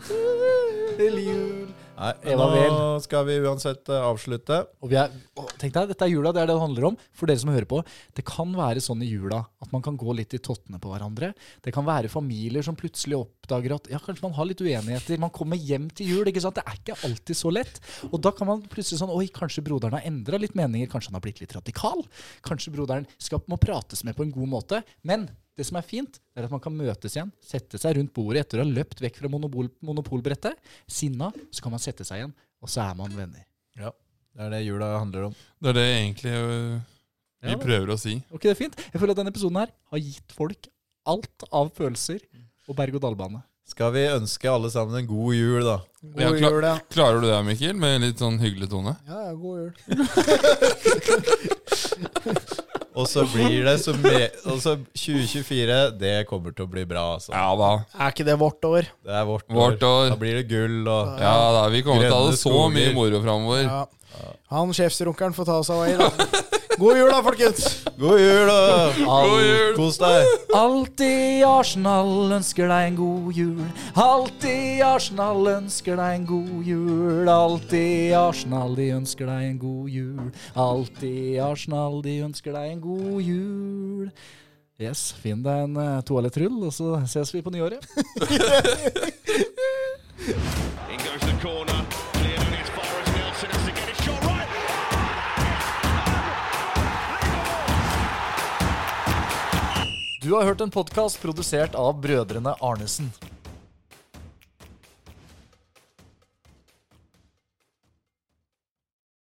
Speaker 5: Til jul.
Speaker 4: Nei,
Speaker 5: Eva
Speaker 4: nå skal vi uansett eh, avslutte.
Speaker 5: Og vi er, å, tenk deg, Dette er jula, det er det det handler om. For dere som hører på, det kan være sånn i jula at man kan gå litt i tottene på hverandre. Det kan være familier som plutselig oppdager at ja, kanskje man har litt uenigheter. Man kommer hjem til jul. ikke sant? Det er ikke alltid så lett. Og da kan man plutselig sånn Oi, kanskje broderen har endra litt meninger. Kanskje han har blitt litt radikal. Kanskje broderen skal, må prates med på en god måte. Men det som er fint, det er at man kan møtes igjen, sette seg rundt bordet etter å ha løpt vekk fra monopol, monopolbrettet. Sinna, så kan man sette seg igjen, og så er man venner.
Speaker 4: Det er det jula handler om.
Speaker 1: Det er det egentlig øh, vi
Speaker 5: Ja, da.
Speaker 1: prøver å si.
Speaker 5: Var ikke det fint? Jeg føler at denne episoden her har gitt folk alt av følelser og berg-og-dal-bane.
Speaker 4: Skal vi ønske alle sammen en god jul, da?
Speaker 1: Ja,
Speaker 2: God
Speaker 1: klar-
Speaker 2: jul, ja.
Speaker 1: Klarer du det, Mikkel? Med litt sånn hyggelig tone?
Speaker 2: Ja, ja, god jul.
Speaker 4: Og så blir det som det Og så 2024, det kommer til å bli bra, altså.
Speaker 1: Ja da.
Speaker 2: Er ikke det vårt år?
Speaker 4: Det er vårt,
Speaker 1: Vårt år.
Speaker 4: Da blir det gull og
Speaker 1: Ja da, Vi kommer til å ha
Speaker 4: Grønne
Speaker 1: det så mye
Speaker 4: skoger.
Speaker 1: moro framover.
Speaker 2: Ja. Han sjefsrunkeren får ta seg av i da. God jul, da, folkens!
Speaker 4: God jul, da!
Speaker 1: God jul!
Speaker 4: Kos deg!
Speaker 5: Alltid Arsenal ønsker deg en god jul. Alltid Arsenal ønsker deg en god jul. Alltid Arsenal, de ønsker deg en god jul. Alltid Arsenal, de ønsker deg en god jul. Yes, finn deg en eh, toalettrull, og så ses vi på nyåret.
Speaker 6: In goes the corner. Cleared on his far as Nelson has to get his shot right.
Speaker 5: Du har hørt en podkast produsert av brødrene Arnesen.